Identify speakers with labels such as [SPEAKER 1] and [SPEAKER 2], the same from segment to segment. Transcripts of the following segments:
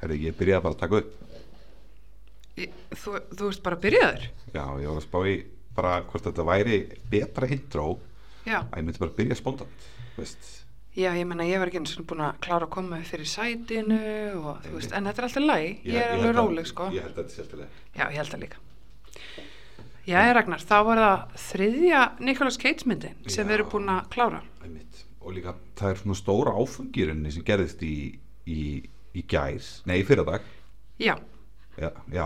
[SPEAKER 1] Herri, ég byrjaði bara að taka upp.
[SPEAKER 2] Ég- Þú, þú ert bara byrjaður?
[SPEAKER 1] Já, ég var að spá í bara hvort þetta væri betra intro
[SPEAKER 2] Já.
[SPEAKER 1] að ég myndi bara byrja spontant, veist.
[SPEAKER 2] Já, ég menna, ég var ekki eins og búin að klára að koma upp fyrir sætinu og þú veist, en þetta er alltaf læg, ég er alveg
[SPEAKER 1] held að-
[SPEAKER 2] róleg sko.
[SPEAKER 1] Ég held að þetta sé alltaf leið.
[SPEAKER 2] Já, ég held það líka. Já, Ragnar, þá var það þriðja Nicolas Cage myndin sem við erum
[SPEAKER 1] Já.
[SPEAKER 2] búin að klára.
[SPEAKER 1] Einmitt. Og líka, það er svona stóra áfungirinni sem gerðist í, í, í gæs, nei, fyrir dag,
[SPEAKER 2] Já,
[SPEAKER 1] já, já,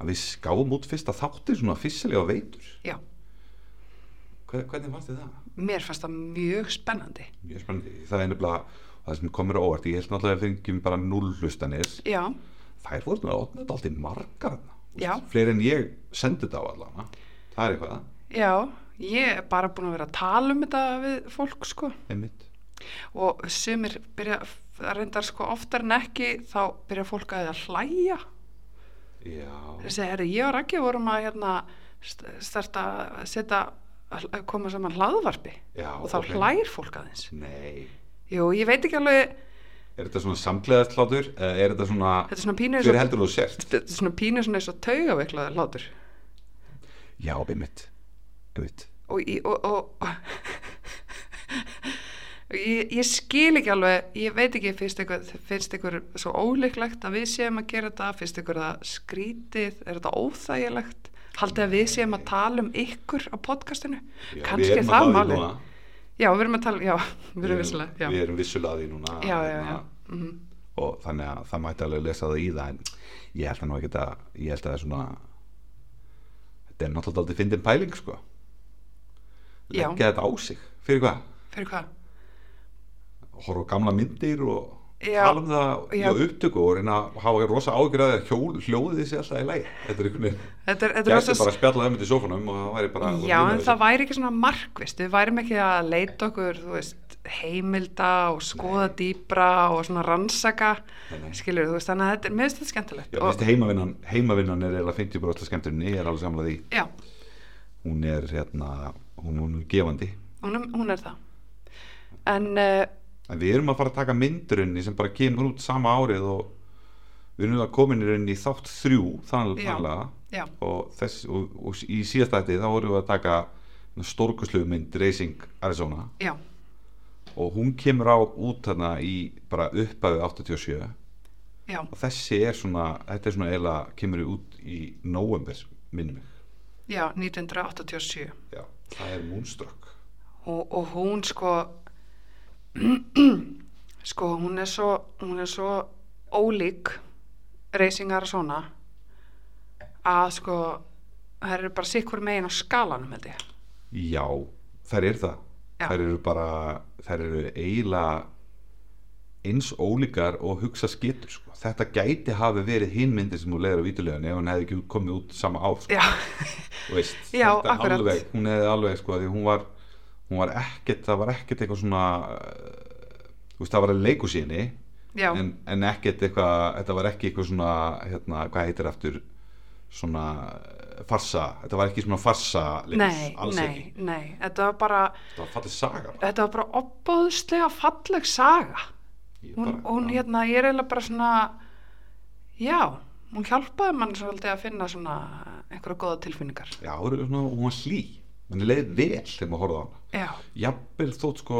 [SPEAKER 1] að við skáum út fyrsta þáttir svona fissilega veitur.
[SPEAKER 2] já,
[SPEAKER 1] Hver, hvernig fannst þið það?
[SPEAKER 2] mér fannst það mjög spennandi.
[SPEAKER 1] Mjög spennandi. Það er nefnilega, það sem komur á óvart, ég held náttúrulega að við fengjum bara null hlustanir.
[SPEAKER 2] Já,
[SPEAKER 1] Þær voru náttúrulega opnað alltaf margar þarna.
[SPEAKER 2] Já.
[SPEAKER 1] Fleiri en ég sendi þetta á allana. Það er eitthvað,
[SPEAKER 2] já, ég er bara búin að vera að tala um þetta við fólk sko.
[SPEAKER 1] einmitt.
[SPEAKER 2] og sumir byrja það reyndar sko oftar en ekki þá byrja fólk að hlæja
[SPEAKER 1] Já.
[SPEAKER 2] þessi herri ég og Raggi vorum að hérna st- starta að setja að koma saman hlaðvarpi
[SPEAKER 1] Já,
[SPEAKER 2] og þá
[SPEAKER 1] ok.
[SPEAKER 2] hlær fólk aðeins
[SPEAKER 1] Nei.
[SPEAKER 2] Jú, ég veit ekki alveg
[SPEAKER 1] Er þetta svona samkleðast hlátur? eða Er þetta svona,
[SPEAKER 2] þetta er svona pínu eins
[SPEAKER 1] hver
[SPEAKER 2] og
[SPEAKER 1] heldur þú sért?
[SPEAKER 2] þetta er svona pínu svona eins og taugaveiklað hlátur
[SPEAKER 1] Já, einmitt. Einmitt.
[SPEAKER 2] og, í- og, og, og ég, ég skil ekki alveg ég veit ekki, finnst ykkur, finnst ykkur svo óleiklegt að við séum að gera þetta finnst ykkur það skrítið er þetta óþægilegt haldið að við séum að tala um ykkur á podcastinu
[SPEAKER 1] Já,
[SPEAKER 2] kannski
[SPEAKER 1] við erum
[SPEAKER 2] er
[SPEAKER 1] að ná
[SPEAKER 2] það
[SPEAKER 1] því
[SPEAKER 2] máli
[SPEAKER 1] núna.
[SPEAKER 2] já, við erum að tala, já, við erum visslega
[SPEAKER 1] Við
[SPEAKER 2] já,
[SPEAKER 1] erum vissulega að því núna.
[SPEAKER 2] já, já,
[SPEAKER 1] hérna,
[SPEAKER 2] já. Mm
[SPEAKER 1] og þannig að það mætti alveg lesa það í það en ég held að nú ekki að ég held að það er svona þetta er náttúrulega aldrei fyndin pæling sko
[SPEAKER 2] Já.
[SPEAKER 1] leggja þetta á sig fyrir hvað,
[SPEAKER 2] fyrir hvað?
[SPEAKER 1] horfa á gamla myndir og
[SPEAKER 2] Já.
[SPEAKER 1] tala um það
[SPEAKER 2] Já.
[SPEAKER 1] í upptöku og reyna að hafa rosa ágjur að hjól, hljóðið sé alltaf í lægi þetta er einhvern veginn,
[SPEAKER 2] Þetta er, þetta er
[SPEAKER 1] gæti
[SPEAKER 2] rosa-
[SPEAKER 1] bara að spjalla það með í sófanum og það væri bara
[SPEAKER 2] Já, en það væri ekki svona markvist, við værim ekki að leita okkur, þú veist, heimilda og skoða dýpra og svona rannsaka,
[SPEAKER 1] Nei, nei.
[SPEAKER 2] skilur þú veist, þannig að þetta er, mér finnst þetta skemmtilegt.
[SPEAKER 1] Já,
[SPEAKER 2] og,
[SPEAKER 1] og... heimavinnan, heimavinnan er eiginlega 50 bara alltaf skemmturinn, ég er alveg samlega því
[SPEAKER 2] já
[SPEAKER 1] hún er hérna, hún, hún er gefandi
[SPEAKER 2] hún, er- hún er það. En, uh,
[SPEAKER 1] En við erum að fara að taka myndurinni sem bara kemur út sama árið og við erum að komin í rauninni í þátt þrjú
[SPEAKER 2] Já.
[SPEAKER 1] þannig
[SPEAKER 2] já,
[SPEAKER 1] og, þess, og, og í síðasta þetta þá vorum við að taka stórkuslu mynd Racing Arizona
[SPEAKER 2] já,
[SPEAKER 1] og hún kemur á út þarna í bara upphafið 87
[SPEAKER 2] já,
[SPEAKER 1] og þessi er svona, þetta er svona eiginlega kemur út í november minnum mig.
[SPEAKER 2] já, 1987
[SPEAKER 1] Já, það er Moonstruck.
[SPEAKER 2] og, og hún sko, sko, hún er svo, hún er svo ólík reysingar og svona að sko, það eru bara sikkur megin á skalanum held ég.
[SPEAKER 1] Já, þær eru það
[SPEAKER 2] Já.
[SPEAKER 1] Þær eru bara, þær eru eiginlega eins ólíkar og hugsa skýtur sko. Þetta gæti hafi verið hinmyndi sem hún leiður á vítulegan ef hún hefði ekki komið út sama ár sko.
[SPEAKER 2] Já,
[SPEAKER 1] Þú veist,
[SPEAKER 2] Já,
[SPEAKER 1] þetta
[SPEAKER 2] akkurat.
[SPEAKER 1] alveg, hún hefði alveg sko, því hún var, hún var ekkert það var ekkert eitthvað svona uh, þú veist, það var að leiku síni
[SPEAKER 2] já,
[SPEAKER 1] en, en ekkert eitthvað, þetta var ekki eitthvað svona hérna, hvað heitir aftur svona uh, farsa, þetta var ekki svona farsa
[SPEAKER 2] nei,
[SPEAKER 1] alls
[SPEAKER 2] nei,
[SPEAKER 1] ekki
[SPEAKER 2] nei, þetta var bara,
[SPEAKER 1] Það var fallið saga bara.
[SPEAKER 2] þetta var bara opbóðslega falleg saga.
[SPEAKER 1] Ég
[SPEAKER 2] Hún,
[SPEAKER 1] bara-
[SPEAKER 2] hún
[SPEAKER 1] já.
[SPEAKER 2] hérna, ég er eiginlega bara svona, já, hún hjálpaði mann svolítið að finna svona einhverja góða tilfinningar.
[SPEAKER 1] Já, hún er svona, hún var hlý. Henni leiði vel þegar maður horfði á hana.
[SPEAKER 2] Já,
[SPEAKER 1] Jafnvel þótt sko,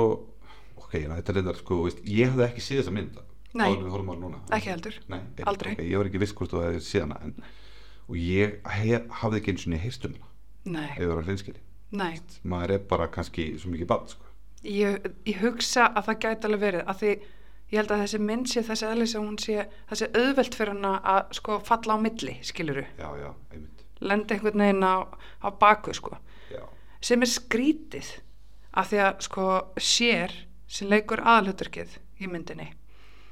[SPEAKER 1] ok, na, þetta er reyndar sko, veist, ég hafði ekki séð þessa mynd.
[SPEAKER 2] Nei.
[SPEAKER 1] áður en við horfum á hana núna.
[SPEAKER 2] ekki heldur.
[SPEAKER 1] Nei, einmitt,
[SPEAKER 2] Aldrei.
[SPEAKER 1] ok, ég var ekki viss hvort þú hefði séð hana. En, og ég hef, hafði ekki eins og niður heyrst um hana, ef
[SPEAKER 2] Nei,
[SPEAKER 1] það var að hreinskili.
[SPEAKER 2] nei,
[SPEAKER 1] Maður er bara kannski svo mikið bann, sko.
[SPEAKER 2] ég, ég hugsa að það gæti alveg verið að því ég held að þessi mynd sé þessi eðlis að hún sé, það sé auðvelt fyrir hana að sko falla á milli, skiluru,
[SPEAKER 1] Já, já, einmitt.
[SPEAKER 2] lendi einhvern veginn á, á baku, sko.
[SPEAKER 1] Já,
[SPEAKER 2] sem er skrítið af því að sko sér sem leikur aðalhuturkið í myndinni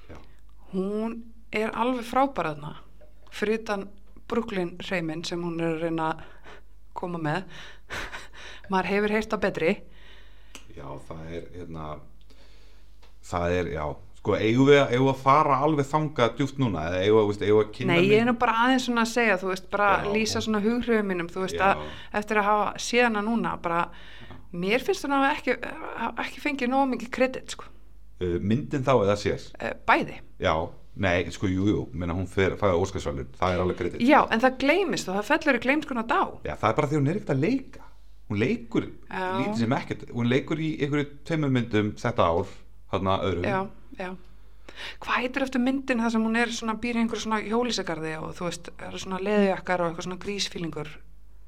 [SPEAKER 1] já.
[SPEAKER 2] hún er alveg frábæraðna fyrir utan Brooklyn reymin sem hún er að reyna að koma með maður hefur heyrt það betri
[SPEAKER 1] Já, það er hérna það er, já sko, eigum við, eigum við að fara alveg þangað djúft núna, eða eigum við, veist, eigum við að kynna
[SPEAKER 2] nei ég
[SPEAKER 1] mynd-
[SPEAKER 2] er nú bara aðeins svona að segja þú veist bara
[SPEAKER 1] Já.
[SPEAKER 2] lýsa svona hughrifum mínum þú veist að
[SPEAKER 1] Já.
[SPEAKER 2] eftir að hafa síðana núna bara mér finnst hún að hafa ekki, hafa ekki fengið nóg mikið kredit sko
[SPEAKER 1] uh, myndin þá Eh, eða sér
[SPEAKER 2] Eh, bæði
[SPEAKER 1] já, Nei, sko, jú, jú, menna hún fer, fæði óskarsvalun, það er alveg kredit.
[SPEAKER 2] Já, en það gleymist og það fellur í gleymskuna dá.
[SPEAKER 1] Já, það er bara því hún er ekkert að leika. Hún leikur,
[SPEAKER 2] Já.
[SPEAKER 1] lítið sem ekkert, hún leikur í einhverju tveimur myndum þetta ár, þarna öðrum.
[SPEAKER 2] Já, já. Hvað heitir eftir myndin þar sem hún er svona býr í einhverju svona hjólisegarði og þú veist, það eru svona leðjakkar og eitthvað svona grísfílingur.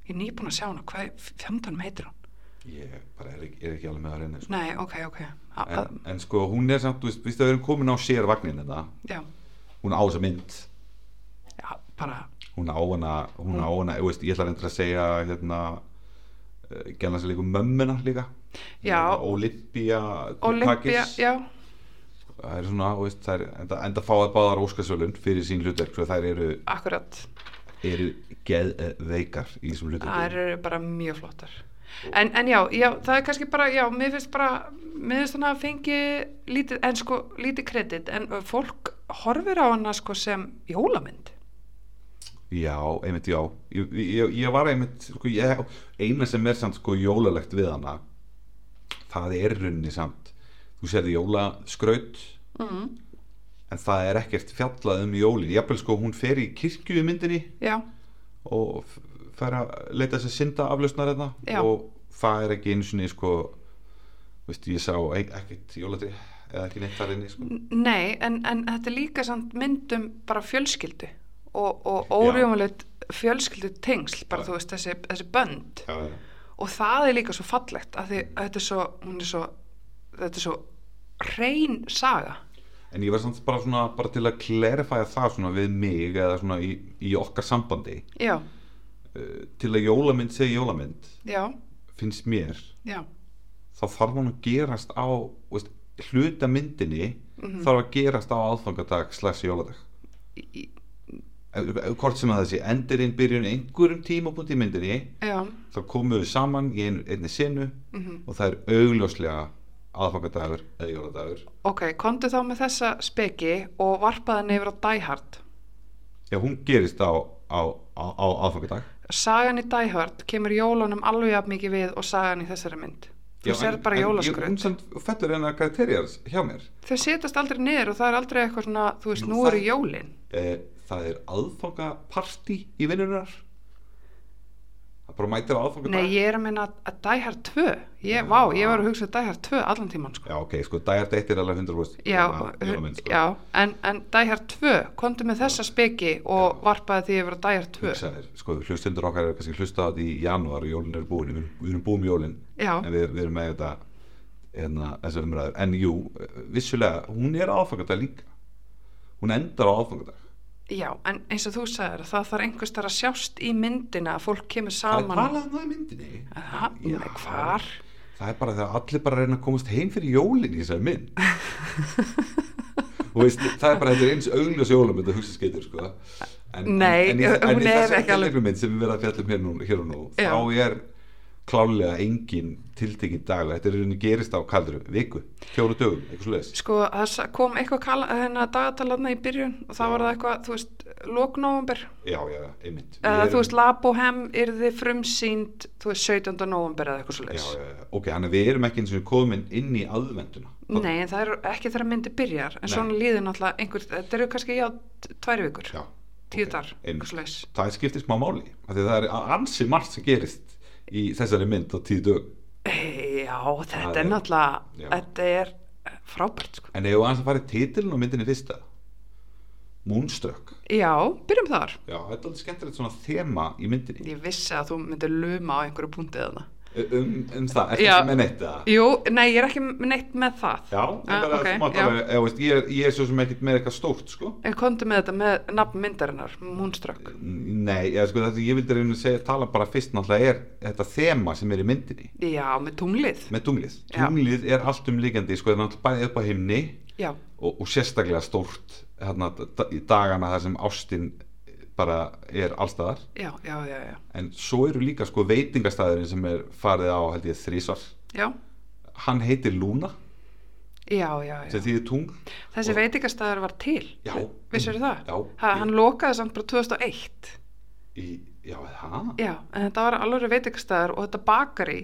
[SPEAKER 2] Ég er nýbúin að sjá hana, hvað fjöndanum heitir hún?
[SPEAKER 1] Ég bara er, ekki- er ekki alveg með það reyna, sko.
[SPEAKER 2] Nei, ok, ok. A, a,
[SPEAKER 1] En, en sko, hún er samt, þú veist, víst að við erum komin á sér vagnin þetta,
[SPEAKER 2] já,
[SPEAKER 1] hún á þessa mynd,
[SPEAKER 2] já, bara,
[SPEAKER 1] hún á hana, hún á hana, þú veist, ég ætla reyndir að segja, hérna, eh, gerna sér líka mömmuna líka. Hérna,
[SPEAKER 2] Já.
[SPEAKER 1] Olympia,
[SPEAKER 2] Olympia,
[SPEAKER 1] Kukakis.
[SPEAKER 2] já,
[SPEAKER 1] það er svona, þú veist, það er enda, enda fáið báðar óskarsölun fyrir sín hlutverk svo þær eru,
[SPEAKER 2] akkurat.
[SPEAKER 1] eru geðveikar í þessum
[SPEAKER 2] Það
[SPEAKER 1] hlutverk
[SPEAKER 2] eru bara mjög flottar. En, en já, já, það er kannski bara, já, mér finnst bara, mér finnst þannig að fengi lítið, en sko, lítið kredit, en ö, fólk horfir á hana sko sem jólamynd.
[SPEAKER 1] já, einmitt já ég, ég, ég var einmitt sko, ég, eina sem er samt sko jólalegt við hana það er í rauninni samt þú sérði jólaskraut
[SPEAKER 2] Mm.
[SPEAKER 1] en það er ekkert fjallað um jólin jafnvel sko hún fer í kirkju í myndinni
[SPEAKER 2] Já,
[SPEAKER 1] og f- fer að leita sér synda aflausnar
[SPEAKER 2] Já.
[SPEAKER 1] þetta og það er ekki einu sinni sko veist, ég sá e- ekkert jólatri eða ekki neitt þar inni sko.
[SPEAKER 2] N- nei, en, en þetta er líka samt myndum bara fjölskyldu og, og órjumulegt fjölskyldu tengsl, bara
[SPEAKER 1] Já.
[SPEAKER 2] þú veist, þessi, þessi bönd.
[SPEAKER 1] já, já.
[SPEAKER 2] Og það er líka svo fallegt, af því að þetta er svo, hún er svo, þetta er svo hrein saga.
[SPEAKER 1] en ég var samt bara svona bara til að klerifæja það svona við mig eða svona í, í okkar sambandi
[SPEAKER 2] Já,
[SPEAKER 1] uh, til að jólamynd segi jólamynd
[SPEAKER 2] já,
[SPEAKER 1] finnst mér
[SPEAKER 2] já,
[SPEAKER 1] þá þarf hann að gerast á þú veist, hluta myndinni
[SPEAKER 2] Mhm.
[SPEAKER 1] þarf að gerast á aðfangadag slags jóladag
[SPEAKER 2] Í- í-
[SPEAKER 1] Ef- ef- hvort sem að þessi endurinn byrjun einhverjum tímapunkt í myndinni
[SPEAKER 2] já,
[SPEAKER 1] þá komum við saman í einu, einni sinu
[SPEAKER 2] mhm.
[SPEAKER 1] og það er augljóslega aðfangadagur eða jóladagur
[SPEAKER 2] Ok, komdu þá með þessa speki og varpaði henni yfir á Die Hard.
[SPEAKER 1] já, hún gerist á, á, á, á aðfangadag
[SPEAKER 2] Sagan í Die Hard kemur jólunum alveg jafn mikið við og sagan í þessari mynd.
[SPEAKER 1] Já,
[SPEAKER 2] Þú sér
[SPEAKER 1] en-
[SPEAKER 2] bara
[SPEAKER 1] en ég-
[SPEAKER 2] jólaskraut.
[SPEAKER 1] hún samt fellur hennar karakterjars hjá mér
[SPEAKER 2] Þau setjast aldrei niður og það er aldrei eitthvað svona, þú veist,
[SPEAKER 1] Jú,
[SPEAKER 2] nú
[SPEAKER 1] það-
[SPEAKER 2] eru jólin.
[SPEAKER 1] eh, það er aðfangaparti í vinnunar það bara mætir á aðfangadag
[SPEAKER 2] Nei, ég er að minna að Die Hard 2. Ég,
[SPEAKER 1] Já.
[SPEAKER 2] vá, ég var að hugsa Die Hard 2 allan tíman, sko.
[SPEAKER 1] já, ok, sko, dagar dættir alveg 100%
[SPEAKER 2] Já,
[SPEAKER 1] jóla-
[SPEAKER 2] hu-
[SPEAKER 1] jólamynd, sko.
[SPEAKER 2] já en, en Die Hard 2, komdu með þessa speki og varpaði því yfir á Die Hard 2.
[SPEAKER 1] Hugsaðir, sko, hlustendur okkar er kannski hlustað í janúar og jólin eru búin, við erum, við erum búin í jólin
[SPEAKER 2] Já,
[SPEAKER 1] en við, við erum með þetta hérna, þessu umræður, en jú vissulega, hún er aðfangadag líka hún endar á aðfangadag
[SPEAKER 2] já, en eins og þú sagðir, það þarf einhvers þar að sjást í myndina að fólk kemur
[SPEAKER 1] það er
[SPEAKER 2] saman.
[SPEAKER 1] talað um það í myndinni
[SPEAKER 2] Ha,
[SPEAKER 1] Já.
[SPEAKER 2] nei, hvar?
[SPEAKER 1] það er bara þegar allir bara reyna að komast heim fyrir jólin í þessari mynd og veist, það er bara þetta er eins augljós jólumynd að hugsa skeitur sko. en,
[SPEAKER 2] Nei,
[SPEAKER 1] en, en, í- en
[SPEAKER 2] hún
[SPEAKER 1] í
[SPEAKER 2] er
[SPEAKER 1] þessari
[SPEAKER 2] ekki alveg-
[SPEAKER 1] tilteknu mynd sem við verðum að fjalla um hér, nú, hér og nú
[SPEAKER 2] Já.
[SPEAKER 1] þá er klálega engin tiltekinn dag þetta er í rauninni gerist á kaldru viku, fjóru dögum, eitthvað svo
[SPEAKER 2] Sko, það sa- kom eitthvað kalla, hennar dagatalana í byrjun og það var það eitthvað, þú veist, lóknóvumber.
[SPEAKER 1] já, já, einmitt Við
[SPEAKER 2] Eða,
[SPEAKER 1] erum-
[SPEAKER 2] þú veist, Labohem yrði frumsýnd, þú veist, 17. november eða eitthvað svo
[SPEAKER 1] já, já, já. ok, hann er við erum ekki eins og komin inn í aðvenduna
[SPEAKER 2] Nei, en það er ekki þegar myndi byrjar, en
[SPEAKER 1] Nei.
[SPEAKER 2] svona líður náttúrulega einhver, þetta eru kannski, já, t- tvær vikur,
[SPEAKER 1] já,
[SPEAKER 2] tíu
[SPEAKER 1] ok,
[SPEAKER 2] dagar,
[SPEAKER 1] einmitt.
[SPEAKER 2] eitthvað svo leiðis.
[SPEAKER 1] það skiptir smá máli af því það er ansi margt sem gerist í þessari mynd á tíu dög
[SPEAKER 2] Eh, Já,
[SPEAKER 1] Það
[SPEAKER 2] þetta er
[SPEAKER 1] er-
[SPEAKER 2] náttúrulega,
[SPEAKER 1] já.
[SPEAKER 2] þetta er eh, frábært, sko.
[SPEAKER 1] en ef við aðeins að fara í titilin og myndinni fyrsta Moonstruck
[SPEAKER 2] Já, byrjum þar.
[SPEAKER 1] já, þetta er alveg skemmtilegt svona þema í myndinni
[SPEAKER 2] Ég vissi að þú myndir luma á einhverju púntið þarna.
[SPEAKER 1] um, um það, er
[SPEAKER 2] Já.
[SPEAKER 1] þetta með neitt það?
[SPEAKER 2] Jú, nei, ég er ekki m- neitt með það.
[SPEAKER 1] já, en
[SPEAKER 2] Ah,
[SPEAKER 1] bara
[SPEAKER 2] ok,
[SPEAKER 1] okay,
[SPEAKER 2] já.
[SPEAKER 1] alveg, eða, veist, ég, er, ég er svo sem ekkert með eitthvað stórt sko
[SPEAKER 2] En komdu með þetta með nafn myndarinnar, Moonstruck.
[SPEAKER 1] Nei, ég, sko, þetta, ég vildi reyna að segja, tala bara fyrst náttúrulega er þetta þema sem er í myndinni
[SPEAKER 2] Já, með tunglið.
[SPEAKER 1] með tunglið
[SPEAKER 2] Já.
[SPEAKER 1] tunglið er allt um líkandi sko, það er náttúrulega bæðið upp á himni
[SPEAKER 2] Já,
[SPEAKER 1] og, og sérstaklega stórt hérna, da- í dagana þar sem ástin bara er allstaðar
[SPEAKER 2] já, já, já, já.
[SPEAKER 1] en svo eru líka sko veitingastæðurinn sem er farið á held ég þrísvar
[SPEAKER 2] Já,
[SPEAKER 1] hann heitir Luna
[SPEAKER 2] já, já, já.
[SPEAKER 1] sem þýðir tungl
[SPEAKER 2] Þessi
[SPEAKER 1] Og-
[SPEAKER 2] veitingastæður var til
[SPEAKER 1] Já.
[SPEAKER 2] Vissirðu það?
[SPEAKER 1] Já.
[SPEAKER 2] ha, Hann lokaði samt bara 2001
[SPEAKER 1] í, já, það
[SPEAKER 2] Já, en þetta var alveg veitingastæður og þetta bakari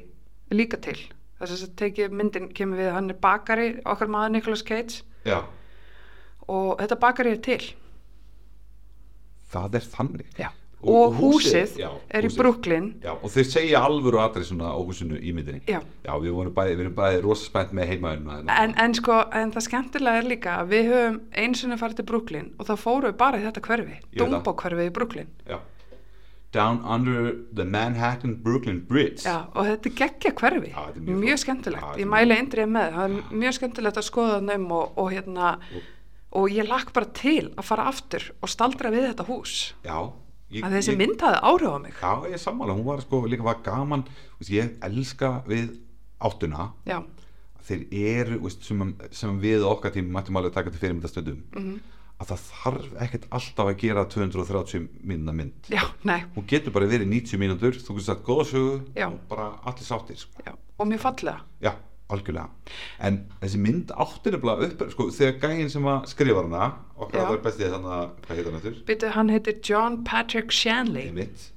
[SPEAKER 2] er líka til þess að tekið myndin kemur við hann er bakari, okkar maður Nicolas Cage
[SPEAKER 1] já,
[SPEAKER 2] og þetta bakar ég til
[SPEAKER 1] það er þannig
[SPEAKER 2] já.
[SPEAKER 1] Og-
[SPEAKER 2] og,
[SPEAKER 1] og húsið,
[SPEAKER 2] húsið,
[SPEAKER 1] já,
[SPEAKER 2] er
[SPEAKER 1] húsið.
[SPEAKER 2] í Brooklyn
[SPEAKER 1] Já, og þeir segja alvöru adressuna á húsinu í myndinni
[SPEAKER 2] Já.
[SPEAKER 1] við, vorum bæði, við erum bæði rosaspænt með hérna. heimaðurna
[SPEAKER 2] en, en sko, en það skemmtilega er líka að við höfum eins og farið til Brooklyn og þá fórum við bara í þetta hverfi
[SPEAKER 1] Ég veit það.
[SPEAKER 2] Dumbo hverfi í Brooklyn
[SPEAKER 1] Já. Down under the Manhattan Brooklyn Bridge
[SPEAKER 2] Já, og þetta er geggja hverfi,
[SPEAKER 1] Já, þetta er mjög
[SPEAKER 2] mjög,
[SPEAKER 1] flott. Já,
[SPEAKER 2] skemmtilegt,
[SPEAKER 1] þetta er
[SPEAKER 2] ég
[SPEAKER 1] mjög-
[SPEAKER 2] mæli eindrið með, það er mjög skemmtilegt að skoða þann um og, og hérna, og ég lakk bara til að fara aftur og staldra við þetta hús,
[SPEAKER 1] Já, ég,
[SPEAKER 2] að þessi
[SPEAKER 1] ég-
[SPEAKER 2] mynd hafði áhrif á mig,
[SPEAKER 1] Já, ég er sammála, hún var sko líka var gaman þú veist, ég elska við áttuna
[SPEAKER 2] já,
[SPEAKER 1] þeir eru, þú veist, sem, sem við á okkar tíma mættum alveg taka til fyrirmynda stundum
[SPEAKER 2] Mhm.
[SPEAKER 1] að það þarf ekkert alltaf að gera 230 mínuna mynd
[SPEAKER 2] já, nei,
[SPEAKER 1] hún getur bara verið 90 mínútur þú getur sagt góðsögu
[SPEAKER 2] Já.
[SPEAKER 1] og bara allir sáttir sko.
[SPEAKER 2] já, og mjög fallega,
[SPEAKER 1] Já, algjörlega En þessi mynd átti nefnilega upp sko, Þegar gæinn sem að skrifa hana Okkar
[SPEAKER 2] Já.
[SPEAKER 1] að það er bestið þannig að Hvað heita hann eftir?
[SPEAKER 2] byrju, hann heitir John Patrick Shanley,
[SPEAKER 1] Einmitt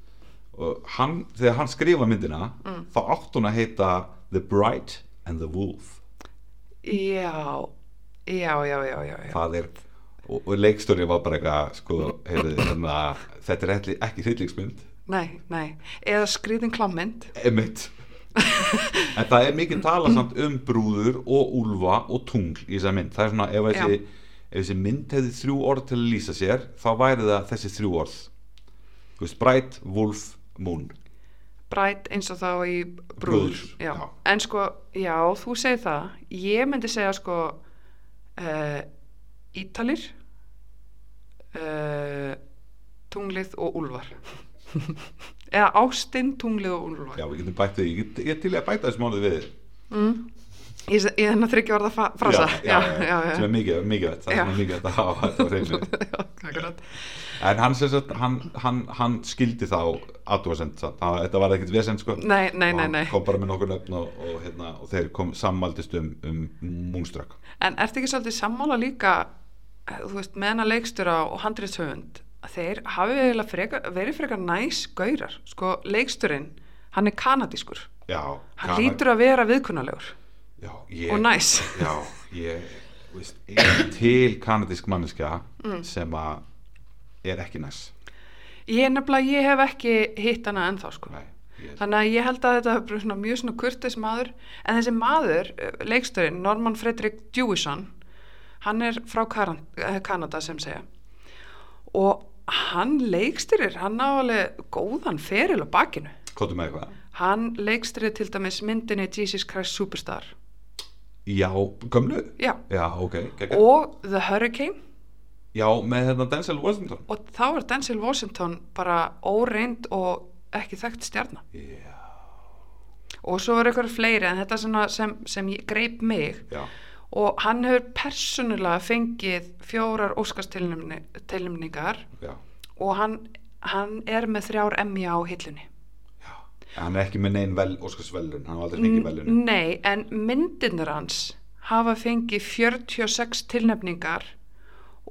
[SPEAKER 1] Og hann, þegar hann skrifa myndina Þá átti hún að heita The Bride and the Wolf
[SPEAKER 2] já, já, já, já, já, já,
[SPEAKER 1] Það er Og, og leikstórið var bara eitthvað sko, heyrðu, hérna, Þetta er ekki, ekki hryllingsmynd
[SPEAKER 2] nei, nei, eða skrýðin klámynd,
[SPEAKER 1] Einmitt En það er mikið tala samt um brúður og úlfa og tungl í þessa mynd Það er svona ef þessi, ef þessi mynd hefði þrjú orð til að lýsa sér þá væri það þessi þrjú orð Þú veist, Bright, Wolf, Moon
[SPEAKER 2] brætt eins og þá í brúður
[SPEAKER 1] Brúður,
[SPEAKER 2] já.
[SPEAKER 1] já.
[SPEAKER 2] en sko, já, þú segir það ég myndi segja sko uh, Ítalir uh, tunglið og úlfar eða ástinn, tunglið og úlfar
[SPEAKER 1] Já, við getum bætt því, ég, get- ég er til í að bæta þessu mánuði við
[SPEAKER 2] ég, se- ég hennar þryggja orða fa- frasa
[SPEAKER 1] já, já, sem er mikið, mikið það
[SPEAKER 2] Já.
[SPEAKER 1] er svona mikið að hafa þetta á hreinu
[SPEAKER 2] já, akkurat.
[SPEAKER 1] En hann, sem sagt, hann, hann, hann skildi þá aðtúasend, þetta var ekkert vesend sko
[SPEAKER 2] Nei, nei,
[SPEAKER 1] Og
[SPEAKER 2] nei,
[SPEAKER 1] hann
[SPEAKER 2] nei.
[SPEAKER 1] kom bara með nokkur nöfn og, og, hérna, og þeir kom sammaldist um, um Moonstruck
[SPEAKER 2] en ertu ekki svolítið sammála líka eh, þú veist, með hana leikstjóra og handriðshöfund að þeir hafi eiginlega frekar, verið frekar næs gaurar, sko, leikstjórin hann er kanadískur,
[SPEAKER 1] Já,
[SPEAKER 2] hann hlýtur að vera viðkunnalegur
[SPEAKER 1] já, ég,
[SPEAKER 2] og næs
[SPEAKER 1] Já, ég þú veist, er til kanadísk manneskja
[SPEAKER 2] Mm.
[SPEAKER 1] sem að er ekki næs
[SPEAKER 2] ég er nefnilega, ég hef ekki hitt hana ennþá, sko
[SPEAKER 1] Nei, ég,
[SPEAKER 2] þannig að ég held að þetta er bara svona mjög svona kurtis maður, en þessi maður eh, leiksturinn, Norman Frederick Jewison hann er frá Karan- eh, Kanada sem segja og hann leikstyrir hann á alveg góðan feril á bakinu
[SPEAKER 1] Kóttu með eitthvað
[SPEAKER 2] hann leikstyrir til dæmis myndinni Jesus Christ Superstar
[SPEAKER 1] Já, gömlu
[SPEAKER 2] já,
[SPEAKER 1] Já, ok, geggjað.
[SPEAKER 2] og The Hurricane
[SPEAKER 1] Já, með hérna Denzel Washington
[SPEAKER 2] og þá er Denzel Washington bara óreind og ekki þekkt stjarnar
[SPEAKER 1] Já,
[SPEAKER 2] og svo er eitthvað fleiri en þetta sem, sem, sem ég- greip mig
[SPEAKER 1] já,
[SPEAKER 2] og hann hefur persónulega fengið fjórar óskarsteilumningar
[SPEAKER 1] já
[SPEAKER 2] og hann, hann er með þrjár emmi á hillunni.
[SPEAKER 1] Hann er ekki með neinn vel, Óskars velun Hann var aldrei
[SPEAKER 2] Mm,
[SPEAKER 1] fengið velun
[SPEAKER 2] Nei, en myndinir hans hafa fengið 46 tilnefningar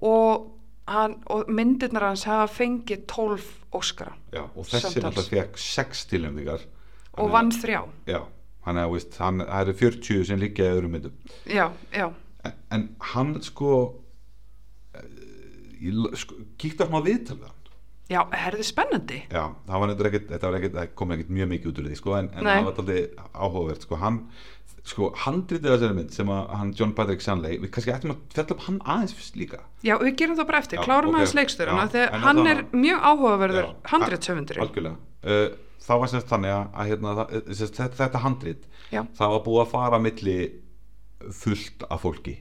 [SPEAKER 2] og, hann, og myndinir hans hafa fengið 12 óskara
[SPEAKER 1] Já, og þessi
[SPEAKER 2] Samtals.
[SPEAKER 1] náttúrulega fekk sex tilnefningar Hann
[SPEAKER 2] og
[SPEAKER 1] er-
[SPEAKER 2] vann þrjá.
[SPEAKER 1] Já, hann er, veist, hann það eru 40 sem liggja í öðrum myndum
[SPEAKER 2] Já, já,
[SPEAKER 1] en, en hann sko eh, ég l- sko, kíkti á hann á viðtal við hann
[SPEAKER 2] já, er þið spennandi?
[SPEAKER 1] já, það var neitt ekkert, þetta var ekkert, það kom ekkert mjög mikið út úr því, sko, en, en
[SPEAKER 2] Nei.
[SPEAKER 1] það var aldrei áhugavert, sko, hann sko, handritið þessari mynd sem að hann John Patrick Shanley, við kannski ættum að fjalla upp hann aðeins fyrst líka
[SPEAKER 2] Já, við gerum það bara eftir,
[SPEAKER 1] Já,
[SPEAKER 2] klárum
[SPEAKER 1] ok.
[SPEAKER 2] aðeins leikstöruna
[SPEAKER 1] Já, en
[SPEAKER 2] þegar hann er
[SPEAKER 1] allavega-
[SPEAKER 2] mjög áhugaverður
[SPEAKER 1] Já,
[SPEAKER 2] handritsöfundurinn.
[SPEAKER 1] algjörlega, uh, það var semst þannig að, að hérna, það, eh, semst, þetta, þetta handrit
[SPEAKER 2] Já.
[SPEAKER 1] það var búið að fara á milli fullt af fólki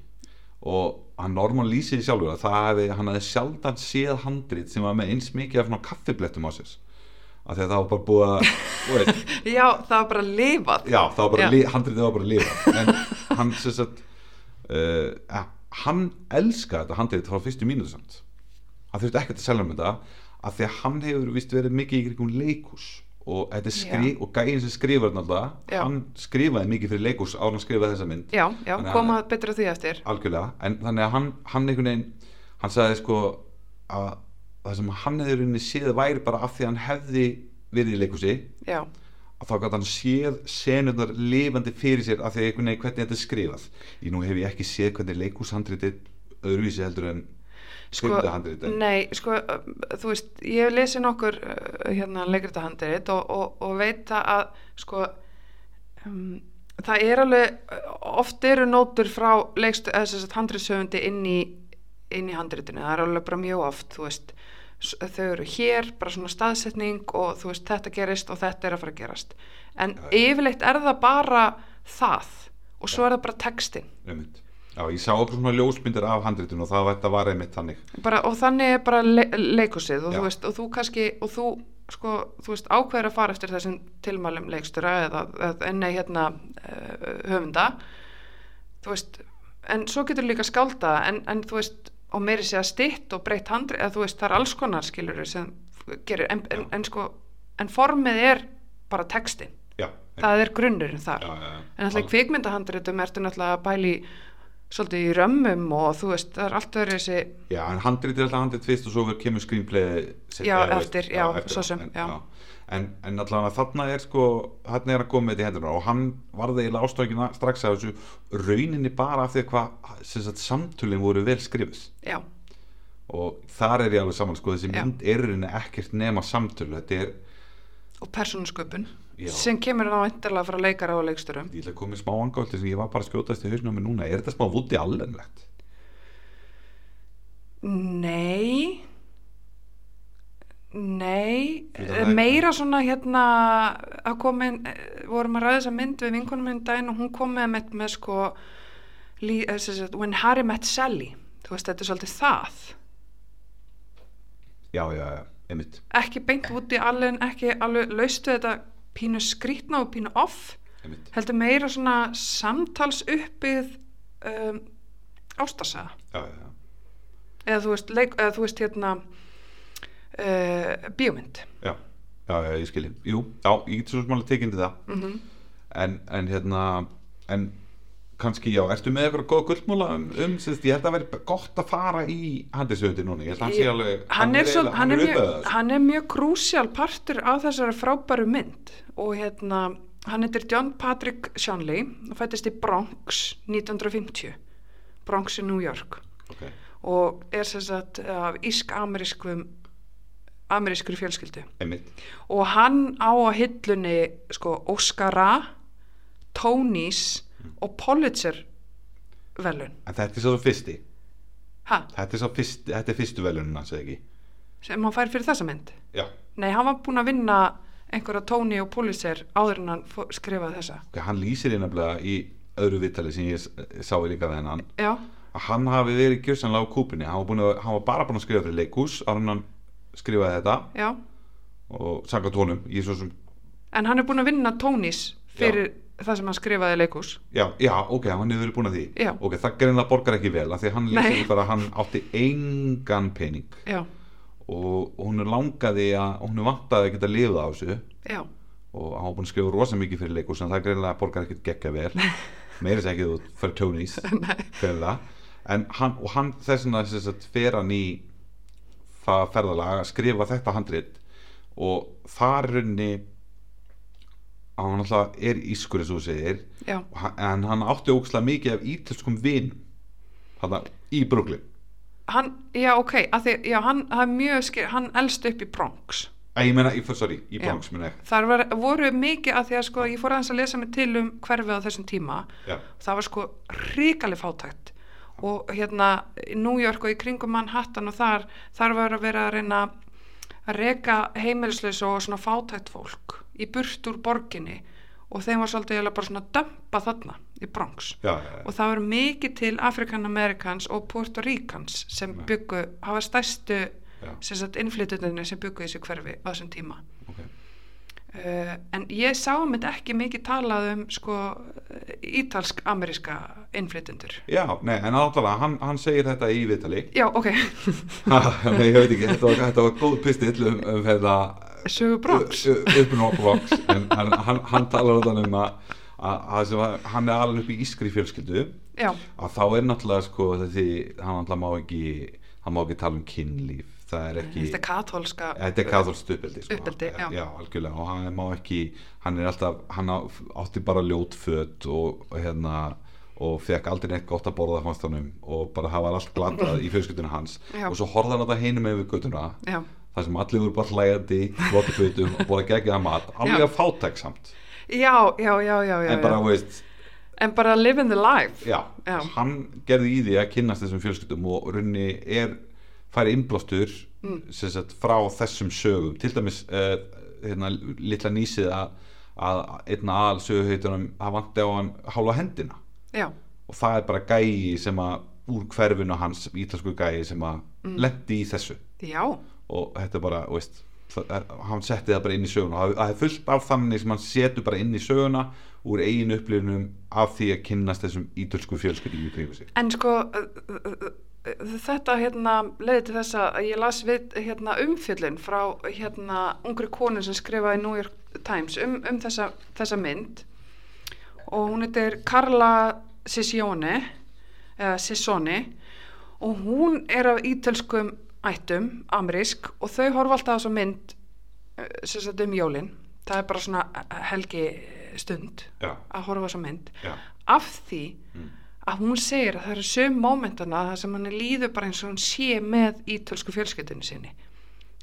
[SPEAKER 1] og hann Norman lýsið sjálfur að það hefði, hann hefði sjaldan séð handrit sem var með eins mikið af svona kaffiblettum á sér af því að það var bara búið að þú veist,
[SPEAKER 2] Já, það var bara lifað.
[SPEAKER 1] já, það var bara,
[SPEAKER 2] Já.
[SPEAKER 1] li, handritið var bara að lifa en hann sem sagt uh, ja, hann elskaði þetta handrit frá fyrstu mínútu samt hann þurfti ekkert að selja um þetta af því að hann hefur vist verið mikið í kringum leikús og, þetta er skri, og gæin sem skrifar þetta alltaf
[SPEAKER 2] Já.
[SPEAKER 1] hann skrifaði mikið fyrir leikús á hann að skrifa þessa mynd
[SPEAKER 2] Já, já,
[SPEAKER 1] Þannig að-
[SPEAKER 2] koma betra því eftir
[SPEAKER 1] algjörlega, en þannig að hann, hann einhvern veginn, hann sagði sko að það sem hann hefði í rauninni séð væri bara af því að hann hefði verið í leikúsi,
[SPEAKER 2] Já,
[SPEAKER 1] að þá gæti hann séð senurnar lifandi fyrir sér af því að einhvern veginn hvernig þetta er skrifað ég nú hef ég ekki séð hvernig leikúshandritið öðruvísi heldur en
[SPEAKER 2] Sko,
[SPEAKER 1] kvikmyndahandrit en-
[SPEAKER 2] Nei, sko, uh, þú veist, ég hef lesið nokkur uh, hérna leikritahandrit og, og, og veit það að, sko, um, það er alveg, uh, oft eru nótur frá leikst, eða þess að handritsöfundi inn í, inn í handritinu, það er alveg bara mjög oft, þú veist, s- þau eru hér, bara svona staðsetning og þú veist, þetta gerist og þetta er að fara að gerast. En
[SPEAKER 1] Já,
[SPEAKER 2] yfirleitt er það bara það og svo er það bara textin.
[SPEAKER 1] einmitt. Já, ég sá okkur svona ljósmyndir af handritinu og það var þetta var einmitt þannig
[SPEAKER 2] bara, og þannig er bara le leikusið og
[SPEAKER 1] Já.
[SPEAKER 2] þú veist, og þú kannski og þú, sko, þú veist, ákveður að fara eftir þessum tilmælum leikstura eða, eða nei, hérna uh, höfunda þú veist, en svo getur líka skálda en, en þú veist, og meiri sé að stitt og breytt handri, eða þú veist, það er alls konar skilur sem gerir, en, en, en sko en formið er bara textin
[SPEAKER 1] Já, einmitt.
[SPEAKER 2] það er grunnurinn þar
[SPEAKER 1] já, já, já.
[SPEAKER 2] En alltaf
[SPEAKER 1] Al-
[SPEAKER 2] kvikmyndahandritum ertu náttúrulega að pæli svolítið í römmum og þú veist, það er allt verið þessi,
[SPEAKER 1] Já, en handrit er alltaf handrit fyrst og svo verður kemur screenplay seinna,
[SPEAKER 2] Já,
[SPEAKER 1] eða, þú veist,
[SPEAKER 2] eftir, já, svo sem,
[SPEAKER 1] en,
[SPEAKER 2] já.
[SPEAKER 1] En, en allavega þarna er sko þarna er hann komið þetta í hendur og hann varði eiginlega ástöngina strax að þessu rauninni bara af því að hvað sem sagt, samtölin voru vel skrifis
[SPEAKER 2] já,
[SPEAKER 1] og þar er ég alveg saman sko þessi
[SPEAKER 2] Já.
[SPEAKER 1] mynd er í rauninni ekkert nema samtölu þetta er,
[SPEAKER 2] og persónusköpun
[SPEAKER 1] Já.
[SPEAKER 2] sem kemur þá eintarlega frá leikara og leiksturum.
[SPEAKER 1] ég ætla að koma í smá angáldi sem ég var bara að skjótast í hausnum núna, er þetta smá vúti allenlegt?
[SPEAKER 2] Nei, nei,
[SPEAKER 1] Fyrir það ekki.
[SPEAKER 2] meira svona hérna að komin, vorum að ræða þessa mynd við vinkonum minn daginn og hún kom með með, með sko, lí, eh, sem sagt, When Harry Met Sally, þú veist, þetta er svolítið það.
[SPEAKER 1] Já, já, já, einmitt,
[SPEAKER 2] Ekki beint út í alveg, ekki alveg laustu þetta pínu skrítna og pínu off,
[SPEAKER 1] einmitt,
[SPEAKER 2] heldur meira svona samtalsuppið um, ástasaða.
[SPEAKER 1] já, já, já.
[SPEAKER 2] eða þú veist, leik, eða, þú veist hérna uh, bíómynd
[SPEAKER 1] já, já, já, ég skilji Jú, já, ég get svo smálega tekið til það
[SPEAKER 2] Mhm.
[SPEAKER 1] en, en hérna en kannski, já, ertu með eitthvað góð gullmúla um, um sérst, ég held að veri gott að fara í handisöfundi núna, ég held að hann sé
[SPEAKER 2] Ég-
[SPEAKER 1] alveg
[SPEAKER 2] hann er, svo,
[SPEAKER 1] eiginlega-
[SPEAKER 2] hann, er
[SPEAKER 1] uppöðað
[SPEAKER 2] mjög,
[SPEAKER 1] þessu.
[SPEAKER 2] hann er mjög krúsjál partur af þessari frábæru mynd og hérna hann heitir John Patrick Shanley og fættist í Bronx 1950 Bronx í New York
[SPEAKER 1] sko. Ok,
[SPEAKER 2] og er sem sagt af ísk-amerískum amerískri fjölskyldu
[SPEAKER 1] einmitt,
[SPEAKER 2] og hann á að hillunni sko Óskara Tonys og Pulitzer velun
[SPEAKER 1] en þetta er svo fyrsti
[SPEAKER 2] ha?
[SPEAKER 1] þetta er, svo fyrsti, þetta er fyrstu velunin hans eða ekki
[SPEAKER 2] sem hann fær fyrir þessa mynd
[SPEAKER 1] já,
[SPEAKER 2] nei, hann var búinn að vinna einhverja Tony og Pulitzer áður en hann fó- skrifaði þessa
[SPEAKER 1] ok, hann lýsir í nefnilega í öðru viðtali sem ég s- sá í líka þennan
[SPEAKER 2] já,
[SPEAKER 1] að hann hafi verið gjörsanlega á kúpinni hann var, búinn að, hann var bara búin að skrifa fyrir leikús áður en hann skrifaði þetta
[SPEAKER 2] já
[SPEAKER 1] og sanga tónum, ég svo sem
[SPEAKER 2] en hann er búinn að vinna Tonys fyrir það sem hann skrifaði í leikhús
[SPEAKER 1] Já, já, ok, hann hefur verið búin að því
[SPEAKER 2] Já.
[SPEAKER 1] Ok, það greinlega borgar ekki vel af Því að hann
[SPEAKER 2] Nei.
[SPEAKER 1] lýsir bara að hann átti engan pening
[SPEAKER 2] já,
[SPEAKER 1] og, og hún er langaði að hún er vantaði að geta lifað á þessu
[SPEAKER 2] já,
[SPEAKER 1] og hann var búin að skrifa rosa mikið fyrir leikus en það greinlega borgar ekkert gekka vel Meira þess ekki þú fyrir tónis fyrir það en hann, og hann þess vegna þess að fer hann í það ferðalag að skrifa þetta handrit og þar í rauninni að hann alltaf er ískur eins og þú segir
[SPEAKER 2] já
[SPEAKER 1] Og hann- en hann átti ógslag mikið af ítalskum vin hann í Brooklyn
[SPEAKER 2] hann, já, ok, að því, já, hann það er mjög skil, hann elst upp í Bronx
[SPEAKER 1] að ég meina, ég fór, sorry, í
[SPEAKER 2] Já.
[SPEAKER 1] Bronx meina ég.
[SPEAKER 2] þar var, voru mikið að því að sko, ég fór aðeins að lesa mig til um hverfið á þessum tíma
[SPEAKER 1] já,
[SPEAKER 2] það var sko ríkalið fátækt og hérna í New York og í kringum Manhattan og þar þar var að vera að reyna að reka heimilislaus og svona fátækt fólk í burt úr borginni og þeim var svolítið eiginlega bara svona að dömpa þarna í Bronx
[SPEAKER 1] já, já, já,
[SPEAKER 2] og það var mikið til Afrikan-Amerikans og Puerto Ricans sem
[SPEAKER 1] Já.
[SPEAKER 2] byggu hafa stærstu
[SPEAKER 1] já,
[SPEAKER 2] sem sagt innflytjunni sem byggu í þessu hverfi á þessum tíma
[SPEAKER 1] ok
[SPEAKER 2] Uh, en ég sá mynd ekki mikið talað um sko eh, ítalsk-ameríska innflytjendur.
[SPEAKER 1] já, nei, en allavega, hann, hann segir þetta í viðtali
[SPEAKER 2] Já, ok.
[SPEAKER 1] nei, ég veit ekki, þetta var, þetta var góð pistill um, um þetta
[SPEAKER 2] Sögu Bronx.
[SPEAKER 1] uppin og Bronx en hann, hann, hann talar þetta um að, að, að sem að hann er alveg upp í ískri fjölskyldu
[SPEAKER 2] Já,
[SPEAKER 1] að þá er náttúrulega sko þessi, hann náttúrulega má ekki hann má ekki tala um kynlíf það er ekki
[SPEAKER 2] þetta er katholska.
[SPEAKER 1] Þetta er katholst uppeldi sko.
[SPEAKER 2] Uppeldi, já.
[SPEAKER 1] já, algjörlega og hann má ekki, hann er alltaf hann á- átti bara ljót föt og, og hérna og og fekk aldrei neitt gott að borða fannst honum og bara hafa allt glatað í fjölskyldunum hans
[SPEAKER 2] Já.
[SPEAKER 1] og svo horfði hann á það hinum með við göttuna
[SPEAKER 2] já,
[SPEAKER 1] þar sem allir voru bara hlægandi glottifötum og búið að gegja það mat alveg
[SPEAKER 2] Já.
[SPEAKER 1] að fátæk samt
[SPEAKER 2] já, já, já, já, já.
[SPEAKER 1] en bara,
[SPEAKER 2] já.
[SPEAKER 1] þú veist,
[SPEAKER 2] en bara living the life
[SPEAKER 1] já,
[SPEAKER 2] Já.
[SPEAKER 1] hann gerði í því að kynnast þessum fjölskyldum og runni er færi innblástur sem sagt frá þessum sögum til dæmis uh, hérna, litla nýsið að, að einna aðal söguhautunum það vanti á hann hálfa hendina
[SPEAKER 2] já,
[SPEAKER 1] og það er bara gæi sem að úr hverfinu hans, ítalsku gæi sem að mm. lendi í þessu
[SPEAKER 2] já,
[SPEAKER 1] og þetta er bara, þú veist það er, hann setti það bara inn í söguna og það- það er fullt af þannig sem hann setur bara inn í söguna úr eigin upplifunum af því að kynnast þessum ítalsku fjölskyldum í kringu sig
[SPEAKER 2] En sko uh, uh, uh, uh, þetta hérna leiði til þess að ég las við hérna umfjöllin frá hérna ungri konu sem skrifaði í New York Times um, um þessa, þessa mynd og hún heitir Carla Sissoni eða Sissoni og hún er af ítölskum ættum, amrísk og þau horfa alltaf á þessa mynd uh, sem sagt um jólin það er bara svona uh, helgi stund
[SPEAKER 1] Já.
[SPEAKER 2] að horfa á þessa mynd
[SPEAKER 1] Já.
[SPEAKER 2] af því að hún segir að það eru söm mómentana það sem hann líður bara eins og hún sé með ítölsku fjölskyldinu sinni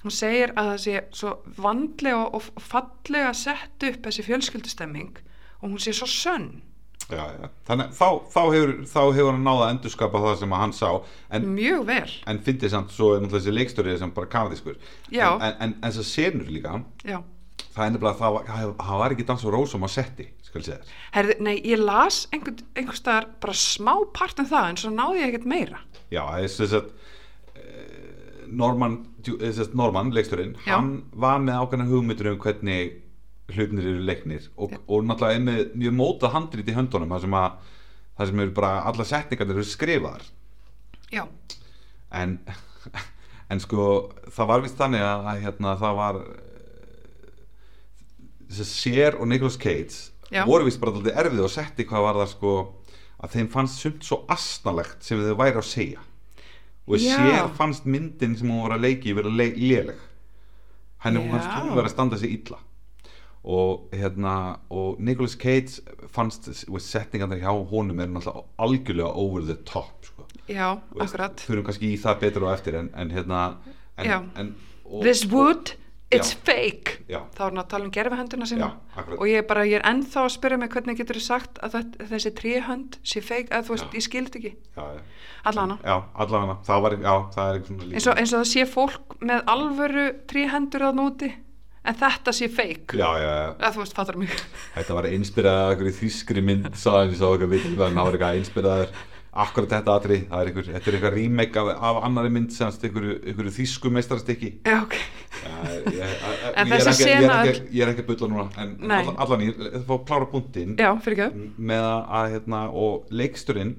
[SPEAKER 2] hún segir að það sé svo vandlega og fallega sett upp þessi fjölskyldustemming og hún sé svo sönn
[SPEAKER 1] já, já. þannig að þá, þá, hefur, þá hefur hann náða að endurskapa það sem að hann sá en,
[SPEAKER 2] mjög vel
[SPEAKER 1] en fyndið samt svo er náttúrulega þessi leikstörið sem bara kanadískur en,
[SPEAKER 2] Já.
[SPEAKER 1] en, en, en þessar senur líka
[SPEAKER 2] já.
[SPEAKER 1] það er nefnilega að það, var- það, það var ekki dans og rósum á setti skal ég segja þér
[SPEAKER 2] Herði, nei, ég las einhvern, einhvers staðar bara smá part um það en svo náði ég ekkert meira
[SPEAKER 1] Já, það er sem sagt eh, Norman, djú- eh, sem sagt, Norman leiksturinn,
[SPEAKER 2] Já.
[SPEAKER 1] hann var með ákveðna hugmyndur um hvernig hlutnir eru leiknir og, og náttúrulega er með mjög móta handrið í höndunum þar sem, að, þar sem eru bara alla setningarnir eru skrifaðar
[SPEAKER 2] já,
[SPEAKER 1] en, en sko það var vist þannig að, að hérna, það var eh, Sér og Nicolas Cage
[SPEAKER 2] Já.
[SPEAKER 1] voru vist bara alltaf erfið og setti hvað var það sko að þeim fannst sumt svo asnalegt sem þau væri að segja og
[SPEAKER 2] Já.
[SPEAKER 1] sér fannst myndin sem hún var að leiki vera le léleg henni
[SPEAKER 2] Já.
[SPEAKER 1] fannst hún vera að standa sig illa og hérna og Nicolas Cage fannst og setningarnar hjá honum er náttúrulega algjörlega over the top sko.
[SPEAKER 2] já,
[SPEAKER 1] Þú veist,
[SPEAKER 2] akkurat
[SPEAKER 1] förum kannski í það betur á eftir en, en hérna en,
[SPEAKER 2] Já.
[SPEAKER 1] en, og,
[SPEAKER 2] This wood, it's
[SPEAKER 1] Já.
[SPEAKER 2] fake
[SPEAKER 1] Já.
[SPEAKER 2] þá er hann að tala um gerfihönduna sína
[SPEAKER 1] Já, akkurat.
[SPEAKER 2] og ég er bara, ég er ennþá að spyrja mig hvernig getur þú sagt að þetta, þessi tríhönd sé fake, að þú veist,
[SPEAKER 1] Já.
[SPEAKER 2] ég skildi ekki
[SPEAKER 1] já, já.
[SPEAKER 2] allana,
[SPEAKER 1] já, allavega það var, já, það er eitthvað svona
[SPEAKER 2] eins og, eins og það sé fólk með alvöru tríhendur að núti en þetta sé fake
[SPEAKER 1] já, já, já,
[SPEAKER 2] að þú veist, fattar mig
[SPEAKER 1] þetta var einspyrað einhverju þýskri mynd, sagði ég sá eitthvað vitt þannig að það var eitthvað einspyraður akkurat þetta atri, það er einhver, þetta er eitthvað remake af, af annari mynd sem sagt einhverju, einhverju þýsku meistarastykki
[SPEAKER 2] já, ok, En
[SPEAKER 1] en
[SPEAKER 2] þessi
[SPEAKER 1] ég er
[SPEAKER 2] sena
[SPEAKER 1] ekki, ég er ekki að bulla núna en en
[SPEAKER 2] Nei.
[SPEAKER 1] allan, allan ég, það fór að klára búntin
[SPEAKER 2] já, fyrir ekki
[SPEAKER 1] með að, að hérna, og leiksturinn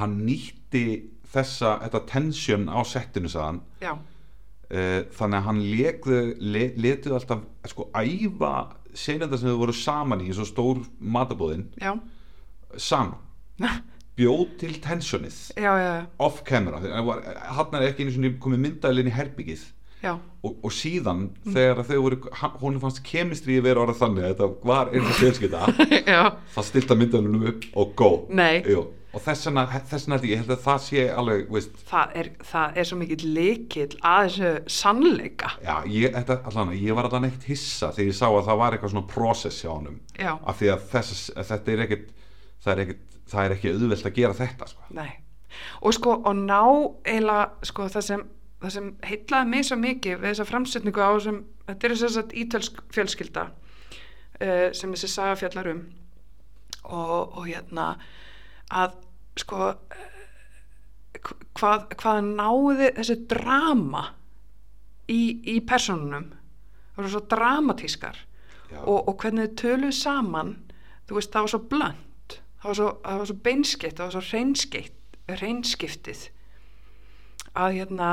[SPEAKER 1] hann nýtti þessa, þetta tension á settinu sagðan
[SPEAKER 2] já,
[SPEAKER 1] uh, þannig að hann lekðu, le, letuð alltaf sko æfa senenda sem þau voru saman í eins og stór matabóðin
[SPEAKER 2] já,
[SPEAKER 1] saman,
[SPEAKER 2] já,
[SPEAKER 1] bjóð til tensionið
[SPEAKER 2] já, já,
[SPEAKER 1] off camera, hann er ekki einu sinni komið myndaðilinn í herbyggið
[SPEAKER 2] já.
[SPEAKER 1] og, og síðan þegar að þau voru hann- honum fannst kemistri vera orða þannig að þetta var einhver fjölskylda
[SPEAKER 2] já.
[SPEAKER 1] það stilta myndunum upp og go
[SPEAKER 2] Nei.
[SPEAKER 1] Jú. og þess vegna, þess vegna held ég- ég held að það sé alveg veist,
[SPEAKER 2] Það, er, það er svo mikill lykill að þessu sannleika
[SPEAKER 1] já, ég, þetta, allan, ég var allan eitt hissa þegar ég sá að það var eitthvað svona process hjá honum
[SPEAKER 2] Já.
[SPEAKER 1] af því að þess, að þetta er ekkit það er ekkit, það er ekki auðvelt að gera þetta sko.
[SPEAKER 2] Nei. Og sko, og ná eila, sko, það sem, það sem heitlaði mig svo mikið við þessa framsetningu á sem, þetta er þess að ítölsk fjölskylda uh, sem þessi saga fjallar um og, og hérna að, sko, eh, hv- hvað, hvað náði þessi drama í, í personunum það voru svo dramatískar
[SPEAKER 1] Já.
[SPEAKER 2] og, og hvernig þau töluðu saman þú veist það var svo blönd það var svo, það var svo beinskeitt það var svo reynskeitt, reynskiftið að hérna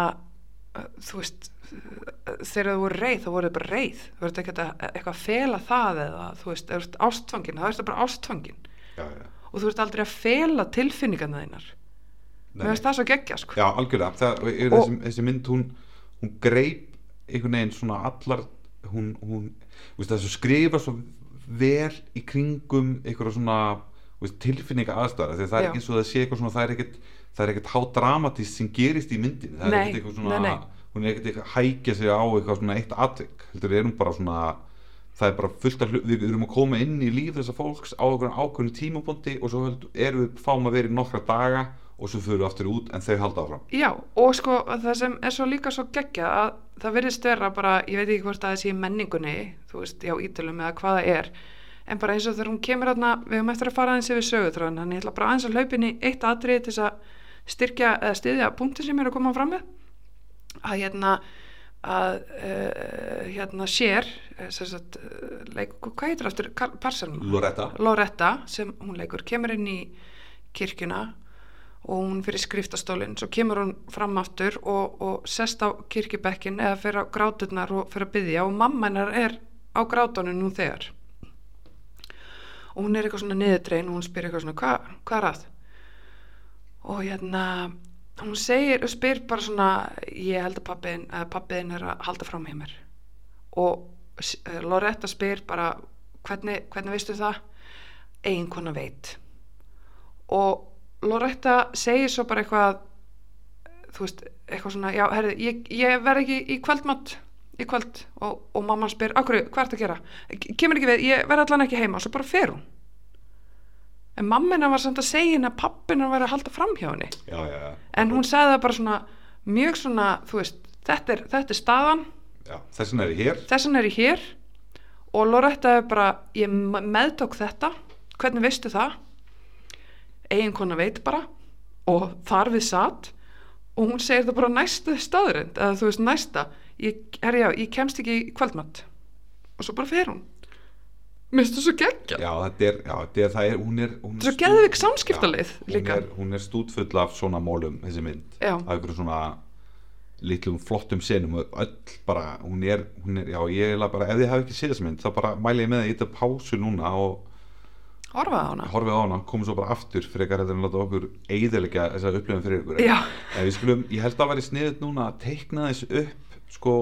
[SPEAKER 2] uh, þú veist uh, þegar þau voru reið þá voru þau bara reið þú verður ekkert að- eitthvað að fela það eða þú veist, ef þú ert ástfangin þá ertu bara ástfangin
[SPEAKER 1] já, já.
[SPEAKER 2] og þú ert aldrei að fela tilfinningarna þeinar
[SPEAKER 1] Nei.
[SPEAKER 2] mér finnst það svo geggja sko
[SPEAKER 1] já, algjörlega það, er,
[SPEAKER 2] Og-
[SPEAKER 1] þessi, þessi mynd hún, hún greip einhvern veginn svona allar hún, hún veist, þessu skrifa svo vel í kringum einhverja svona þú veist, tilfinninga aðstæðar því að það er
[SPEAKER 2] Já.
[SPEAKER 1] ekki eins og það sé eitthvað svona það er ekkert, það er ekkert hádramatist sem gerist í myndin það er
[SPEAKER 2] Nei,
[SPEAKER 1] ekkert eitthvað svona
[SPEAKER 2] nei, nei.
[SPEAKER 1] hún er ekkert eitthvað að hækja sig á eitthvað svona eitt atvik heldur við erum bara svona það er bara fullt af hlut, við erum að koma inn í líf þessa fólks á einhvern ákveðinu tímabundi og svo held- erum við fáum að vera í nokkra daga og svo fyrir við aftur út en þau halda áfram
[SPEAKER 2] Já, og sko það sem er svo líka svo geggja að það virðist vera bara, ég veit ekki hvort að það sé í menningunni, þú veist, já ítalum eða hvað það er, en bara eins og þegar hún kemur aðna, við höfum eftir að fara aðeins yfir sögutráðan, en ég ætla bara aðeins að hlaupin í eitt atriði til þess að styrkja eða styðja punktin sem ég er að koma fram með, að hérna, að uh, hérna sér, eh, sem sagt, eh, leik, hvað heitir aftur, Parselma?
[SPEAKER 1] Loretta
[SPEAKER 2] Loretta sem hún leikur kemur inn í kirkjuna og hún fyrir skriftastólinn svo kemur hún fram aftur og, og sest á kirkjubekkin eða fyrir á gráturnar og fyrir að byggja og mamma hennar er á grátunum nú þegar og hún er eitthvað svona niðurdrein og hún spyr eitthvað svona "Hva- hvað er að og hérna hún segir og spyr bara svona ég held að pappiðin, pappiðin er að halda fram hjá mér og s- eh, Loretta spyr bara hvernig, hvernig veistu það eiginkona veit og Loretta segir svo bara eitthvað þú veist, eitthvað svona já, herri, ég, ég verð ekki í kvöldmatt í kvöld og, og mamman spyr akkur, hvað ertu að gera? Ke- Kemur ekki við, ég verð allan ekki heima og svo bara fer hún en mammina var samt að segja henni að pappina var að halda fram hjá henni
[SPEAKER 1] já, já, já.
[SPEAKER 2] en hún sagði það bara svona mjög svona, þú veist, þetta er, þetta er staðan
[SPEAKER 1] já, þess vegna er ég hér
[SPEAKER 2] þess vegna er ég hér og Loretta er bara, ég me- meðtók þetta hvernig veistu það eiginkona veit bara og þar við satt og hún segir það bara á næstu staðurind eða þú veist næsta ég, herri já, ég kemst ekki í kvöldmatt og svo bara fer hún minnstu svo geggja
[SPEAKER 1] já, þetta er, já, þetta er, það er, hún er hún
[SPEAKER 2] Þetta er svo
[SPEAKER 1] stú-
[SPEAKER 2] geðveik samskiptaleið
[SPEAKER 1] Já, hún
[SPEAKER 2] líka.
[SPEAKER 1] er, hún er stútfull af svona mólum, þessi mynd
[SPEAKER 2] Já.
[SPEAKER 1] af ykkur svona litlum flottum senum og öll bara, hún er, hún er já, ég er bara, ef þið hafi ekki séð þessi mynd þá bara mæli ég með að ég þetta pásu núna og
[SPEAKER 2] horfaði á hana
[SPEAKER 1] horfið á hana, komum svo bara aftur frekar heldur en láta okkur eiðilega þess að upplifum fyrir ykkur
[SPEAKER 2] Já.
[SPEAKER 1] en við skulum, ég held að veri sniðið núna að teikna þess upp sko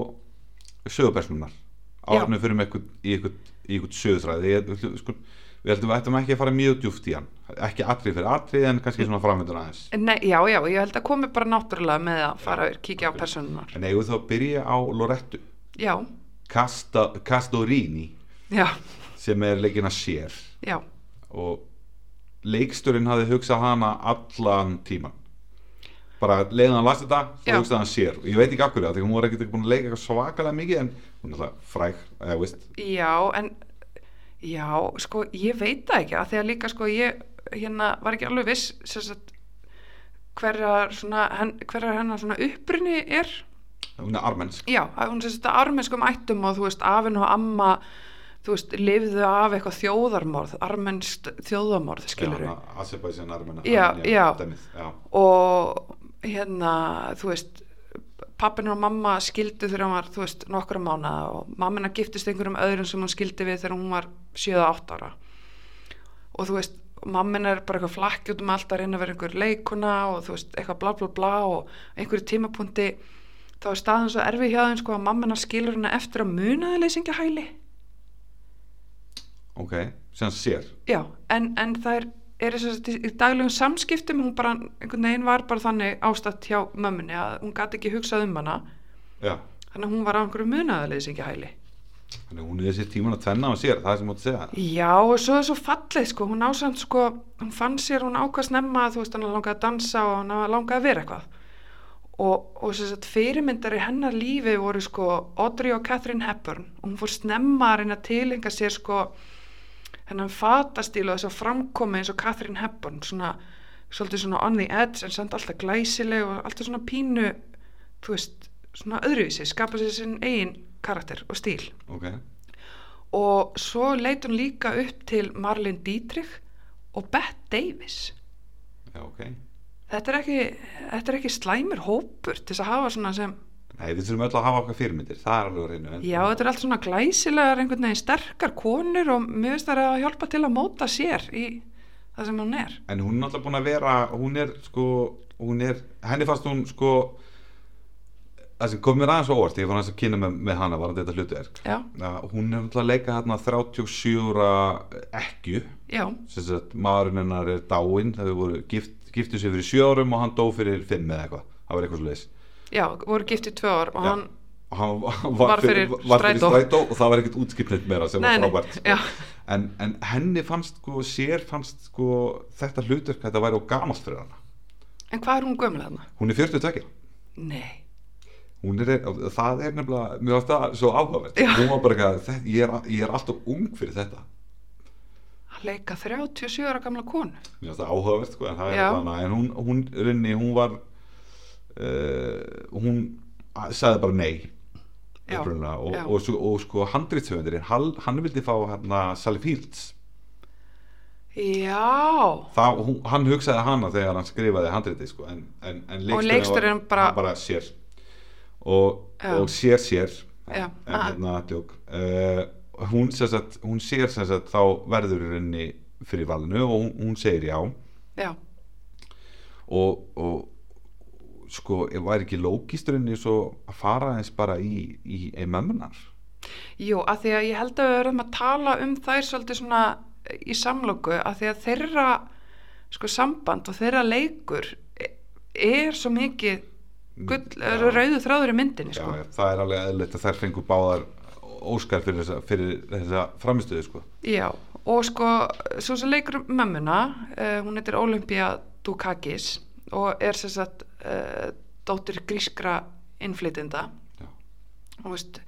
[SPEAKER 1] sögupersnunar
[SPEAKER 2] Já.
[SPEAKER 1] áðurnum fyrir með ykkur, í ykkur, í ykkur sögutræði ég, við, sko, við heldum við ættum ekki að fara mjög djúft í hann ekki atrið fyrir atrið en
[SPEAKER 2] Mm.
[SPEAKER 1] kannski svona framöndun aðeins
[SPEAKER 2] Nei, já, já, ég held að komi bara náttúrulega með að fara að kíkja á personunar
[SPEAKER 1] en eigum við þá að byrja á Lorettu
[SPEAKER 2] já,
[SPEAKER 1] Casta, Castorini
[SPEAKER 2] já,
[SPEAKER 1] sem er leikina sér
[SPEAKER 2] já,
[SPEAKER 1] og leiksturinn hafði hugsað hana allan tíman bara leiðan hann las þetta þá
[SPEAKER 2] Já.
[SPEAKER 1] hugsaði hann sér og ég veit ekki akkur það því hún var ekkert búin að leika eitthvað svakalega mikið en hún er alltaf fræg eða veist
[SPEAKER 2] Já, en já, sko, ég veit það ekki að því að líka, sko, ég hérna var ekki alveg viss sem sagt, hverjar svona, henn, hverjar hennar svona uppbrunni er
[SPEAKER 1] hún er armensk
[SPEAKER 2] já, að hún sem þetta armenskum ættum og þú veist, afinn og amma þú veist, lifðu af eitthvað þjóðarmorð armenskt þjóðarmorð, skilur við
[SPEAKER 1] Azerbaijan armena
[SPEAKER 2] Já, já.
[SPEAKER 1] dæmið, já.
[SPEAKER 2] og hérna, þú veist pappin og mamma skildu þegar hún var þú veist, nokkra mánaða og mammina giftist einhverjum öðrum sem hún skildi við þegar hún var 7-8 ára og þú veist, mammin er bara eitthvað flakki út um allt að reyna að vera einhver leikuna og þú veist, eitthvað bla bla bla og einhverju tímapunkti þá er staðan svo erfið hjá þeim sko að mammin skilur hana eftir að munaði leysingahæli
[SPEAKER 1] ok, sem sér
[SPEAKER 2] Já, en, en það er, er þess að í daglegum samskiptum hún bara, einhvern veginn var bara þannig ástætt hjá mömmunni að hún gati ekki hugsað um hana
[SPEAKER 1] já.
[SPEAKER 2] þannig að hún var á einhverju munaðarleysingahæli
[SPEAKER 1] þannig að hún er þessi tíman að tvenna á sér það er sem hún átti að segja
[SPEAKER 2] Já, og svo er svo fallið sko, hún ásamt sko, hún fann sér, hún ákvað snemma þú veist, hann langaði að dansa og hann langaði að vera eitthvað og, og sem sagt fyrirmyndar í hennar lífi voru sko Audrey og Catherine Hepburn og hún fór snemma að reyna að tilenga sér sko hennan fatastíl og þess að framkomi eins og Catherine Hepburn svona, svolítið svona on the edge en samt alltaf glæsileg og alltaf svona pínu þú veist, svona öðruvísi skapa sér sinn eigin karakter og stíl
[SPEAKER 1] ok,
[SPEAKER 2] og svo leit hún líka upp til Marlene Dietrich og Bette Davis
[SPEAKER 1] já ok
[SPEAKER 2] þetta er ekki, þetta er ekki slæmur hópur til þess að hafa svona sem
[SPEAKER 1] nei, við þurfum öll að hafa okkar fyrirmyndir það er alveg á reynu en
[SPEAKER 2] já, þetta er allt svona glæsilegar einhvern veginn sterkar konur og mér finnst það að hjálpa til að móta sér í það sem hún er
[SPEAKER 1] en hún er náttúrulega búin að vera hún er sko hún er, henni fannst hún sko það sem kom mér aðeins á óvart, ég var aðeins að kynna með, með hana varandi þetta hlutverk
[SPEAKER 2] já,
[SPEAKER 1] að hún er náttúrulega að leika hérna 37 ára ekju
[SPEAKER 2] já,
[SPEAKER 1] sem sagt maðurinn hennar er dáinn þau voru gift, giftu sig fyrir 7 árum og hann dó fyrir 5 eða eitthvað það var eitthvað svo
[SPEAKER 2] já, voru gift í tvö ár og
[SPEAKER 1] Já.
[SPEAKER 2] hann,
[SPEAKER 1] og hann var,
[SPEAKER 2] Var fyrir
[SPEAKER 1] var fyrir
[SPEAKER 2] strætó.
[SPEAKER 1] strætó og það var ekkert útskipnit meira sem
[SPEAKER 2] Nei, nei,
[SPEAKER 1] var frábært
[SPEAKER 2] já.
[SPEAKER 1] sko. en, en henni fannst sko, sér fannst sko, þetta hlutverk að þetta væri á gamalt fyrir hana
[SPEAKER 2] en hvað er hún gömlega þarna?
[SPEAKER 1] hún er 42
[SPEAKER 2] Nei,
[SPEAKER 1] hún er, það er nefnilega mjög oft það svo áhugavert
[SPEAKER 2] Já.
[SPEAKER 1] hún var bara ekki að þetta- ég er, ég er alltaf ung fyrir þetta
[SPEAKER 2] að leika 37 ára gamla konu
[SPEAKER 1] mér finnst það áhugavert sko, en, það er
[SPEAKER 2] Já.
[SPEAKER 1] þarna, en hún, hún, runni, hún var uh, hún a- sagði bara nei
[SPEAKER 2] Já,
[SPEAKER 1] upprunalega, og,
[SPEAKER 2] já.
[SPEAKER 1] og, og, og sko handritsöfundurinn, hann, hann vildi fá hérna Sally Fields
[SPEAKER 2] Já,
[SPEAKER 1] það, hún, hann hugsaði hana þegar hann skrifaði handriti sko, en, en, en leikstjórinn
[SPEAKER 2] leikstjórinn
[SPEAKER 1] var-
[SPEAKER 2] bara-
[SPEAKER 1] hann bara sér og,
[SPEAKER 2] Já.
[SPEAKER 1] og sér sér
[SPEAKER 2] Já.
[SPEAKER 1] en hérna tjók uh, hún, sem sagt, hún sér sem sagt, þá verður henni fyrir valinu og hún, hún segir já
[SPEAKER 2] já,
[SPEAKER 1] og, og sko, ef væri ekki lókisturinn svo að fara eins bara í, í emömmunar
[SPEAKER 2] jú, að því að ég held að við verðum að tala um þær svolítið svona eh, í samlóku að því að þeirra sko samband og þeirra leikur e- er svo mikið gull,
[SPEAKER 1] Mm, Já.
[SPEAKER 2] rauðu þráður í myndinni
[SPEAKER 1] já,
[SPEAKER 2] sko.
[SPEAKER 1] já, það er alveg eðlilegt að þær fengu báðar óskar fyrir þessa, fyrir þessa framistöðu sko.
[SPEAKER 2] Já, og sko, svo sem leikur mömmuna, uh, hún heitir Olympia Dukakis og er sem sagt uh, dóttir grískra innflytinda
[SPEAKER 1] Já.
[SPEAKER 2] þú veist,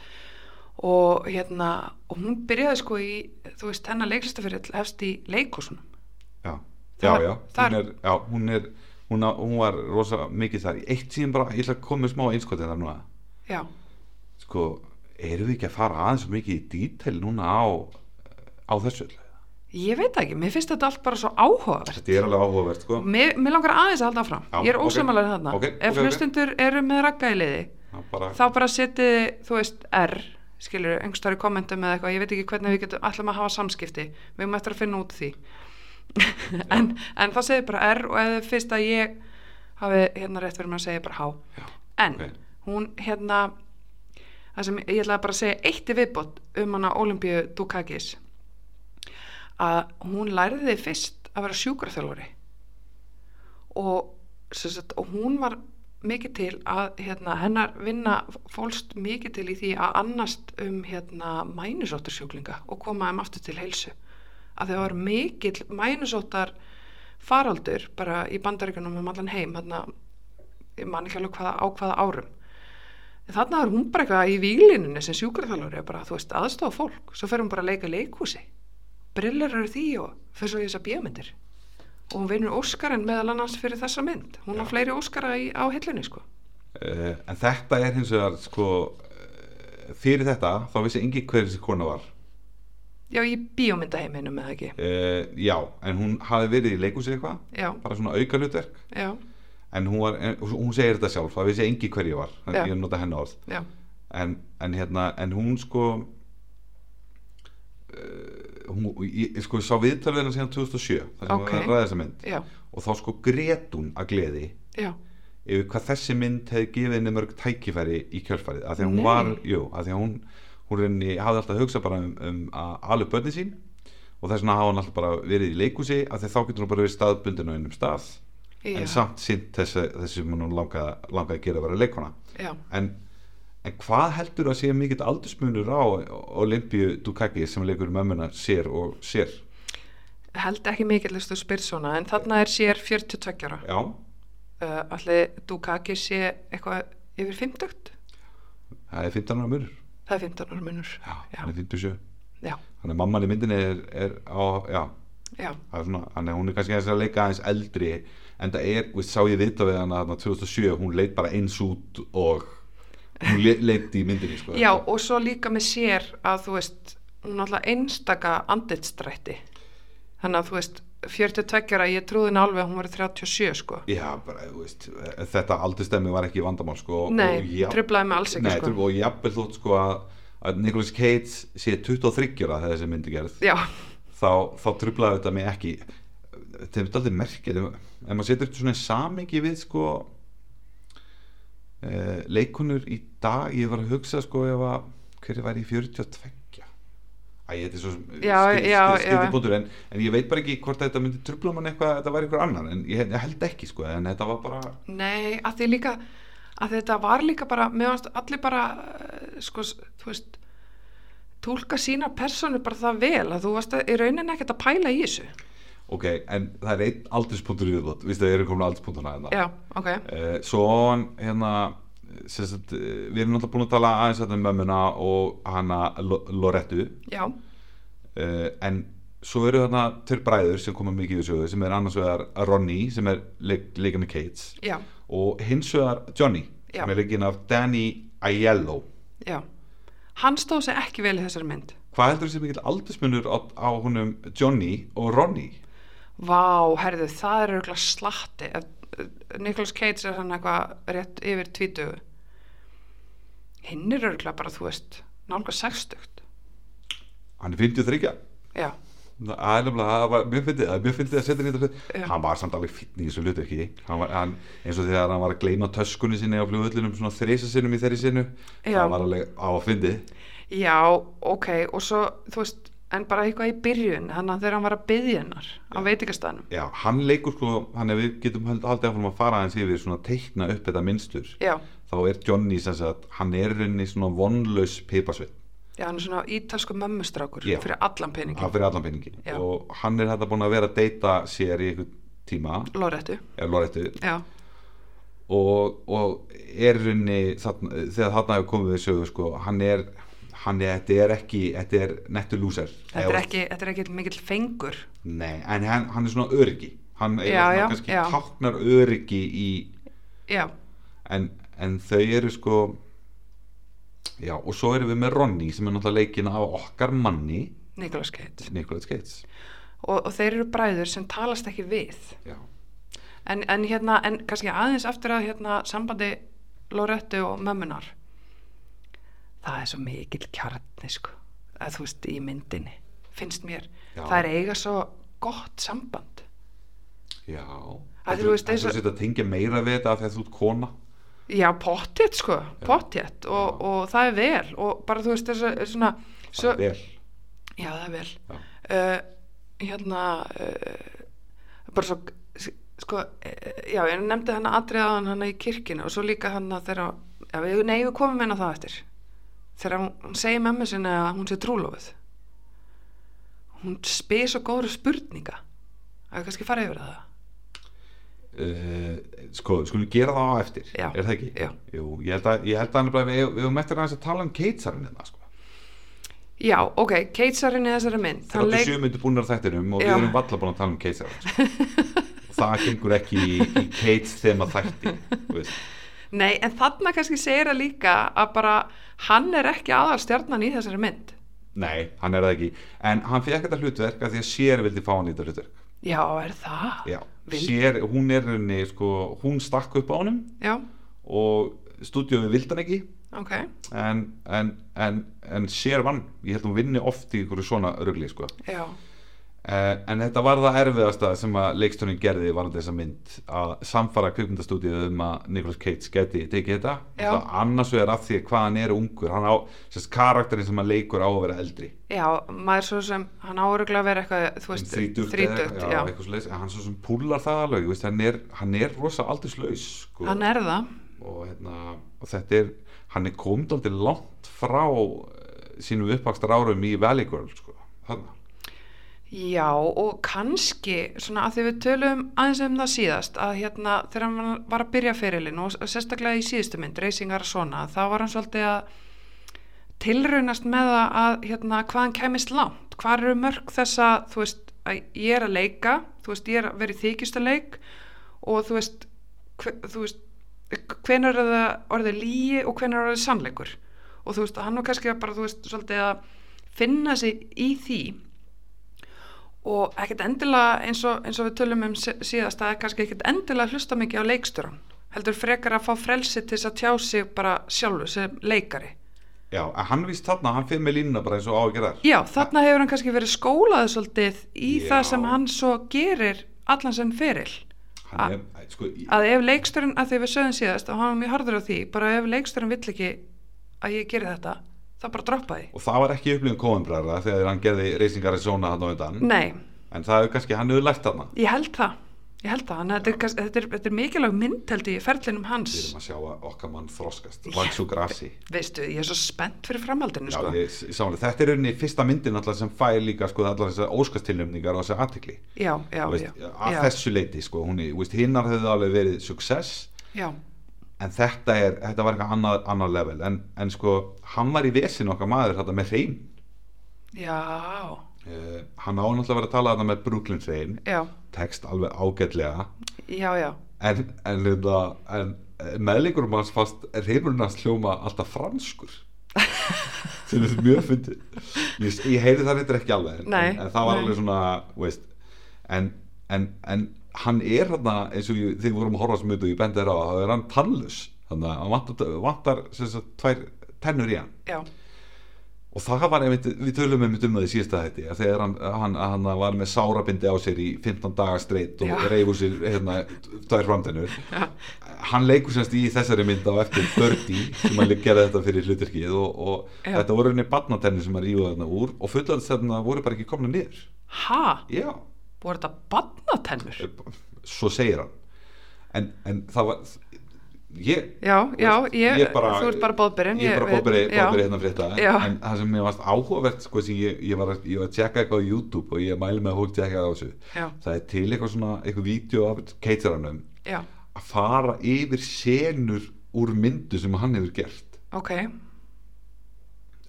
[SPEAKER 2] og hérna, og hún byrjaði sko í, þú veist, hennar leiklistafyrir hefst í leikúsunum.
[SPEAKER 1] já,
[SPEAKER 2] Það-
[SPEAKER 1] já, já.
[SPEAKER 2] það-
[SPEAKER 1] Hún, er, já hún, er, hún, á, hún var rosa mikið þar í eitt síðan bara, ég ætla að koma með smá einskotin þar núna
[SPEAKER 2] Já,
[SPEAKER 1] sko, erum við ekki að fara aðeins svo mikið í dítel núna á, á þessu öllu?
[SPEAKER 2] ég veit það ekki, mér finnst þetta allt bara svo áhugavert.
[SPEAKER 1] þetta er alveg áhugavert sko.
[SPEAKER 2] Mér, mér langar aðeins að halda áfram,
[SPEAKER 1] Já,
[SPEAKER 2] ég er
[SPEAKER 1] ok.
[SPEAKER 2] ósamalega þarna.
[SPEAKER 1] Ok,
[SPEAKER 2] Ef
[SPEAKER 1] ok, ok.
[SPEAKER 2] hlustundur eru með ragga í liði,
[SPEAKER 1] Það bara,
[SPEAKER 2] þá bara setið, þú veist, R skilur, einhverstaður í kommentum eða eitthvað ég veit ekki hvernig við getum, ætlum að hafa samskipti við erum eftir að finna út úr því en, en þá segir bara R og eða fyrst að ég hafi hérna rétt verið með að segja bara H
[SPEAKER 1] já,
[SPEAKER 2] en
[SPEAKER 1] ok.
[SPEAKER 2] hún hérna það sem ég ætlaði bara að segja eitt í viðbót um hana Olympíu Dukakis að hún lærði fyrst að vera sjúkraþjálfari og, sem sagt, og hún var mikið til að hérna, hennar vinna fólst mikið til í því að annast um hérna, mænusóttur sjúklinga og koma þeim aftur til heilsu að það var mikill mænusóttar faraldur bara í bandaríkunum um allan heim hérna, ég man ekki alveg hvaða, á hvaða árum en þarna er hún bara eitthvað í výlinunni sem sjúkraþjálfur er bara, þú veist, aðstofa fólk svo fer hún bara að leika í leikhúsi brillar eru því og fer svo í þessa bíómyndir og hún vinnur Óskarinn meðal annars fyrir þessa mynd, hún
[SPEAKER 1] Já.
[SPEAKER 2] á fleiri Óskara í, á hillunni sko
[SPEAKER 1] Uh, en þetta er hins vegar sko, uh, fyrir þetta þá vissi engi hver þessi kona var
[SPEAKER 2] já, í bíómyndaheiminum eða ekki
[SPEAKER 1] uh, já, en hún hafi verið í leikúsi eitthvað
[SPEAKER 2] já,
[SPEAKER 1] bara svona aukalutverk
[SPEAKER 2] já,
[SPEAKER 1] en hún, var, en, hún segir þetta sjálf, það vissi engi hver ég var en
[SPEAKER 2] Já.
[SPEAKER 1] ég nota henni orð
[SPEAKER 2] já,
[SPEAKER 1] en, en hérna, en hún sko uh, hún, ég, ég sko sá viðtalveðina síðan 2007, það sem
[SPEAKER 2] Ok.
[SPEAKER 1] okay. var að ræða þessa mynd
[SPEAKER 2] já,
[SPEAKER 1] og þá sko grét hún að gleði
[SPEAKER 2] já
[SPEAKER 1] yfir hvað þessi mynd hefði gefið henni mörg tækifæri í kjölfarið, af því að hún
[SPEAKER 2] Nei.
[SPEAKER 1] var jú, af því að hún, hún reyni, hafði alltaf hugsað bara um, um að alveg börni sín og þess vegna hafa hann alltaf bara verið í leikúsi af því að þá getur hún bara verið staðbundin á einum stað
[SPEAKER 2] já,
[SPEAKER 1] en samt sýnt þessi, þessi sem hún langaði langa að gera að vera leikona
[SPEAKER 2] já,
[SPEAKER 1] en, en hvað heldur að sé mikill aldursmunur á Olympíu Dukakis sem leikur mömmuna sér og sér
[SPEAKER 2] held ekki mikill þú spyr svona, en þarna er sér 42 ára
[SPEAKER 1] já,
[SPEAKER 2] uh, allir Dukakis sé eitthvað yfir 50
[SPEAKER 1] það er 15 ára munur
[SPEAKER 2] það er 15 ára munur
[SPEAKER 1] já,
[SPEAKER 2] Já.
[SPEAKER 1] hann er 57
[SPEAKER 2] já,
[SPEAKER 1] þannig að mamman í myndinni er, er á, já,
[SPEAKER 2] já,
[SPEAKER 1] það er svona, þannig að hún er kannski aðeins að leika aðeins eldri en það er, við sá ég vita við hana þarna 2007, hún leit bara eins út og hún le- leit í myndinni sko,
[SPEAKER 2] já og svo líka með sér að þú veist hún er alltaf einstaka anditstrætti þannig að þú veist 42 ára, ég trúði henni alveg að hún var 37 sko,
[SPEAKER 1] Já, bara, þú veist, þetta aldurstemmi var ekki vandamál sko, og-
[SPEAKER 2] nei,
[SPEAKER 1] og jafn-
[SPEAKER 2] trublaði mig alls ekki
[SPEAKER 1] Nei,
[SPEAKER 2] sko,
[SPEAKER 1] trufla, og jafnvel þótt sko að, að Nicolas Cage sé 23 ára þegar þessi myndi gerð
[SPEAKER 2] já,
[SPEAKER 1] þá, þá trublaði þetta mig ekki þetta er alltaf merkir ef ef maður setur þetta svona í samingi við sko uh, leikunur í dag ég var að hugsa sko ef að hverju væri í 42 Æ, þetta er svo
[SPEAKER 2] Já, já, já.
[SPEAKER 1] stýttibútur en, en ég veit bara ekki hvort að þetta myndi trubla mann eitthvað að þetta væri eitthvað annar en ég, ég held ekki sko en þetta var bara
[SPEAKER 2] Nei, að því líka að þetta var líka bara, mér varst allir bara eh, sko, s- þú veist tólka sína personu bara það vel að þú varst að, í rauninni ekkert að pæla í þessu
[SPEAKER 1] ok, en það er einn aldurspunktur í viðbútt, vístu að ég er komin að aldurspunktuna hérna.
[SPEAKER 2] Já, ok,
[SPEAKER 1] uh, svo hann hérna sem sagt, eh, við erum náttúrulega búin að tala aðeins þarna um mömmuna og hana Lo- Lorettu
[SPEAKER 2] já,
[SPEAKER 1] uh, en svo eru þarna tveir bræður sem koma mikið í sögu sem er annars vegar Ronny sem er leik, leika með Kates
[SPEAKER 2] já,
[SPEAKER 1] og hins vegar Johnny
[SPEAKER 2] Já.
[SPEAKER 1] sem er leikin af Danny Aiello
[SPEAKER 2] já Hann stóð sér ekki vel í þessari mynd
[SPEAKER 1] hvað heldur þessi mikill aldursmunur á, á húnum Johnny og Ronny
[SPEAKER 2] Vá, herðu, það er auðvitað slatti Ef- eh, Nicolas Cage er hann eitthvað rétt yfir tvítugu Hinn er auðvitað bara, þú veist nálga sextugt
[SPEAKER 1] hann er 53
[SPEAKER 2] Já,
[SPEAKER 1] Það er nefnilega, það var mjög fyndið, það er mjög fyndið að setja nýtt
[SPEAKER 2] Já.
[SPEAKER 1] Hann var samt alveg fýtn í þessu hlutu, ekki? Hann var, hann, eins og þegar hann var að gleyma töskunni sinni á flugvöllunum svona þreysa sinnum í þeirri sinnu
[SPEAKER 2] Já.
[SPEAKER 1] Það var alveg á að fyndið
[SPEAKER 2] Já, ok, og svo, þú veist, en bara eitthvað í byrjun, þannig að þegar hann var að byðja hennar á veitingastæðnum.
[SPEAKER 1] Já, hann leikur sko, hann ef við getum hald- haldið áfram að fara aðeins yfir svona teikna upp þetta minnstur
[SPEAKER 2] Já,
[SPEAKER 1] Þá er Johnny sem sagt, hann er í rauninni svona vonlaus pipasveit
[SPEAKER 2] já, hann er svona ítalsku mömmustrákur
[SPEAKER 1] Já.
[SPEAKER 2] fyrir allan peningin.
[SPEAKER 1] Hann fyrir allan penningi
[SPEAKER 2] Já.
[SPEAKER 1] Og hann er þetta búin að vera að deyta sér í einhvern tíma
[SPEAKER 2] Lóréttu,
[SPEAKER 1] Eða Lorettu
[SPEAKER 2] já,
[SPEAKER 1] og, og er í rauninni þarna, þegar þarna hefur komið við sögu sko, hann er, hann er, þetta er ekki þetta er nettu lúser
[SPEAKER 2] þetta er ekki, þetta er ekki mikill fengur.
[SPEAKER 1] nei, en hann, hann er svona öryggi hann er
[SPEAKER 2] Já,
[SPEAKER 1] svona
[SPEAKER 2] já,
[SPEAKER 1] kannski
[SPEAKER 2] já.
[SPEAKER 1] táknar öryggi í,
[SPEAKER 2] Já,
[SPEAKER 1] en, en þau eru sko já, og svo erum við með Ronny sem er náttúrulega leikin af okkar manni
[SPEAKER 2] Nicolas Cage.
[SPEAKER 1] Nicolas Gates
[SPEAKER 2] Og, og þeir eru bræður sem talast ekki við.
[SPEAKER 1] já,
[SPEAKER 2] En, en hérna, en kannski aðeins aftur að hérna sambandi Lóréttu og mömmunar. Það er svo mikill kjarni, sko, að þú veist, í myndinni, finnst mér.
[SPEAKER 1] Já.
[SPEAKER 2] Það er eiga svo gott samband.
[SPEAKER 1] já
[SPEAKER 2] Að
[SPEAKER 1] Ætlar-
[SPEAKER 2] þú veist, eins og-
[SPEAKER 1] ætlar þú sért að tengja meira við þetta af því að þú ert kona
[SPEAKER 2] Já, pottjett sko, pottjett og, og það er vel og bara þú veist þessu er svona
[SPEAKER 1] það
[SPEAKER 2] svo,
[SPEAKER 1] er vel
[SPEAKER 2] Já, það er vel
[SPEAKER 1] Já.
[SPEAKER 2] uh, Hérna uh, bara svo s- sko, uh, já, ég nefndi hann atriðaðan hann í kirkinu og svo líka hann að þeirra já, við, nei, við komum inn á það eftir þegar hún, hún segir mömmu sinni að hún sé trúlófið hún spyr svo góður spurninga að við kannski fara yfir það
[SPEAKER 1] Uh, sko, við skulum gera það á eftir
[SPEAKER 2] Já.
[SPEAKER 1] er það ekki?
[SPEAKER 2] Já.
[SPEAKER 1] Jú, ég held að, ég held að hann er bara, við, við höfum eftir aðeins að tala um keitsarinn hérna, sko.
[SPEAKER 2] Já, ok, keitsarinn í þessari mynd hann
[SPEAKER 1] 37
[SPEAKER 2] leik-
[SPEAKER 1] leik... myndir búinir af þættinum og
[SPEAKER 2] Já.
[SPEAKER 1] við erum valla búin að tala um keitsarinn sko. Og það gengur ekki í, í keits þema þætti þú veist.
[SPEAKER 2] Nei, en þarna kannski segir það líka að bara hann er ekki aðal stjarnan í þessari mynd.
[SPEAKER 1] nei, hann er það ekki en hann fekk þetta hlutverk að því að sér vildi fá hann í þetta hlutverk
[SPEAKER 2] Já, er það?
[SPEAKER 1] Já.
[SPEAKER 2] Vild-
[SPEAKER 1] sér, hún er henni, sko, hún stakk upp á honum
[SPEAKER 2] Já,
[SPEAKER 1] og stúdíóið vildi hann ekki
[SPEAKER 2] ok.
[SPEAKER 1] en, en, en, en sér vann ég held hún vinni oft í ykkur svona rugli sko.
[SPEAKER 2] Já,
[SPEAKER 1] Uh, en þetta var það erfiðasta sem að leikstónin gerði varandi þessa mynd að samfara kvikmyndastúdíu um að Nicolas Cage geti tekið þetta
[SPEAKER 2] Já.
[SPEAKER 1] það annars vegar af því að hvað hann er ungur hann á, sérst, karakterin sem hann leikur á að vera eldri
[SPEAKER 2] já, maður svo sem, hann áreglega að vera eitthvað, þú veist, þrítugt,
[SPEAKER 1] já,
[SPEAKER 2] já.
[SPEAKER 1] eitthvað svoleiðis, en hann svo sem púlar það alveg, veist, hann, er, hann er rosa aldurslaus sko,
[SPEAKER 2] Hann er það,
[SPEAKER 1] og, hérna, og þetta er hann er komið aldrei langt frá eh, sínum uppakstar árum í Valley Girl sko, þarna
[SPEAKER 2] já, og kannski, svona að því við töluðum aðeins um það síðast, að hérna, þegar hann var að byrja ferilinn og og sérstaklega í síðustu mynd, Reisingar svona, þá var hann svolítið að tilraunast með það að hérna, hvað hann kæmist langt hvað eru mörg þessa þú veist, að ég er að leika þú veist, ég er að vera í þykjustu leik og þú veist, hve, þú veist hvenær er það orðið líi og hvenær er orðið sannleikur og þú veist, hann var kannski að bara, þú veist, svolítið að finna sig í því og ekkert endilega eins og, eins og við tölum um sí- síðast að kannski ekkert endilega að hlusta mikið á leikstjóran heldur frekar að fá frelsi til þess að tjá sig bara sjálfu sem leikari
[SPEAKER 1] já, en hann víst þarna, hann fyrir með línuna bara eins og á að gera
[SPEAKER 2] Já, þarna hefur hann kannski verið skólaði svolítið í
[SPEAKER 1] Já.
[SPEAKER 2] það sem hann svo gerir allan sem feril.
[SPEAKER 1] hann er, æ, sko, í-
[SPEAKER 2] að ef leiksturinn, að því við sögum síðast og hann var mjög harður á því, bara ef leiksturinn vill ekki að ég geri þetta þá bara droppa því
[SPEAKER 1] og það var ekki upplifin kóðanbræðra þegar hann gerði Racing Arizona hann á undan
[SPEAKER 2] Nei,
[SPEAKER 1] en það er kannski hann hefur lært þarna
[SPEAKER 2] ég held það ég held það, þannig að þetta er, kannski- þetta er, þetta er mikilvæg mynd held ég í ferlinum hans
[SPEAKER 1] við erum að sjá að okkar mann þroskast vaks og grasi
[SPEAKER 2] veistu, ég er svo spennt fyrir framhaldinu
[SPEAKER 1] Já,
[SPEAKER 2] sko.
[SPEAKER 1] ég, sálega, þetta er rauninni fyrsta myndin alltaf sem fær líka sko, allar þessar óskastilnefningar og þessar aðtikli
[SPEAKER 2] já, já, já,
[SPEAKER 1] að
[SPEAKER 2] já,
[SPEAKER 1] þessu leiti sko, hún er- þú veist, hinnar hefði alveg verið success
[SPEAKER 2] já,
[SPEAKER 1] en þetta, er, þetta var eitthvað annað, annað level en, en sko, hann var í vesin okkar maður þetta með hrein
[SPEAKER 2] já,
[SPEAKER 1] uh, hann á náttúrulega að vera að tala þetta með Brooklyn hrein
[SPEAKER 2] já,
[SPEAKER 1] text alveg ágætlega
[SPEAKER 2] já, já.
[SPEAKER 1] en, en, hérna, en meðlíkurum hans fast hreimurinn hans hljóma alltaf franskur sem er mjög fyndið ég, ég heyri það reyndar ekki alveg en,
[SPEAKER 2] Nei,
[SPEAKER 1] en, en það var
[SPEAKER 2] nei.
[SPEAKER 1] alveg svona þú veist, en, en, en hann er þarna eins og ég, þegar við vorum að horfa sem út og ég bendi þér á það er hann tannlaus þannig að hann vantar, vantar sem sagt, tvær tennur í hann
[SPEAKER 2] já.
[SPEAKER 1] og það var einmitt, við tölum einmitt um það í síðasta þætti að þegar hann, hann, hann var með sárabindi á sér í 15 daga streitt og
[SPEAKER 2] Já.
[SPEAKER 1] reyfu sér hérna, tvær framtennur hann leikur semst í þessari mynd á eftir Birdie sem hann gerði þetta fyrir hlutirkið og, og
[SPEAKER 2] Já.
[SPEAKER 1] þetta voru henni barnatennur sem hann rífuði þarna úr og fullans þarna voru bara ekki komna niður
[SPEAKER 2] ha,
[SPEAKER 1] já,
[SPEAKER 2] voru þetta badnatennur
[SPEAKER 1] svo segir hann en, en það var ég,
[SPEAKER 2] já, já,
[SPEAKER 1] Þú veist,
[SPEAKER 2] ég,
[SPEAKER 1] ég bara-
[SPEAKER 2] þú ert bara bóðbyrinn
[SPEAKER 1] ég er bara bóðberi, bóðberi hérna fyrir þetta
[SPEAKER 2] Já.
[SPEAKER 1] en, en það sem mér varst áhugavert sko, sem ég, ég, var að, ég var að tjekka eitthvað á YouTube og ég mæli með að fólk tjekka það á þessu
[SPEAKER 2] Já.
[SPEAKER 1] það er til eitthvað svona eitthvað vídeo af keitaranum
[SPEAKER 2] já,
[SPEAKER 1] að fara yfir senur úr myndu sem hann hefur gert
[SPEAKER 2] ok,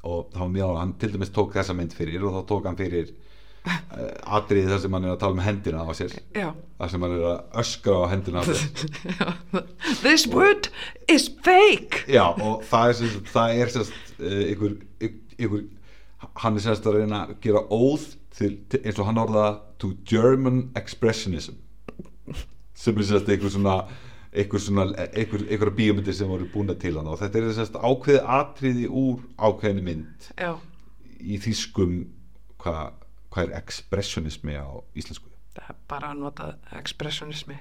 [SPEAKER 1] og þá var mjög áhuga, hann til dæmis tók þessa mynd fyrir og þá tók hann fyrir uh, atriði þar sem hann er að tala um hendina á sér
[SPEAKER 2] já
[SPEAKER 1] þar sem hann er að öskra á hendina á sér
[SPEAKER 2] this wood is fake
[SPEAKER 1] Já, og það er sérst, það er sérst uh, ykkur, yk- ykkur, hann er sérst að reyna að gera óð til, til, eins og hann orða to German expressionism sem er sérst ykkur svona ykkur svona, ykkur, ykkur bíómyndir sem voru búna til hann og þetta er sérst ákveði atriði úr ákveðinu mynd
[SPEAKER 2] já,
[SPEAKER 1] í þýskum hvað hva er expressionismi á íslensku
[SPEAKER 2] það er bara að nota expressionismi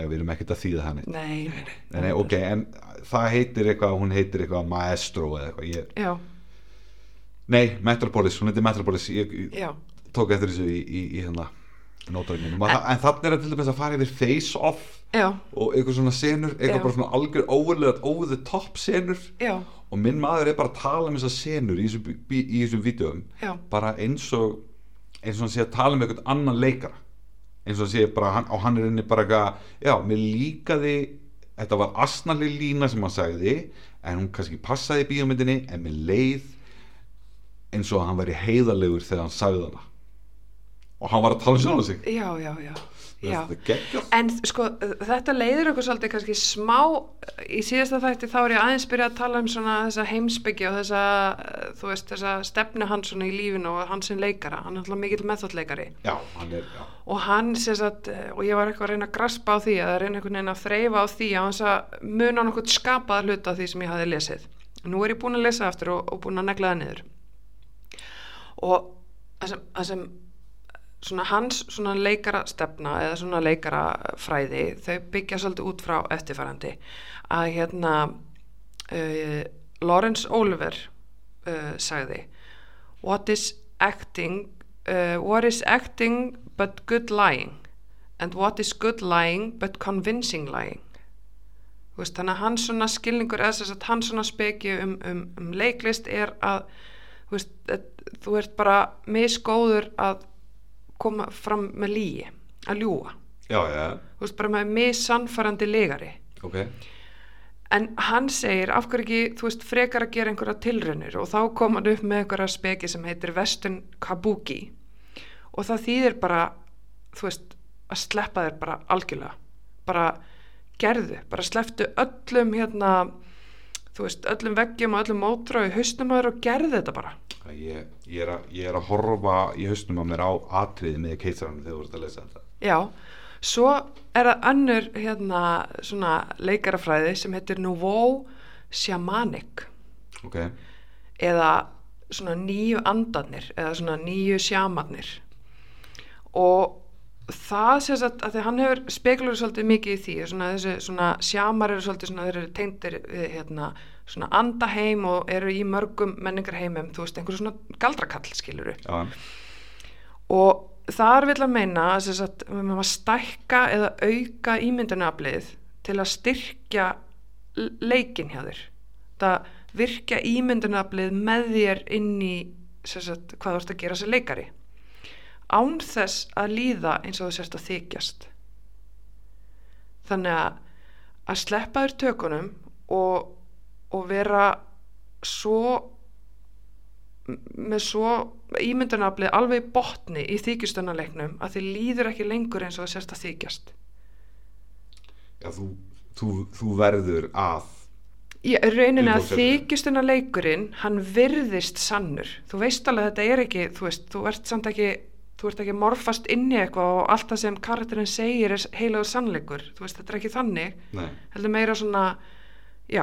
[SPEAKER 1] ef við erum ekkert að þýða hann
[SPEAKER 2] nei, nei,
[SPEAKER 1] Nei, nei, ok, en það heitir eitthvað, hún heitir eitthvað maestro eða eitthvað, ég,
[SPEAKER 2] já,
[SPEAKER 1] Nei, Metropolis, hún heitir Metropolis ég, ég
[SPEAKER 2] já,
[SPEAKER 1] tók eftir þessu í, í, í hérna nótaugnum en, en þannig er það til dæmis að fara yfir face off
[SPEAKER 2] já
[SPEAKER 1] og eitthvað svona senur eitthvað
[SPEAKER 2] Já.
[SPEAKER 1] bara svona algjör óverlega over the top senur
[SPEAKER 2] já,
[SPEAKER 1] og minn maður er bara að tala um þessar senur í þessum, bí- í þessum vídeoum
[SPEAKER 2] já,
[SPEAKER 1] bara eins og eins og hann sé að tala um eitthvað annan leikara eins og hann sé bara hann, og hann er inni bara eitthvað já, mér líkaði þetta var asnali lína sem hann sagði en hún kannski passaði í bíómyndinni en mér leið eins og hann væri heiðarlegur þegar hann sagði hana og hann var að tala um sjálf sig
[SPEAKER 2] já, já, já, já.
[SPEAKER 1] þetta er geggjað
[SPEAKER 2] En sko, þetta leiðir okkur svolítið kannski smá, í síðasta þætti þá er ég aðeins byrjað að tala um svona þessa heimsbyggja og þessa, eh, þú veist, þessa stefnu hans svona í lífinu og hans sem leikara, hann er alltaf mikill methodleikari
[SPEAKER 1] já, hann er, já,
[SPEAKER 2] og hann sér satt, og ég var eitthvað að reyna að graspa á því eða reyna einhvern veginn að þreyfa á því á hans að muna nokkuð skapaða hluta af því sem ég hafi lesið. Nú er ég búin að lesa aftur og, og búin að negla það niður. Og það sem, það sem svona hans svona leikara stefna eða svona leikara fræði þau byggja svolítið út frá eftirfarandi að hérna uh, Lawrence Oliver uh, sagði What is acting uh, What is acting but good lying and what is good lying but convincing lying Þú veist, þannig að hans svona skilningur eða þess að hans svona speki um, um, um leiklist er að þú, veist, að þú ert bara misgóður að koma fram með lígi að ljúga,
[SPEAKER 1] já, já,
[SPEAKER 2] þú veist bara með missannfærandi legari
[SPEAKER 1] ok
[SPEAKER 2] en hann segir af hverju ekki þú veist frekar að gera einhverja tilraunir og þá kom hann upp með einhverja speki sem heitir Western Kabuki og það þýðir bara þú veist að sleppa þér bara algjörlega bara gerðu, bara slepptu öllum hérna þú veist öllum veggjum og öllum mótrá í haustum að þér og gerðu þetta bara
[SPEAKER 1] ég, ég, er að, ég er að horfa í hausnum að mér á atriði með keitsaranum þegar þú voru að lesa þetta
[SPEAKER 2] Já, svo er það önnur hérna svona leikarafræði sem heitir Nouveau Shamanic
[SPEAKER 1] ok,
[SPEAKER 2] eða svona nýju andarnir eða svona nýju sjamanir og það sem sagt að því hann hefur speglur svolítið mikið í því svona, þessi svona sjámar eru svolítið svona þeir eru tengdir við hérna svona andaheim og eru í mörgum menningarheimum þú veist einhver svona galdrakall skilur upp
[SPEAKER 1] já,
[SPEAKER 2] og þar vil að meina að sem sagt við maður stækka eða auka ímyndunaflið til að styrkja l- leikinn hjá þér það virkja ímyndunaflið með þér inn í sem sagt, hvað þú ert að gera sem leikari án þess að líða eins og þú sérst að þykjast þannig að að sleppa þér tökunum og, og vera svo með svo ímyndunaflið alveg í botni í þykjustunarleiknum að þið líður ekki lengur eins og það sérst að þykjast
[SPEAKER 1] já þú, þú, þú verður að
[SPEAKER 2] í rauninni að
[SPEAKER 1] Viðfangsefni.
[SPEAKER 2] þykjustunarleikurinn hann virðist sannur þú veist alveg að þetta er ekki þú veist, þú ert samt ekki þú ert ekki að morfast inn í eitthvað og allt það sem karakterinn segir er heilagur sannleikur þú veist, þetta er ekki þannig
[SPEAKER 1] nei,
[SPEAKER 2] heldur meira svona já,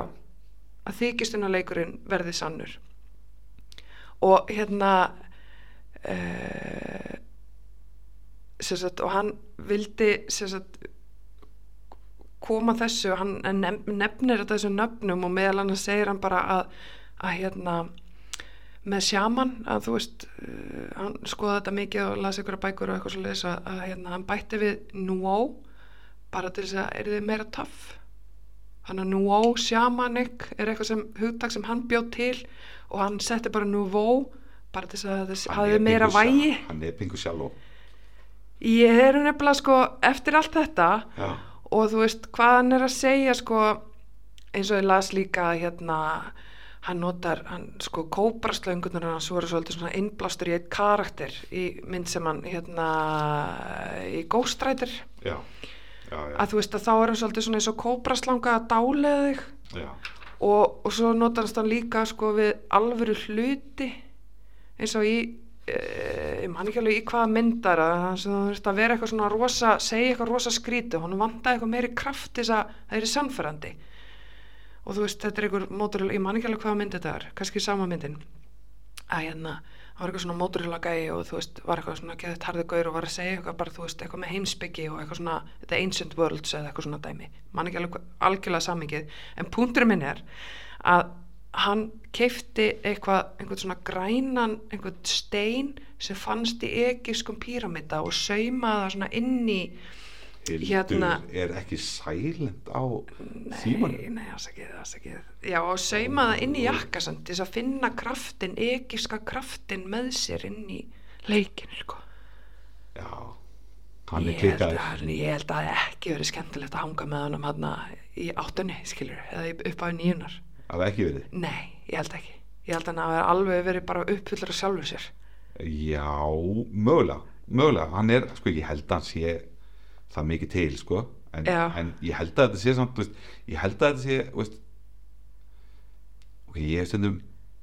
[SPEAKER 2] að þykistunarleikurinn verði sannur og hérna uh, sagt, og hann vildi sem sagt, koma þessu hann nef- nefnir þetta þessum nöfnum og meðal annars segir hann bara að, að hérna með sjaman að þú veist uh, hann skoða þetta mikið og las ykkur bækur og eitthvað svo leis að, að hérna, hann bætti við núó bara til þess að er þið meira töff þannig að núó sjamanik er eitthvað sem hugtak sem hann bjóð til og hann setti bara núó bara til þess að þess
[SPEAKER 1] hann
[SPEAKER 2] hafið
[SPEAKER 1] er
[SPEAKER 2] meira
[SPEAKER 1] pingu
[SPEAKER 2] vægi
[SPEAKER 1] sja- hann er pingu sjálf
[SPEAKER 2] ég er nefnilega sko eftir allt þetta
[SPEAKER 1] já,
[SPEAKER 2] og þú veist hvað hann er að segja sko eins og ég las líka að, hérna hann notar, hann sko kóbraslöngunar hann svo eru svolítið svona innblástur í eitt karakter í mynd sem hann hérna í Ghost Rider
[SPEAKER 1] já, já, já,
[SPEAKER 2] að þú veist að þá er hann svolítið svona eins og kóbraslanga að dálega þig
[SPEAKER 1] já.
[SPEAKER 2] og, og svo notast hann líka sko við alvöru hluti eins og í eh, ég man ekki alveg í hvaða myndar að hann sem þú veist að vera eitthvað svona rosa segja eitthvað rosa skríti, hann vantaði eitthvað meiri kraft til þess að það er sannfærandi og þú veist þetta er einhver mótorhjóla, ég man ekki alveg hvaða mynd þetta er kannski sama myndin að hérna, það var eitthvað svona móturhjóla gæi og þú veist, var eitthvað svona geðið tarðið gaur og var að segja eitthvað bara, þú veist, eitthvað með heimsbyggi og eitthvað svona the ancient worlds eða eitthvað svona dæmi mann ekki alveg algjörlega samingið en punkturinn minn er að hann keifti eitthvað einhvern svona grænan, einhvern stein sem fannst í egiskum píramida og saumaði það svona inn í
[SPEAKER 1] Hildur
[SPEAKER 2] Hérna-
[SPEAKER 1] er ekki sælend á
[SPEAKER 2] Nei,
[SPEAKER 1] símanum
[SPEAKER 2] nei, afsakið, afsakið. Já, og sauma það inn í jakkasand til þess að finna kraftin, egiska kraftin með sér inn í leikinu, sko.
[SPEAKER 1] já, hann er
[SPEAKER 2] Ég held að-
[SPEAKER 1] klikkaður
[SPEAKER 2] Ég held að það ekki verið skemmtilegt að hanga með honum hann í áttunni, skilur, eða í- upp á nýjunar.
[SPEAKER 1] að ekki verið
[SPEAKER 2] Nei, ég held ekki. Ég held að hann hafi alveg verið bara uppfyllur af sjálfu sér.
[SPEAKER 1] Já, mögulega, mögulega, hann er, sko, ég held að hann sé það mikið til, sko, en,
[SPEAKER 2] Já.
[SPEAKER 1] en ég held að þetta sé samt, þú veist, ég held að þetta sé, þú veist, ok, ég hef stundum,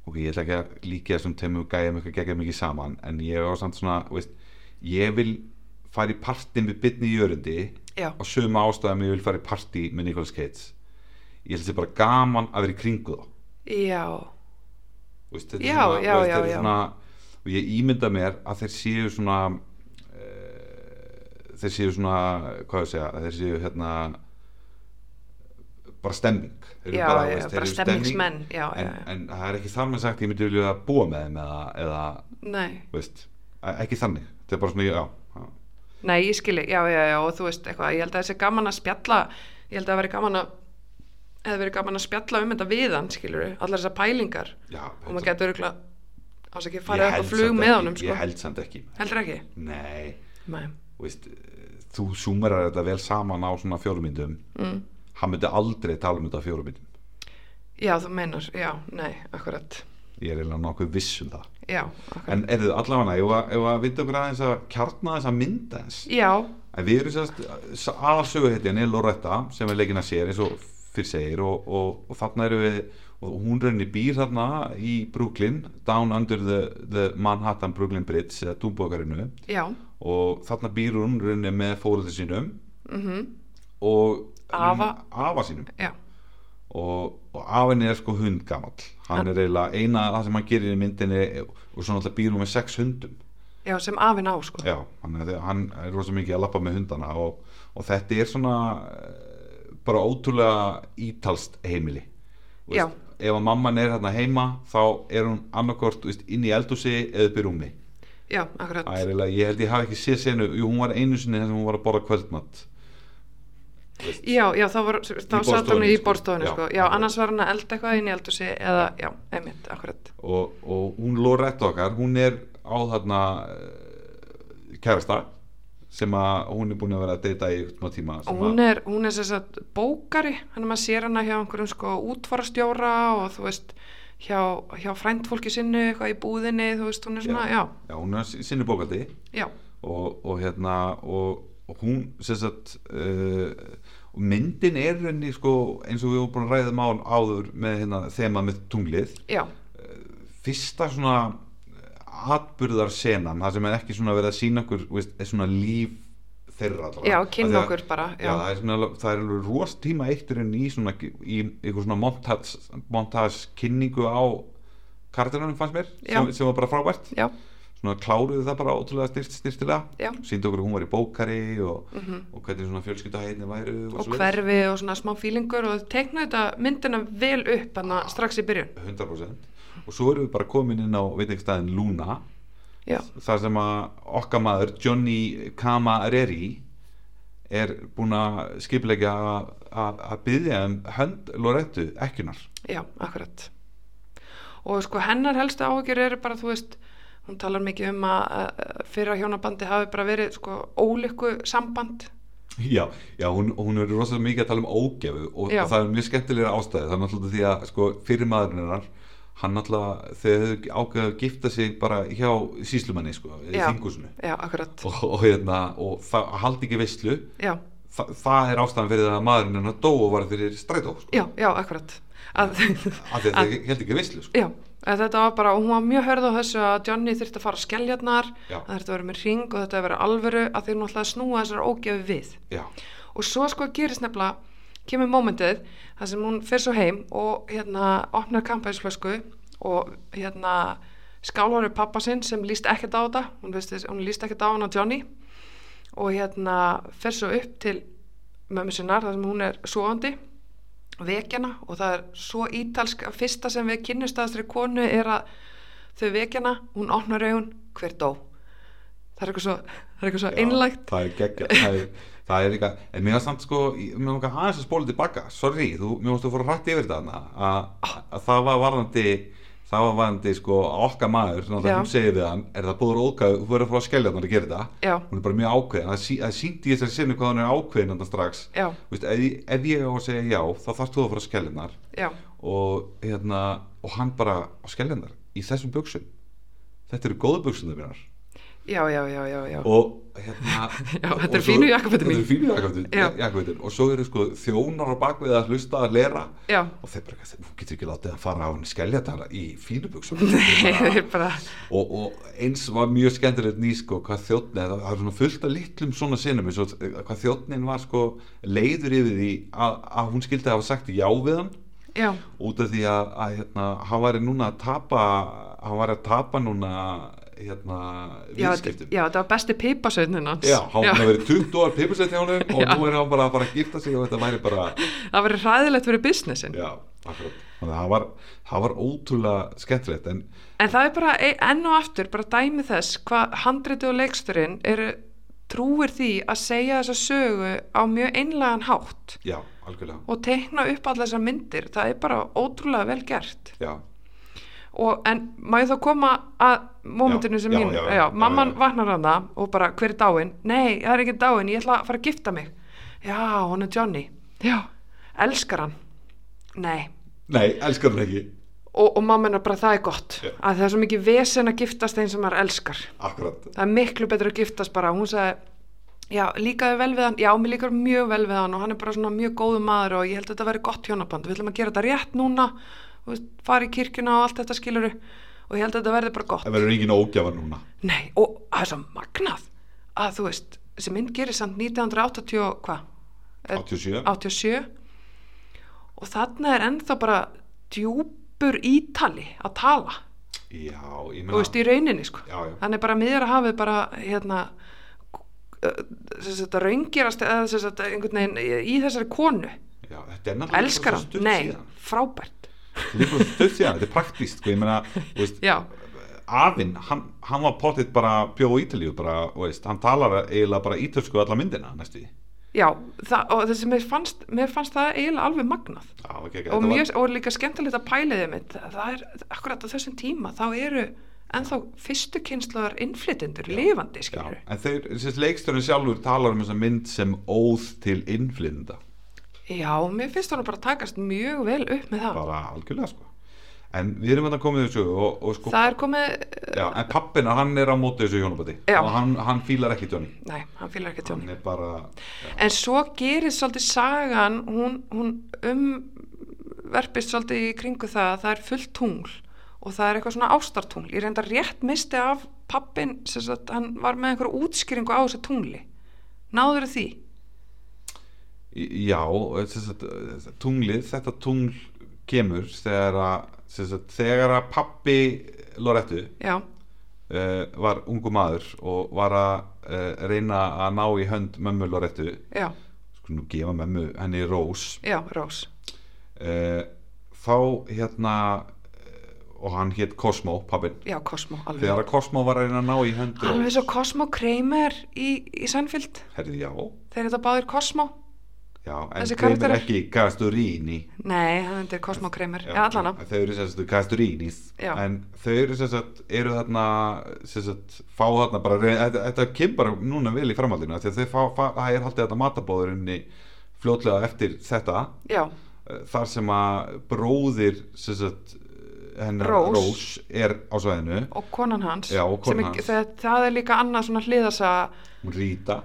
[SPEAKER 1] ok, ég ætla ekki að líka þessum teimum gæja mjög gegja mikið saman, en ég hef á samt svona, þú veist, ég vil fara í partí með Byrni Jörundi
[SPEAKER 2] Já,
[SPEAKER 1] á sömu ástæðum ég vil fara í partí með Nicolas Cage, ég held að þetta sé bara gaman að vera í kringu þá
[SPEAKER 2] já,
[SPEAKER 1] Þú veist, þetta er
[SPEAKER 2] Já,
[SPEAKER 1] svona-
[SPEAKER 2] já,
[SPEAKER 1] þú veist,
[SPEAKER 2] já,
[SPEAKER 1] þetta er
[SPEAKER 2] já.
[SPEAKER 1] svona, og ég ímynda mér að þeir séu svona e, þeir séu svona hvað ég segja, að þeir séu hérna bara stemming þeir eru
[SPEAKER 2] já,
[SPEAKER 1] bara, þú
[SPEAKER 2] já,
[SPEAKER 1] veist, þeir
[SPEAKER 2] bara
[SPEAKER 1] eru
[SPEAKER 2] stemmingsmenn, já, já,
[SPEAKER 1] en,
[SPEAKER 2] já.
[SPEAKER 1] en það er ekki þar með sagt ég myndi vilja búa með þeim eða, eða
[SPEAKER 2] Nei.
[SPEAKER 1] þú veist, e- ekki þannig þetta er bara svona, já, já,
[SPEAKER 2] Nei, ég skilji, já, já, já, og þú veist eitthvað, ég held að þessi gaman að spjalla, ég held að það veri gaman að, hefði verið gaman að spjalla um þetta við hann, skiljur allar þessar pælingar,
[SPEAKER 1] já
[SPEAKER 2] og maður getur örgulega ás ekki
[SPEAKER 1] Ég
[SPEAKER 2] farið upp
[SPEAKER 1] held
[SPEAKER 2] á flug
[SPEAKER 1] samt
[SPEAKER 2] með
[SPEAKER 1] ekki-
[SPEAKER 2] honum, sko.
[SPEAKER 1] ég held samt ekki,
[SPEAKER 2] Heldur ekki?
[SPEAKER 1] nei
[SPEAKER 2] Nei.
[SPEAKER 1] þú veist, eh, þú súmerar þetta vel saman á svona fjórumyndum mm. hann myndi aldrei tala um þetta á fjórumyndum
[SPEAKER 2] Já, þú meinar, já, nei, akkurat,
[SPEAKER 1] ég er eiginlega nokkuð viss um það
[SPEAKER 2] já, akkurat.
[SPEAKER 1] en er þið allavega, ef að- ef að vinda okkur aðeins að kjarna þess að mynda þess
[SPEAKER 2] Já,
[SPEAKER 1] en við erum sérst aðsöguhetjan er Loretta sem er leikina sér eins og fyrr segir og, og, og þarna eru við og hún raunni býr þarna í Brooklyn down under the, the Manhattan Brooklyn Bridge eða túnbókarinu
[SPEAKER 2] já,
[SPEAKER 1] og þarna býr hún raunni með fóruðu sínum
[SPEAKER 2] mhm,
[SPEAKER 1] og
[SPEAKER 2] Afa.
[SPEAKER 1] afa sínum
[SPEAKER 2] já,
[SPEAKER 1] og, og afinn er sko hundgamall hann er eiginlega eina af það sem hann gerir í myndinni og svo náttúrulega býr hún með sex hundum
[SPEAKER 2] já, sem afinn á sko
[SPEAKER 1] Já, hann er, hann er rosa mikið að lappa með hundana og, og þetta er svona eh, bara ótrúlega ítalst heimili Þú
[SPEAKER 2] Já.
[SPEAKER 1] veist, Ef að mamman er hérna heima þá er hún annarkort veist, inn í eldhúsi eða upp í rúmi
[SPEAKER 2] já, akkurat
[SPEAKER 1] Ærilega, ég held ég hafi ekki séð senu Jú, hún var einu sinni þess að hún var að borða kvöldmatt
[SPEAKER 2] já, já, þá, var- þá satt hann
[SPEAKER 1] borðstofunni,
[SPEAKER 2] í
[SPEAKER 1] sko.
[SPEAKER 2] borðstofunni
[SPEAKER 1] Já,
[SPEAKER 2] sko. já,
[SPEAKER 1] akkurat.
[SPEAKER 2] annars var hann að elda eitthvað inn í eldhúsi eða, já, einmitt, akkurat
[SPEAKER 1] og, og hún Loretta okkar hún er á þarna eh, kærasta sem að hún er búin að vera að deyta í smá tíma sem
[SPEAKER 2] og hún
[SPEAKER 1] að,
[SPEAKER 2] er, hún er þess að bókari hann er maður sér hana hjá einhverjum sko útfarastjóra og þú veist hjá, hjá frændfólki sinni eitthvað í búðinni, þú veist, hún er svona, já,
[SPEAKER 1] já, hún er s- sinni bókaldi
[SPEAKER 2] já,
[SPEAKER 1] og, og hérna og, og hún sem sagt uh, myndin er henni sko eins og við vorum búin að ræða mál áður með hérna þema með tunglið
[SPEAKER 2] já,
[SPEAKER 1] fyrsta svona eh, atburðarsenan, það sem er ekki svona verið að sína okkur, veist, er svona líf þeirra allra.
[SPEAKER 2] Já,
[SPEAKER 1] Af
[SPEAKER 2] kynna
[SPEAKER 1] því að-
[SPEAKER 2] okkur bara, já.
[SPEAKER 1] Já, það er svona, það er alveg rost tíma eitturinn í svona, í einhver svona montage, montage kynningu á karakterunum fannst mér, sem,
[SPEAKER 2] Já.
[SPEAKER 1] sem var bara frábært
[SPEAKER 2] já,
[SPEAKER 1] svona kláruðu það bara ótrúlega styrt, styrtilega
[SPEAKER 2] Já. Mhm.
[SPEAKER 1] síndi okkur að hún var í bókari og, og hvernig svona fjölskyldaheitni væru
[SPEAKER 2] og
[SPEAKER 1] svoleiðis.
[SPEAKER 2] hverfi og svona smá fílingur og teikna þetta myndina vel upp hann strax í byrjun
[SPEAKER 1] 100% og svo erum við bara komin inn á veitingstæðin Luna
[SPEAKER 2] já,
[SPEAKER 1] þar sem að okkar maður Johnny Camareri er búinn að skipilegja að að byggja um hönd Lorettu ekkunar
[SPEAKER 2] já, akkurat og sko hennar helstu áhyggjur eru bara þú veist, hún talar mikið um að, að fyrra hjónabandi hafi bara verið sko ólíku samband
[SPEAKER 1] Já, já hún, hún er rosalega mikið að tala um ógefu og
[SPEAKER 2] Já.
[SPEAKER 1] það er mjög skemmtilega ástæði það er náttúrulega því að sko, fyrir maðurinn hennar hann náttúrulega, þau höfðu ákveðið að gifta sig bara hjá síslumanni sko, í
[SPEAKER 2] Já.
[SPEAKER 1] þingusinu
[SPEAKER 2] já, akkurat,
[SPEAKER 1] og, og, hérna, og það haldi ekki veislu
[SPEAKER 2] já,
[SPEAKER 1] Þa, það er ástæðan fyrir að maðurinn hennar dó og var fyrir strætó sko,
[SPEAKER 2] já, já, akkurat að,
[SPEAKER 1] af því að þau held ekki veislu sko.
[SPEAKER 2] já, að þetta var bara og hún var mjög hörð á þessu að Johnny þurfti að fara að skeljarnar,
[SPEAKER 1] Já.
[SPEAKER 2] að þetta verið með ring og þetta verið alvöru að þeir náttúrulega snúa þessar ógefi við
[SPEAKER 1] Já,
[SPEAKER 2] og svo sko gerist nefnilega kemur mómentið þar sem hún fer svo heim og hérna opnar kampænsflösku og hérna skálvaru pappa sinn sem líst ekkert á þetta hún, veist, þess- hún líst ekkert á hann á Johnny og hérna fer svo upp til mömmu sinnar þar sem hún er svoandi vekjana og það er svo ítalsk að fyrsta sem við kynnumst að þessari konu er að þau vekjana, hún opnar augun, hver dó það er eitthvað svo, það er eitthvað svo
[SPEAKER 1] já,
[SPEAKER 2] innlægt
[SPEAKER 1] það er geggja það er, það er eitthvað, en mér var samt sko ég- mér var aðeins að spóla tilbaka, sorry þú, mér varst að fóra hrætt yfir þetta þarna, að að það var varðandi það var varðandi sko okkar maður þannig
[SPEAKER 2] Já.
[SPEAKER 1] að hún segir við hann, er það búður ógæð þú verður að fóra að skellja þannig að gera þetta
[SPEAKER 2] Já.
[SPEAKER 1] hún er bara mjög ákveðin, það, sí, það síndi ég þessari sinni hvað hún er ákveðin þannig strax
[SPEAKER 2] Já.
[SPEAKER 1] Þú Veist, ef, ég- ef ég á að segja já, þá þarfst þú að fóra að skellja hennar
[SPEAKER 2] já,
[SPEAKER 1] og hérna, og hann bara á skellja hennar, í þessum buksum þetta eru góðu buksunar mínar
[SPEAKER 2] já, já, já, já, já.
[SPEAKER 1] og hérna
[SPEAKER 2] Já,
[SPEAKER 1] og
[SPEAKER 2] þetta eru
[SPEAKER 1] svo-
[SPEAKER 2] fínu jakkafötin mín.
[SPEAKER 1] þetta eru fínu
[SPEAKER 2] Já.
[SPEAKER 1] jakkafötin- jakkafötin og svo eru sko þjónar á bakvið að hlusta að lera
[SPEAKER 2] Já.
[SPEAKER 1] og þeir bara, eitthvað, þú getur ekki látið að fara á henni skelljatara í fínu buksum
[SPEAKER 2] Nei, bara,
[SPEAKER 1] og, og eins var mjög skemmtilegt ný sko hvað þjóttni, það það er svona fullt af litlum svona sinnum eins og eh, hvað þjóttnin var sko leiður yfir því að, að hún skildi að hafa sagt já við hann
[SPEAKER 2] já,
[SPEAKER 1] út af því að, að hérna, hann væri núna að tapa hann væri að tapa núna hérna,
[SPEAKER 2] já,
[SPEAKER 1] viðskiptum
[SPEAKER 2] já, þetta var besti pipasveitnin hans
[SPEAKER 1] Já, hann
[SPEAKER 2] já.
[SPEAKER 1] var verið 20 ára pipursett hjá honum og
[SPEAKER 2] Já.
[SPEAKER 1] nú er hann bara að fara að gifta sig og þetta væri bara,
[SPEAKER 2] Það verið hræðilegt fyrir businessin
[SPEAKER 1] já, akkurat. Þannig að það var, það var ótrúlega skemmtilegt en
[SPEAKER 2] En það er bara, e- enn og aftur, bara dæmi þess hvað handriti og leiksturinn eru trúir því að segja þessa sögu á mjög einlegan hátt
[SPEAKER 1] já, algjörlega,
[SPEAKER 2] og teikna upp allar þessar myndir það er bara ótrúlega vel gert
[SPEAKER 1] já,
[SPEAKER 2] og, en má ég þá koma að mómentinu
[SPEAKER 1] Já,
[SPEAKER 2] sem
[SPEAKER 1] já,
[SPEAKER 2] mín
[SPEAKER 1] já, já, já,
[SPEAKER 2] mamman
[SPEAKER 1] já.
[SPEAKER 2] vaknar hann það og bara hver er dáin nei, það er ekki dáin, ég ætla að fara að gifta mig já, hann er Johnny já, elskar hann nei,
[SPEAKER 1] nei, elskar hann ekki
[SPEAKER 2] og, og mamma hennar bara það er gott
[SPEAKER 1] Já.
[SPEAKER 2] að það er svo mikið vesen að giftast þeim sem maður elskar
[SPEAKER 1] akkurat,
[SPEAKER 2] það er miklu betur að giftast bara hún sagði, já, líkaði vel við hann já, mér líkar mjög vel við hann og hann er bara svona mjög góðu maður og ég held að þetta verði gott hjónaband við ætlum að gera þetta rétt núna þú veist, fara í kirkjuna og allt þetta skiluru og ég held að þetta verði bara gott
[SPEAKER 1] það verður engin ógjafar núna
[SPEAKER 2] nei, og það er svo magnað að þú veist, þessi mynd gerir samt 1980 og hvað? Eh,
[SPEAKER 1] 87.
[SPEAKER 2] 87 og þarna er ennþá bara djúpur ítali að tala
[SPEAKER 1] já, ég
[SPEAKER 2] þú veist, í rauninni sko
[SPEAKER 1] já, já,
[SPEAKER 2] hann er bara miður að hafi bara hérna þess að raungirast eða þess að einhvern veginn í- í þessari konu
[SPEAKER 1] já, þetta er náttúrulega
[SPEAKER 2] elskar
[SPEAKER 1] bara svo
[SPEAKER 2] hann,
[SPEAKER 1] stutt
[SPEAKER 2] nei,
[SPEAKER 1] síðan.
[SPEAKER 2] frábært
[SPEAKER 1] Þetta er bara svo stutt síðan, þetta er praktíst sko, ég meina, þú veist,
[SPEAKER 2] já,
[SPEAKER 1] afinn, hann, hann var pottitt bara bjó í Ítalíu bara, þú veist, hann talar eiginlega bara ítalsku alla myndina næstu í.
[SPEAKER 2] já það, og þessi, mér fannst, mér fannst það eiginlega alveg magnað
[SPEAKER 1] Já, okay,
[SPEAKER 2] og, mjög, og líka skemmtilegt að pæliðið mitt það er, akkurat á þessum tíma þá eru ennþá fyrstu kynsluðar innflytjendur lifandi,
[SPEAKER 1] Já,
[SPEAKER 2] skilur
[SPEAKER 1] en þeir, þessi leikstörn sjálfur talar um þessa mynd sem óð til innflynda
[SPEAKER 2] já, mér finnst hann bara takast mjög vel upp með það
[SPEAKER 1] bara algjörlega sko en við erum þetta komið þessu og, og sko,
[SPEAKER 2] það er komið,
[SPEAKER 1] já, en pappina hann er á móti þessu hjónabæti
[SPEAKER 2] Já.
[SPEAKER 1] og hann, hann fílar ekki Johnny
[SPEAKER 2] nei, hann fýlar ekki tjóni
[SPEAKER 1] hann er bara,
[SPEAKER 2] en svo gerir svolítið sagan hún, hún umverpist svolítið í kringu það að það er fullt tungl og það er eitthvað svona ástartungl ég reynda rétt misti af pappin sem sagt, hann var með einhverja útskýringu á þessu tungli náður því
[SPEAKER 1] í- já sem sagt, eh, tunglið, þetta tungl kemur þegar að, sem sagt, þegar að pappi Lorettu
[SPEAKER 2] já,
[SPEAKER 1] uh, var ungu maður og var að uh, reyna að ná í hönd mömmu Lorettu
[SPEAKER 2] já,
[SPEAKER 1] sko nú gefa mömmu henni rós
[SPEAKER 2] já, Rós
[SPEAKER 1] uh, þá hérna eh, og hann hétt Cosmo, pappin
[SPEAKER 2] já, Cosmo,
[SPEAKER 1] þegar
[SPEAKER 2] alveg
[SPEAKER 1] að Cosmo var að reyna að ná í hönd
[SPEAKER 2] alveg
[SPEAKER 1] Rós
[SPEAKER 2] svo Cosmo Kramer í, í Sænfield
[SPEAKER 1] herði já,
[SPEAKER 2] þeir þetta báðir Cosmo
[SPEAKER 1] já en þeim
[SPEAKER 2] Þessi
[SPEAKER 1] er
[SPEAKER 2] karakterar-
[SPEAKER 1] ekki Casturini
[SPEAKER 2] nei, hann endur Cosmo Kramer já, allan á
[SPEAKER 1] þau eru sem sagt Casturinis
[SPEAKER 2] Já.
[SPEAKER 1] en þau eru sem sagt eru þarna sem sagt fá þarna bara reyna, þetta, þetta kemur bara núna vel í framhaldinu af því að þau fá, fá, það er haldið þetta matabóðurinni fljótlega eftir þetta
[SPEAKER 2] já,
[SPEAKER 1] eh, þar sem að bróðir sem sagt eh, hennar
[SPEAKER 2] Rós.
[SPEAKER 1] Rós er á svæðinu
[SPEAKER 2] og konan hans,
[SPEAKER 1] Já, og konan
[SPEAKER 2] sem er,
[SPEAKER 1] hans.
[SPEAKER 2] það, það er líka annað svona hliðasaga
[SPEAKER 1] hún Rita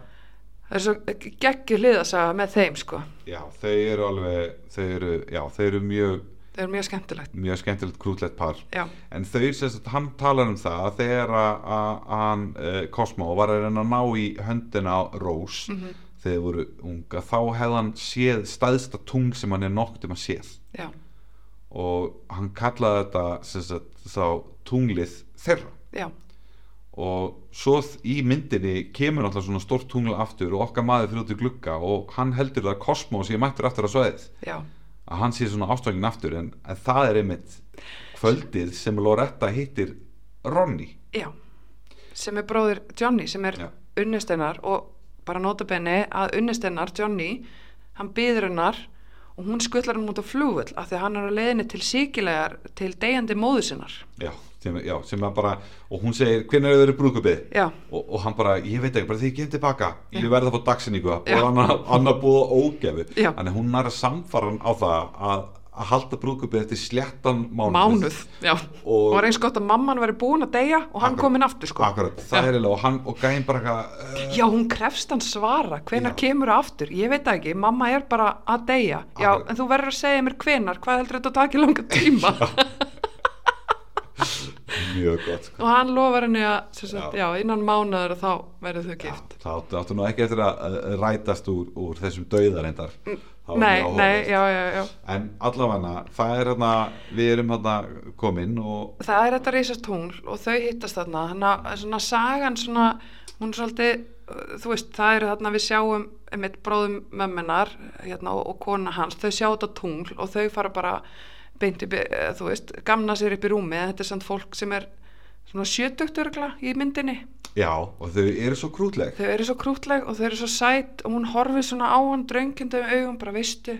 [SPEAKER 2] það er svo geggjur liðasaga með þeim sko
[SPEAKER 1] já, þau eru alveg þau eru, já, þau eru mjög,
[SPEAKER 2] það er mjög skemmtilegt
[SPEAKER 1] mjög skemmtilegt krútlegt par
[SPEAKER 2] já,
[SPEAKER 1] en þau sem sagt, hann talar um það að þegar að- að hann uh, Cosmo var að reyna að ná í höndina á Rose þegar þau voru unga þá hefði hann séð staðsta tung sem hann er nokkuð um að séð
[SPEAKER 2] já,
[SPEAKER 1] og hann kallaði þetta sem sagt þá tunglið þeirra
[SPEAKER 2] já,
[SPEAKER 1] og svo þ- í myndinni kemur alltaf svona stórt tungla aftur og okkar maður fyrir út í glugga og hann heldur það að Cosmo sé mættur aftur á svæðið
[SPEAKER 2] já
[SPEAKER 1] að hann sé svona ástöngin aftur en, en það er einmitt kvöldið sem Loretta hittir Ronny
[SPEAKER 2] já, sem er bróðir Johnny sem er
[SPEAKER 1] Já.
[SPEAKER 2] unnustennar og bara notabenni að unnustennar Johnny, hann býður hennar og hún skullar hann út á flugvöll af því að hann er á leiðinni til síkilegar til deyjandi móðu sinnar
[SPEAKER 1] já, sem, já, sem að bara og hún segir hvernig er þau verið brúkupið
[SPEAKER 2] já,
[SPEAKER 1] og, og hann bara, ég veit ekki, bara þegar ég kem tilbaka ég verði að fá dagsinningu og
[SPEAKER 2] Já.
[SPEAKER 1] hann annar búið á ógefu
[SPEAKER 2] Já.
[SPEAKER 1] þannig að hún nær að samfara hann á það að, að halda brúkupið eftir sléttan mánuð,
[SPEAKER 2] mánuð já,
[SPEAKER 1] Og-
[SPEAKER 2] og var eins gott að mamman væri búin að deyja og
[SPEAKER 1] Akkurat.
[SPEAKER 2] hann kominn aftur sko
[SPEAKER 1] Akkurat, það er eiginlega og hann og gæinn bara eitthvað uh,
[SPEAKER 2] Já, hún krefst hann svara, hvenar
[SPEAKER 1] Já.
[SPEAKER 2] kemur það aftur? Ég veit það ekki, mamma er bara að deyja. Já,
[SPEAKER 1] Akkurat.
[SPEAKER 2] en þú verður að segja mér hvenar, hvað heldur þetta að taka í langa tíma?
[SPEAKER 1] mjög gott sko.
[SPEAKER 2] og hann lofar henni að, sem sagt,
[SPEAKER 1] Já.
[SPEAKER 2] já. innan mánuður þá verður þau gift.
[SPEAKER 1] þá áttu, áttu nú ekki eftir að eh, rætast úr, úr þessum dauðarendar
[SPEAKER 2] Nei, nei, já, já, já.
[SPEAKER 1] en allavega það er hérna við erum hérna komin og
[SPEAKER 2] Það er þetta reysastungl og þau hittast þarna, þannig að eh, svona sagan svona, hún er svolítið, uh, þú veist, það eru þarna við sjáum mitt bróðum mömmunar hérna, og, og kona hans, þau sjá þetta tungl og þau fara bara beint upp, í- eh, þú veist, gamna sér upp í rúmi, en þetta er samt fólk sem er svona sjötugt örgla í myndinni,
[SPEAKER 1] já, og þau eru svo krútleg
[SPEAKER 2] þau eru svo krútleg og þau eru svo sætt og hún horfir svona á hann dröngindum augum, bara veistu,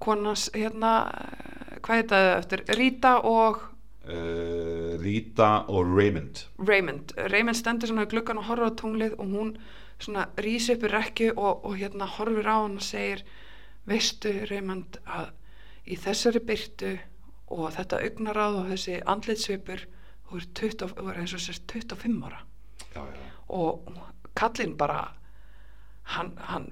[SPEAKER 2] konans, hérna, eh, hvað heit það eftir, Rita og...
[SPEAKER 1] uh, Rita og Raymond
[SPEAKER 2] Raymond, Raymond stendur svona í gluggan og horfir á tunglið og hún svona rýsi upp í rekju og, og hérna horfir á hann og segir veistu Raymond að í þessari byrtu og þetta augnaráð og þessi andlitsvipur þú er, 20, þú er eins og sér 25 ára
[SPEAKER 1] já, já,
[SPEAKER 2] og kallinn bara hann, hann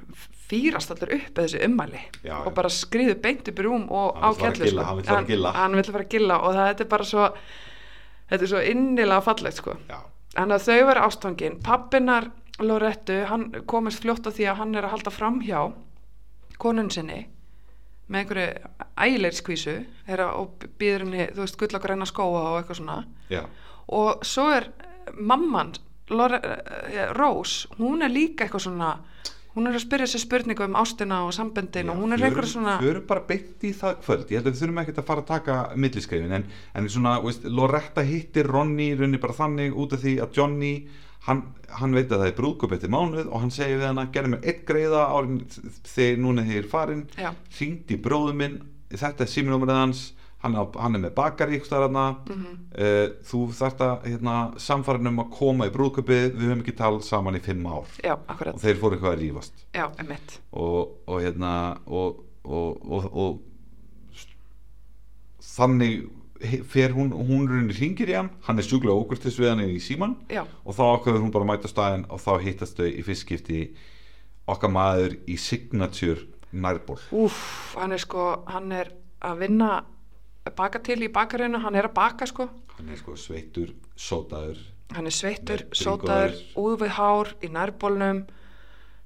[SPEAKER 2] fýrast allir upp eða þessi ummæli
[SPEAKER 1] Já, já.
[SPEAKER 2] og bara skriðu beint upp í rúm og
[SPEAKER 1] Hann
[SPEAKER 2] á
[SPEAKER 1] vill fara að
[SPEAKER 2] kjallu
[SPEAKER 1] gilla, hann vill fara að gilla.
[SPEAKER 2] hann vill fara að gilla og það þetta er bara svo þetta er svo innilega fallegt sko
[SPEAKER 1] já.
[SPEAKER 2] Þannig að þau verið ástfangin. Pappinar Lorettu, hann komist fljótt á því að hann er að halda framhjá konun sinni með einhverju ægilegri skvísu er að, og býður henni, þú veist, gull og græna skóa og eitthvað svona
[SPEAKER 1] já,
[SPEAKER 2] og svo er mamman Lore, eh, Rose, hún er líka eitthvað svona hún er að spyrja sér spurningu um ástina og samböndin og hún er
[SPEAKER 1] við
[SPEAKER 2] eitthvað
[SPEAKER 1] erum-
[SPEAKER 2] svona
[SPEAKER 1] við erum bara beitt í það kvöld ég held að við þurfum ekkert að fara að taka milliskrifin en, en svona, veist, Loretta hittir Ronny í rauninni bara þannig út af því að Johnny hann, hann veit að það er brúðkup eftir mánuð og hann segir við hann að gerði mér eitt greiða árin þegar núna þegar ég er farin
[SPEAKER 2] Já.
[SPEAKER 1] hringdi bróðu minn þetta er símnúmerið hans hann, á, hann er með bakar í ykkur mm
[SPEAKER 2] mhm,
[SPEAKER 1] -hmm. þú þarft að hérna, samfærin um að koma í brúðkupið við höfum ekki talað saman í fimm ár
[SPEAKER 2] já,
[SPEAKER 1] og
[SPEAKER 2] akkurat,
[SPEAKER 1] þeir fóru eitthvað að rífast
[SPEAKER 2] já, emitt
[SPEAKER 1] og, og hérna og, og, og, og þannig he- fer hún, hún runni hringir í hann hann er sjúklega ókurtis við hann í síman
[SPEAKER 2] já,
[SPEAKER 1] og þá ákveður hún bara að mæta á staðinn og þá hittast þau í fyrstskipti okkar maður í signature nærból
[SPEAKER 2] úff, hann er sko hann er að vinna að baka til í bakarinu, hann er að baka sko
[SPEAKER 1] hann er sko sveittur, sótaður
[SPEAKER 2] hann er sveittur,
[SPEAKER 1] Með
[SPEAKER 2] sótaður,
[SPEAKER 1] bringuðar.
[SPEAKER 2] úðvið hár í nærbólnum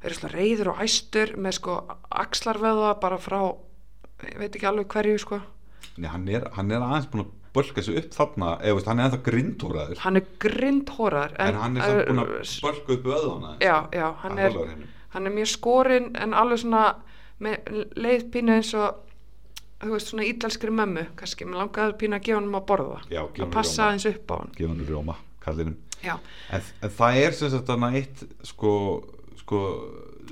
[SPEAKER 2] er svona reyður og æstur með sko axlarveða bara frá ég veit ekki alveg hverju sko
[SPEAKER 1] Nei, hann, er, hann er aðeins búin að bölka sig upp þarna eða veist, hann er ennþá grindhóraður
[SPEAKER 2] hann er grindhórar
[SPEAKER 1] en hann er samt búin að
[SPEAKER 2] uh, s-
[SPEAKER 1] bölka upp öðana
[SPEAKER 2] já, já, hann er, hann er mjög skorinn en alveg svona með leið pínu eins og þú veist svona ítalskri mömmu kannski, mér langaði pínu að gefa honum að borða
[SPEAKER 1] Já, gefa honum
[SPEAKER 2] að passa
[SPEAKER 1] rjóma.
[SPEAKER 2] aðeins upp á hann
[SPEAKER 1] gefa hann rjóma, kallinum
[SPEAKER 2] já,
[SPEAKER 1] En, en það er sem sagt þarna eitt sko, sko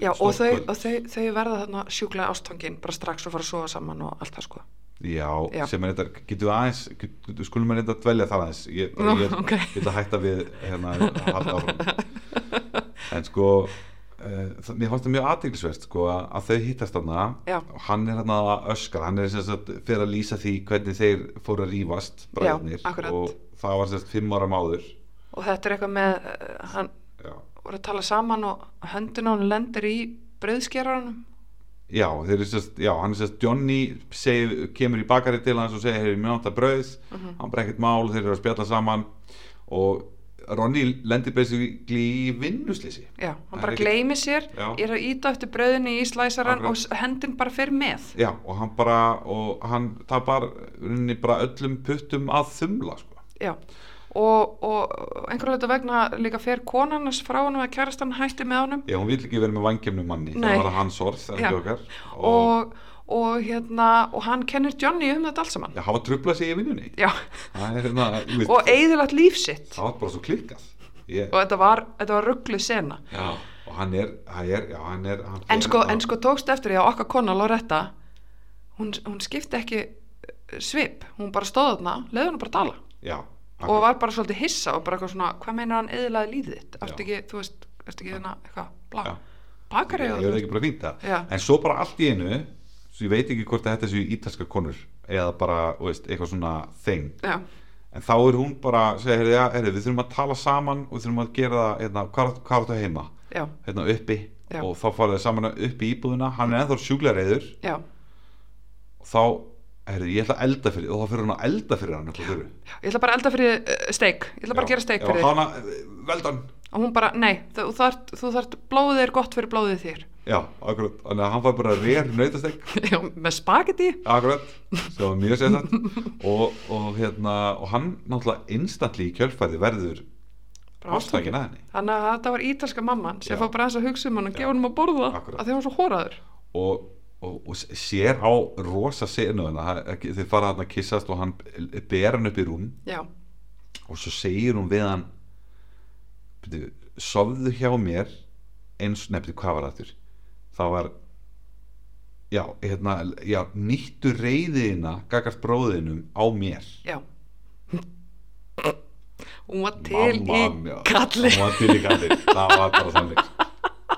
[SPEAKER 2] já og, þau,
[SPEAKER 1] stórkvöld.
[SPEAKER 2] og þau, þau verða þarna sjúklega ástangin bara strax og fara að sofa saman og allt það sko
[SPEAKER 1] já,
[SPEAKER 2] Já.
[SPEAKER 1] sem er þetta, getur við aðeins getur, skulum við reynda að dvelja það aðeins ég, bara,
[SPEAKER 2] Nú,
[SPEAKER 1] ég,
[SPEAKER 2] ok.
[SPEAKER 1] ég ætla að hætta við hérna, að halda áfram en sko uh, það, mér fannst það mjög aðdeglisverst sko, að, að þau hittast þarna
[SPEAKER 2] Já.
[SPEAKER 1] og hann er þarna að öskar hann er sem sagt fyrir að lýsa því hvernig þeir fóru að rífast bræðnir
[SPEAKER 2] akkurat.
[SPEAKER 1] og það var sem sagt fimm ára máður
[SPEAKER 2] og þetta er eitthvað með eh, hann
[SPEAKER 1] já,
[SPEAKER 2] voru að tala saman og höndin á hann lendir í brauðskerarunum
[SPEAKER 1] Já, þeir eru sérst, já, hann er sérst Johnny seg, kemur í bakari til hans og segir, heyrðu, mér átt að brauð
[SPEAKER 2] Mhm.
[SPEAKER 1] hann bara ekkert mál, þeir eru að spjalla saman og Ronny lendir basically í vinnuslýsi
[SPEAKER 2] já,
[SPEAKER 1] Það
[SPEAKER 2] hann bara
[SPEAKER 1] er ekki-
[SPEAKER 2] gleymir sér
[SPEAKER 1] Já.
[SPEAKER 2] er að íta eftir brauðinni í slæsaran
[SPEAKER 1] Akkurat.
[SPEAKER 2] og s- höndin bara fer með
[SPEAKER 1] Já, og hann bara og hann tapar runni bara öllum puttum að þumla, sko
[SPEAKER 2] Já, og, og einhverju hluta vegna líka fer konan hans frá honum að kærastan hætti með honum
[SPEAKER 1] Já, hún vill ekki vera með vangjumnum manni
[SPEAKER 2] Nei.
[SPEAKER 1] það var hans orð, það er
[SPEAKER 2] Já.
[SPEAKER 1] ekki okkar og,
[SPEAKER 2] og, og hérna og hann kennir Johnny um þetta allt saman
[SPEAKER 1] já, hafa trublað sig í vinnunni
[SPEAKER 2] Já,
[SPEAKER 1] það er hérna, þú veist,
[SPEAKER 2] og eigðilegt líf sitt
[SPEAKER 1] það var bara svo klikkað ég,
[SPEAKER 2] og þetta var, þetta var rugglu sena
[SPEAKER 1] Já, og hann er, hann er, já, hann er hann
[SPEAKER 2] en
[SPEAKER 1] fer
[SPEAKER 2] sko,
[SPEAKER 1] þarna-
[SPEAKER 2] en sko tókst eftir því að okkar kona Loretta hún, hún skipti ekki eh, svip, hún bara stóð þarna leiði hún bara að tala
[SPEAKER 1] Já,
[SPEAKER 2] sko- og var bara svolítið hissa og bara eitthvað svona hvað meinar hann eðlaði lífið þitt, ertu
[SPEAKER 1] Já.
[SPEAKER 2] ekki, þú veist ertu ekki þarna, eitthvað, bla
[SPEAKER 1] Já.
[SPEAKER 2] bakari
[SPEAKER 1] ég verði ekki bara fínt
[SPEAKER 2] Já.
[SPEAKER 1] það en svo bara allt í einu svo ég veit ekki hvort að þetta séu ítalska konur eða bara, þú veist, eitthvað svona þeng
[SPEAKER 2] já,
[SPEAKER 1] en þá er hún bara, segja, heyrðu, já, heyrðu, við þurfum að tala saman og við þurfum að gera það, hérna, hvað hvað áttu heima
[SPEAKER 2] já,
[SPEAKER 1] hérna uppi,
[SPEAKER 2] Já.
[SPEAKER 1] og þá farið þau saman upp í íbúðuna, hann er ennþá sjúklareyður
[SPEAKER 2] já
[SPEAKER 1] og þá, heyrðu, ég ætla að elda fyrir og þá fyrir hún að elda fyrir hann upp á þurru
[SPEAKER 2] ég ætla bara að elda fyrir uh, steik ég ætla bara að gera steik fyrir þig
[SPEAKER 1] hana, eh, veldan
[SPEAKER 2] og hún bara, nei, þú þart, þú þart blóðið er gott fyrir blóðið þér
[SPEAKER 1] já, akkurat, þannig að hann fær bara rér nautastek
[SPEAKER 2] já, með spagetti
[SPEAKER 1] Akkurat, sem var mjög sérstætt og, og, hérna, og hann náttúrulega instantly í kjölfæði verður
[SPEAKER 2] Bara
[SPEAKER 1] ástækin að henni
[SPEAKER 2] þannig að þetta var ítalska mamman sem
[SPEAKER 1] Já.
[SPEAKER 2] fór bara aðeins að hugsa um hann og gefa hann að borða
[SPEAKER 1] Akkurat.
[SPEAKER 2] að því hann var svo hóraður
[SPEAKER 1] og, og, og sér á rosa senu hennar, þeir fara hann að kissast og hann ber hann upp í rúm
[SPEAKER 2] já,
[SPEAKER 1] og svo segir hún við hann byrju, sofðu hjá mér eins, nefnir hvað var þetta það var já, hérna, já, nýttu reyðina gagast bróðinum á mér
[SPEAKER 2] já hún var til í kalli
[SPEAKER 1] hún var til í kalli, það var bara þannig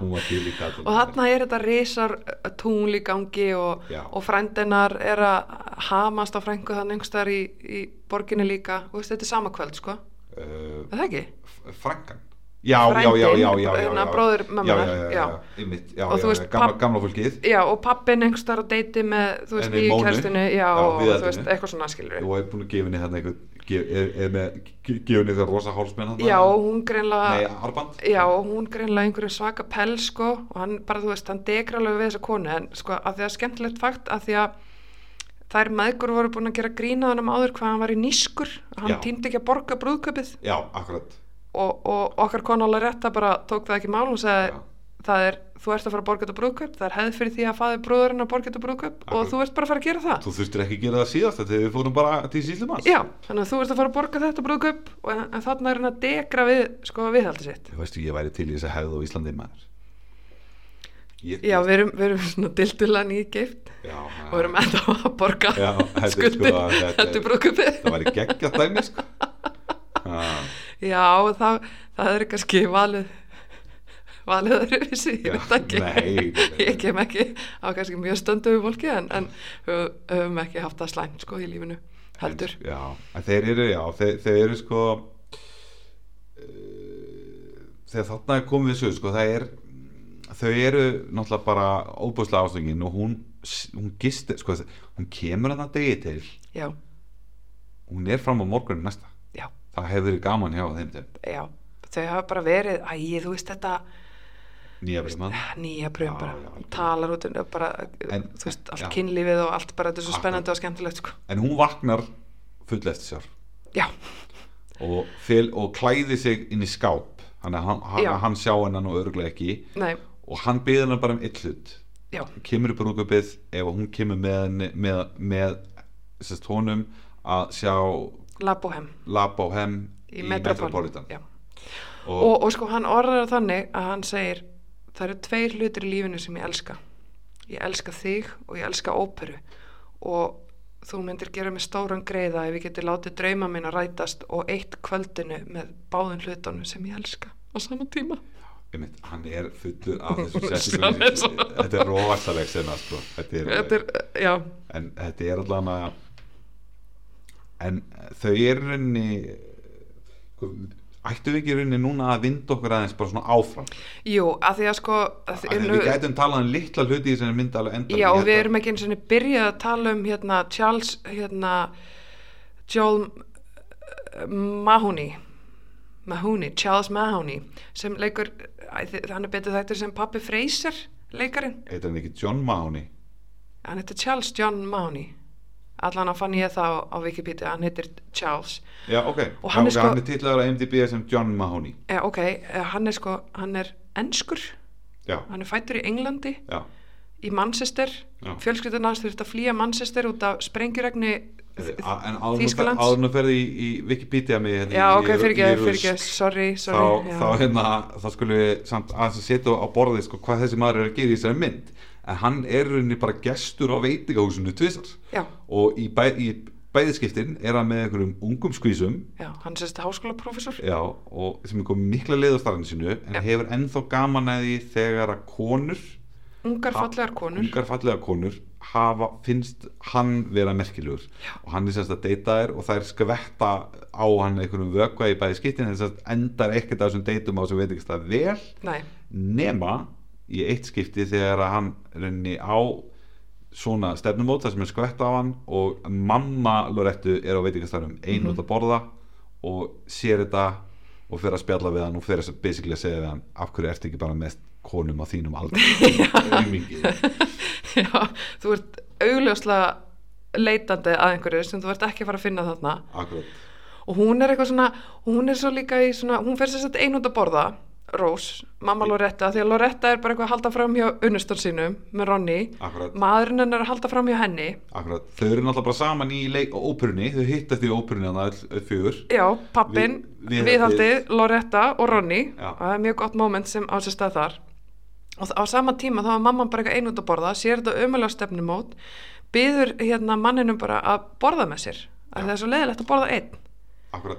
[SPEAKER 1] hún var til í kalli
[SPEAKER 2] og þarna er þetta risar uh, tungl í gangi og,
[SPEAKER 1] Já.
[SPEAKER 2] og frændinar er að hamast á frængu þannig yngstar í, í borginni líka og veist, þetta er sama kvöld sko,
[SPEAKER 1] uh,
[SPEAKER 2] er það ekki?
[SPEAKER 1] frangan já, já, já, já, já, já,
[SPEAKER 2] Hérna,
[SPEAKER 1] já.
[SPEAKER 2] bróðir mömmunnar,
[SPEAKER 1] já, já, já,
[SPEAKER 2] já.
[SPEAKER 1] já, einmitt, já,
[SPEAKER 2] Og
[SPEAKER 1] já,
[SPEAKER 2] þú veist,
[SPEAKER 1] já, gamla,
[SPEAKER 2] pabb-
[SPEAKER 1] gamla fólkið
[SPEAKER 2] já, og pappin einhvers þar á deiti með, þú veist,
[SPEAKER 1] Henni
[SPEAKER 2] nýju
[SPEAKER 1] Mónu.
[SPEAKER 2] kærstinu, já,
[SPEAKER 1] Já,
[SPEAKER 2] og
[SPEAKER 1] viðhaldinu.
[SPEAKER 2] þú veist, eitthvað svona skilur
[SPEAKER 1] og er búin að gefa henni hérna eitthvað gef- er, er með, gefa henni eitthvað rosa hálsmenn
[SPEAKER 2] Já, og hún
[SPEAKER 1] nei,
[SPEAKER 2] greinlega,
[SPEAKER 1] arband
[SPEAKER 2] já, og hún greinlega einhverju svaka pels, sko, og hann bara, þú veist, hann degra alveg við þessa konu, en sko, að því að skemmtilegt fakt, að því að þær maðgur voru búin að gera grína hann um áður hvað hann var í nískur, hann
[SPEAKER 1] Já.
[SPEAKER 2] týndi ekki að borga brúðköpið
[SPEAKER 1] já, akkurat
[SPEAKER 2] og, og okkar konu alveg rétt að bara tók það ekki í mál, hún sagði,
[SPEAKER 1] Já.
[SPEAKER 2] það er, þú ert að fara að borga þetta brúðköp, það er hefð fyrir því að faði brúðurinn að borga þetta brúðköp
[SPEAKER 1] Akkurat.
[SPEAKER 2] og þú ert bara að fara að gera það.
[SPEAKER 1] þú þurftir ekki að gera það síðast þegar við fórum bara til síslumans
[SPEAKER 2] Já, þannig að þú ert að fara að borga þetta brúðkaup og- en, en þannig er hann að degra við sko viðhaldi sitt.
[SPEAKER 1] þú veistu, ég væri til í þess að hefða á Íslandi maður ég,
[SPEAKER 2] Já, við erum, við erum svona dildulega nýgift
[SPEAKER 1] já,
[SPEAKER 2] og við erum ennþá að borga
[SPEAKER 1] Já, þetta er sko-
[SPEAKER 2] skuldir
[SPEAKER 1] þetta er-
[SPEAKER 2] eftir brúðkaupið.
[SPEAKER 1] það væri geggjað dæmi sko. ah,
[SPEAKER 2] Já, það, það er kannski valið valið öðruvísi, ég
[SPEAKER 1] Já,
[SPEAKER 2] veit ekki
[SPEAKER 1] nei, nei, nei.
[SPEAKER 2] ég kem ekki á kannski mjög stöndu við fólki en, en höfum höfum ekki haft það slæmt sko í lífinu heldur
[SPEAKER 1] já, en þeir eru, já, þeir, þeir eru sko uh, þegar þarna er komið þessu sko, það er þau eru náttúrulega bara óbúslega ástöngin og hún, hún gist sko, hún kemur hann að degi til
[SPEAKER 2] Já,
[SPEAKER 1] hún er fram á morgunum næsta
[SPEAKER 2] já,
[SPEAKER 1] það hefur verið gaman hjá þeim til
[SPEAKER 2] já þau hafa bara verið, æ, þú veist þetta
[SPEAKER 1] nýja verðmann
[SPEAKER 2] nýja pröfum
[SPEAKER 1] Já,
[SPEAKER 2] bara,
[SPEAKER 1] já, algjörlega.
[SPEAKER 2] talar út um bara,
[SPEAKER 1] En-
[SPEAKER 2] þú veist, allt
[SPEAKER 1] já.
[SPEAKER 2] kynlífið og allt bara þetta er svo
[SPEAKER 1] Akkurat.
[SPEAKER 2] spennandi og skemmtilegt sko.
[SPEAKER 1] en hún vaknar full eftir sér
[SPEAKER 2] já,
[SPEAKER 1] og, fel, og klæði sig inn í skáp hann, hann,
[SPEAKER 2] Já.
[SPEAKER 1] hann, hann sjá hennan og örglega ekki
[SPEAKER 2] nei,
[SPEAKER 1] og hann byði hennar bara um eitt hlut
[SPEAKER 2] já,
[SPEAKER 1] kemur í brúkabið ef hún kemur með, henni- með, með sérst, honum að sjá
[SPEAKER 2] La Bohem
[SPEAKER 1] lab á hem
[SPEAKER 2] í, Metropolitan já.
[SPEAKER 1] og,
[SPEAKER 2] og, og sko hann orðar það þannig að hann segir það eru tveir hlutir í lífinu sem ég elska ég elska þig og ég elska óperu og þú myndir gera mig stóran greiða ef ég geti látið drauma mín að rætast og eitt kvöldinu með báðum hlutunum sem ég elska á sama tíma
[SPEAKER 1] einmitt, hann er fullur af þessum
[SPEAKER 2] Hún er
[SPEAKER 1] setningum
[SPEAKER 2] svo- svo-
[SPEAKER 1] þetta er rosaleg sinna sko. þetta er,
[SPEAKER 2] þetta er, já,
[SPEAKER 1] en þetta er allan að en þau er rauninni sko, ættu við ekki í rauninni núna að vinda okkur aðeins bara svona áfram
[SPEAKER 2] jú, að því að sko að því-
[SPEAKER 1] Þegar við gætum talað um litla hluti í þessari mynd alveg hérna. enda
[SPEAKER 2] Já, og við erum ekki eins og byrjað að tala um hérna Charles, hérna Joel eh, Mahoney Mahoney, Charles Mahoney sem leikur, æ, þi- hann er betur þættur sem pappi Fraser leikarinn
[SPEAKER 1] Heitir hann ekki John Mahoney
[SPEAKER 2] hann heitir Charles John Mahoney allan að fann ég það á, á Wikipedia hann heitir Charles
[SPEAKER 1] Já, ok, Já,
[SPEAKER 2] Og hann er
[SPEAKER 1] ok,
[SPEAKER 2] sko-
[SPEAKER 1] hann er titlaður að MDB sem John Mahoney
[SPEAKER 2] eh, ok, eh, hann er sko, hann er enskur
[SPEAKER 1] Já,
[SPEAKER 2] hann er fættur í Englandi
[SPEAKER 1] já,
[SPEAKER 2] í Manchester,
[SPEAKER 1] Já.
[SPEAKER 2] fjölskyldan hans þurft að flýja Manchester út af sprengjuragni
[SPEAKER 1] Eh, A- en áður nú-
[SPEAKER 2] Þýskalands
[SPEAKER 1] áður nú ferði í, í Wikipedia mig hérna í-
[SPEAKER 2] Já, ok,
[SPEAKER 1] í- í
[SPEAKER 2] fyrir ekki,
[SPEAKER 1] rusk,
[SPEAKER 2] fyrir ekki, sorry,
[SPEAKER 1] þá,
[SPEAKER 2] sorry já.
[SPEAKER 1] þá hérna, þá skulum við samt aðeins að setja á borðið sko hvað þessi maður er að gera í þessari mynd en hann er í rauninni bara gestur á veitingahúsinu tvisar
[SPEAKER 2] já,
[SPEAKER 1] og í, bæ, í bæðiskiptin er hann með einhverjum ungum skvísum
[SPEAKER 2] já, hann sérst háskólaprofessor
[SPEAKER 1] já, og sem er komið mikla leið á starfinu sínu en
[SPEAKER 2] Já.
[SPEAKER 1] hefur ennþá gaman að því þegar að konur
[SPEAKER 2] Ungar
[SPEAKER 1] Ha-
[SPEAKER 2] fallegar konur
[SPEAKER 1] ungar fallega konur hafa, finnst hann vera merkilegur og hann er sérst að deyta þær og þær skvetta á hann einhverjum vökva í bæði skiptin en sérst endar ekkert af þessum deytum á sem veit ekki það vel
[SPEAKER 2] Nei,
[SPEAKER 1] nema í eitt skipti þegar að hann rauninni á svona stefnumót þar sem er skvetta á hann og mamma Lorettu er á veitingastæðum
[SPEAKER 2] Mhm.
[SPEAKER 1] einu um út að borða og sér þetta og fer að spjalla við hann og fer að basically að segja við hann af hverju ertu ekki bara með konum á þínum aldrei aumingi
[SPEAKER 2] já, þú ert augljóslega leitandi að einhverju sem þú ert ekki að fara að finna þarna
[SPEAKER 1] Akkurat
[SPEAKER 2] og hún er eitthvað svona, hún er svo líka í svona, hún fer sérst að einhund að borða Rós, mamma Loretta, því að Loretta er bara eitthvað að halda fram hjá unnustan sínum með Ronny,
[SPEAKER 1] Akkurat.
[SPEAKER 2] maðurinn hennar er að halda fram hjá henni,
[SPEAKER 1] Akkurat, þau eru náttúrulega bara saman í leik og óperunni, þau hittast í óperunni hann öll, öll fjögur
[SPEAKER 2] já, pappin
[SPEAKER 1] Við- við-
[SPEAKER 2] viðhaldið, Loretta og Ronny
[SPEAKER 1] Já.
[SPEAKER 2] og það er mjög gott moment sem á sér stað þar og þ- á sama tíma þá var mamman bara eitthvað einút að borða, sér þetta ömulega stefnumót byður hérna manninum bara að borða með sér, að það er svo leiðilegt að borða einn
[SPEAKER 1] Akkurat,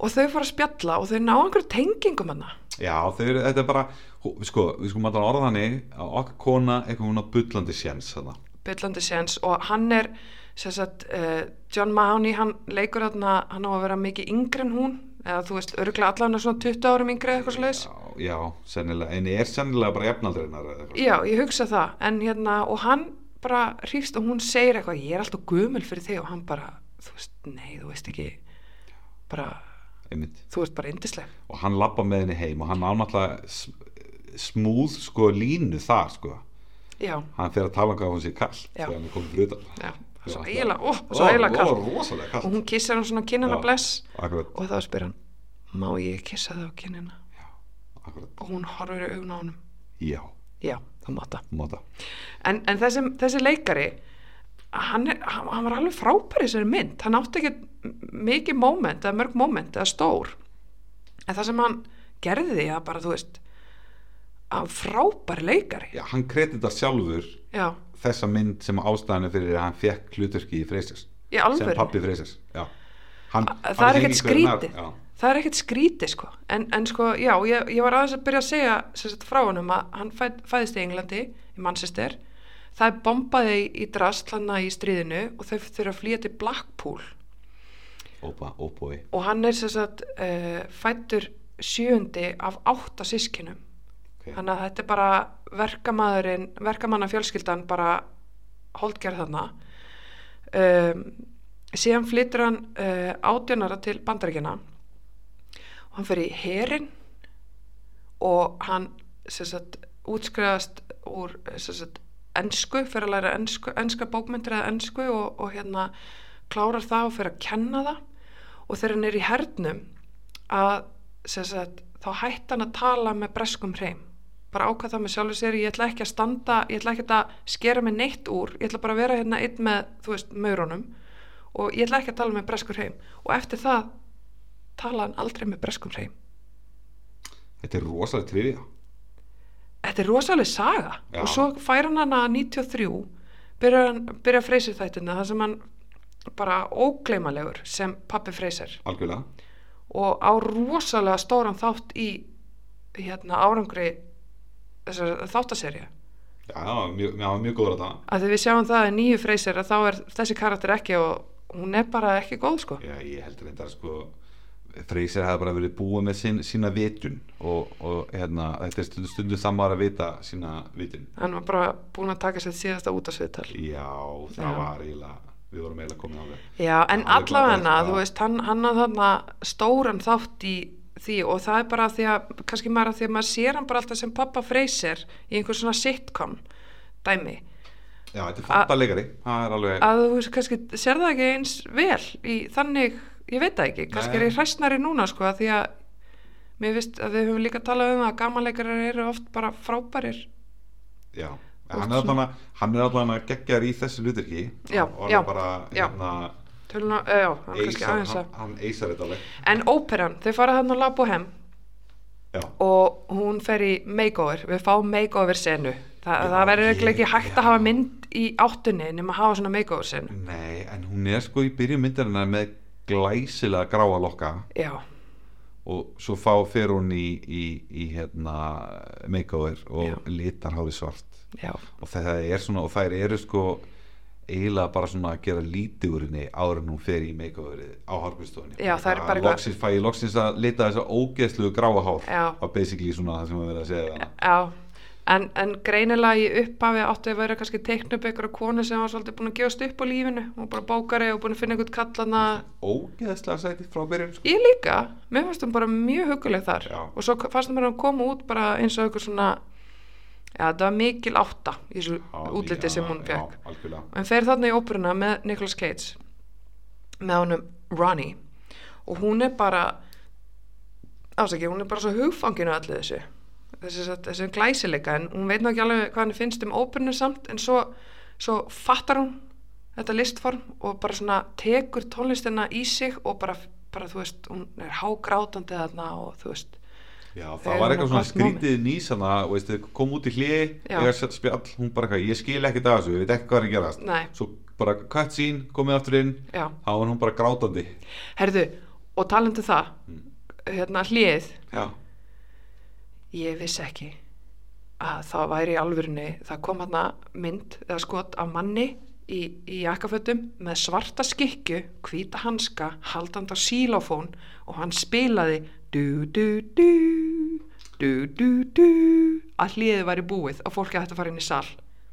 [SPEAKER 2] og þau fara að spjalla og þau ná einhverju tengingum hana
[SPEAKER 1] já þau eru, þetta er bara hú- sko, við skulum alltaf orða þannig að okkar kona eitthvað hún á bullandi sjens þarna,
[SPEAKER 2] byllandi séns og hann eh, er sem sagt, uh, John Mahoney, hann leikur þarna, hann á að vera mikið yngri en hún eða þú veist, örgulega allan svona 20 árum yngri eða eitthvað slags
[SPEAKER 1] já, já, sennilega, en ég er sennilega bara jafnaldreinar eða eitthvað
[SPEAKER 2] já, ég hugsa það, en hérna og hann bara hrífst og hún segir eitthvað ég er alltaf gömul fyrir þig og hann bara þú veist, nei, þú veist ekki bara,
[SPEAKER 1] einmitt
[SPEAKER 2] þú veist bara yndisleg
[SPEAKER 1] og hann labba með henni heim og hann ánáttúrulega smúð sko línu þar sko
[SPEAKER 2] já,
[SPEAKER 1] hann fer að tala um hvað hún sé kall
[SPEAKER 2] Já.
[SPEAKER 1] þegar hann er komið fyrir utan
[SPEAKER 2] já, svo eiginlega, ó, svo eiginlega
[SPEAKER 1] kall
[SPEAKER 2] kall
[SPEAKER 1] og rosalega
[SPEAKER 2] og
[SPEAKER 1] kall
[SPEAKER 2] hún kissar hann svona kinnina
[SPEAKER 1] Já.
[SPEAKER 2] bless
[SPEAKER 1] akkurat,
[SPEAKER 2] og þá spyr hann má ég kissa það á kinnina
[SPEAKER 1] akkurat,
[SPEAKER 2] og hún horfir í augun á honum
[SPEAKER 1] já,
[SPEAKER 2] já, þú mátt það
[SPEAKER 1] móta
[SPEAKER 2] en, en þessi, þessi leikari hann, er, hann, hann var alveg frábær í þessari mynd hann átti ekki mikið moment eða mörg moment eða stór en það sem hann gerði því að bara þú veist að frábær leikari
[SPEAKER 1] já, hann kreditar sjálfur
[SPEAKER 2] já,
[SPEAKER 1] þessa mynd sem ástæðan er fyrir að hann fekk hlutverki í Freysers
[SPEAKER 2] í
[SPEAKER 1] sem
[SPEAKER 2] alvöru
[SPEAKER 1] pappi Freysers já Hann,
[SPEAKER 2] það
[SPEAKER 1] hann
[SPEAKER 2] er ekkert
[SPEAKER 1] hengilsverðin nar-
[SPEAKER 2] skrítið
[SPEAKER 1] já.
[SPEAKER 2] það er ekkert skrítið sko en, en sko, já, ég, ég var aðeins að byrja að segja sem sagt, frá honum að hann fæð, fæðist í Englandi í Manchester það er bombaði í, í drast hann í stríðinu og þau þurfa að flýja til Blackpool
[SPEAKER 1] Ópa, óbói
[SPEAKER 2] og hann er sem sagt uh, fættur sjöundi af átta sískinum
[SPEAKER 1] okay.
[SPEAKER 2] þannig að þetta er bara verkamaðurinn verkamanna fjölskyldan bara holdgerð þarna um, síðan flyttur hann uh, átjónara til bandaríkina og hann fer í herin og hann sem sagt útskrifast úr sem sagt ensku, fer að læra ensku, enska bókmyndir eða ensku og, og hérna klárar það og fer að kenna það og þegar hann er í hernum að sem sagt, þá hætti hann að tala með breskum hreim bara ákvað það með sjálfur sér ég ætla ekki að standa, ég ætla ekki að skera mig neitt úr, ég ætla bara að vera hérna einn með, þú veist, maurunum og ég ætla ekki að tala með breskur hreim og eftir það tala hann aldrei með breskum hreim
[SPEAKER 1] Þetta er rosalega trivia
[SPEAKER 2] þetta er rosalega saga
[SPEAKER 1] Já.
[SPEAKER 2] og svo fær hann hana 93 byrjar hann, byrja freysir þættina þar sem hann bara ógleimalegur sem pappi freysir
[SPEAKER 1] Algjörlega
[SPEAKER 2] og á rosalega stóran þátt í hérna árangri þessar þáttaserju
[SPEAKER 1] Já, það var mjög, mjög, mjög góður að það
[SPEAKER 2] að þegar við sjáum það að nýju freysir að þá er þessi karakter ekki og hún er bara ekki góð sko
[SPEAKER 1] Já, ég heldur þetta sko Freysir hefði bara verið búið með sín, sína vitun og, og hérna, þetta er stundu, stundu samar að vita sína vitun
[SPEAKER 2] hann var bara búin að taka sér síðasta út af sviðtal
[SPEAKER 1] Já, það
[SPEAKER 2] Já.
[SPEAKER 1] var eiginlega við vorum eiginlega komin á það
[SPEAKER 2] Já, en
[SPEAKER 1] Já, alveg
[SPEAKER 2] allavega,
[SPEAKER 1] glataðist, já.
[SPEAKER 2] þú veist, hann, hann að þarna stóran þátt í því og það er bara af því að, kannski maður að því að maður sér hann bara alltaf sem pappa freysir í einhver svona sitcom dæmi,
[SPEAKER 1] Já, þetta er fattalegari, það er alveg
[SPEAKER 2] að þú veist, kannski sér það ekki eins vel í þannig, ég veit það ekki, kannski
[SPEAKER 1] Nei.
[SPEAKER 2] er ég hræstnari núna, sko, að því að mér veist að við höfum líka talað um það að gamanleikarar eru oft bara frábærir
[SPEAKER 1] Já, hann er allan að hann er allan að geggjar í þessu hlutirki
[SPEAKER 2] Já,
[SPEAKER 1] og alveg
[SPEAKER 2] já,
[SPEAKER 1] bara,
[SPEAKER 2] já.
[SPEAKER 1] hérna,
[SPEAKER 2] töluna, eh, já, hann kannski
[SPEAKER 1] eisar,
[SPEAKER 2] aðeins
[SPEAKER 1] hann,
[SPEAKER 2] að
[SPEAKER 1] hann eisar þetta alveg
[SPEAKER 2] en óperan, þau fara þarna að labu heim
[SPEAKER 1] Já,
[SPEAKER 2] og hún fer í makeover við fáum makeover senu Þa,
[SPEAKER 1] Já,
[SPEAKER 2] það verður eiginlega ekki
[SPEAKER 1] ég-
[SPEAKER 2] hægt
[SPEAKER 1] já.
[SPEAKER 2] að hafa mynd í áttunni nema að hafa svona makeover senu
[SPEAKER 1] nei, en hún er sko í byrjun myndarinnar með glæsilega gráa lokka
[SPEAKER 2] já,
[SPEAKER 1] og svo fá fer hún í, í, í hérna makeover og
[SPEAKER 2] Já.
[SPEAKER 1] litar hári svart
[SPEAKER 2] já,
[SPEAKER 1] og það er svona og þær eru sko eiginlega bara svona að gera lítið úr henni áður en hún fer í makeoverið á hárgrunnstofunni
[SPEAKER 2] Já, það er bara eitthvað-
[SPEAKER 1] loksins, fæ ég loksins að lita þess að ógeðsluðu gráa hár
[SPEAKER 2] Já.
[SPEAKER 1] og basically svona það sem að vera að segja við hana
[SPEAKER 2] já en, en greinilega í upphafi áttu að vera kannski teikna upp ykkur konu sem var svolítið búin að gefast upp á lífinu og bara bókari og búin að finna einhvern kallana
[SPEAKER 1] ógeðslega sæti frá byrjun sko.
[SPEAKER 2] ég líka, mér fannst hún bara mjög huguleg þar
[SPEAKER 1] Já.
[SPEAKER 2] og svo fannst mér hún koma út bara eins og einhver svona já, það var mikil átta í þessu útliti sem hún fekk
[SPEAKER 1] já, algjörlega
[SPEAKER 2] en fer þarna í óperuna með Nicolas Cage með honum Ronnie og hún er bara ásaki, hún er bara svo hugfanginu öllu þessu þessi, þessi glæsileika en hún veit nú ekki alveg hvað hann finnst um óperuna samt en svo, svo fattar hún þetta listform og bara svona tekur tónlistina í sig og bara, bara þú veist, hún er hágrátandi þarna og þú veist
[SPEAKER 1] Já,
[SPEAKER 2] Eh,
[SPEAKER 1] það var eitthvað
[SPEAKER 2] hún var
[SPEAKER 1] svona
[SPEAKER 2] gott moment.
[SPEAKER 1] skrítið nýsana, veist, þau kom út í hliði,
[SPEAKER 2] Já.
[SPEAKER 1] ég sett spjall, hún bara eitthvað, ég skil ekki það þessu, ég veit ekki hvað er að gerast.
[SPEAKER 2] Nei.
[SPEAKER 1] Svo bara cut scene, komið aftur inn,
[SPEAKER 2] Já.
[SPEAKER 1] þá var hún bara grátandi.
[SPEAKER 2] herðu, og talandi um það hérna hlið
[SPEAKER 1] Já.
[SPEAKER 2] Ég vissi ekki að það væri í alvörunni, það kom hann mynd eða skot af manni í, í jakkafötum með svarta skikju, hvíta hanska, haldandi á sílófón og hann spilaði du du du du du du að hliðið væri búið og fólki ætti að fara inn í sal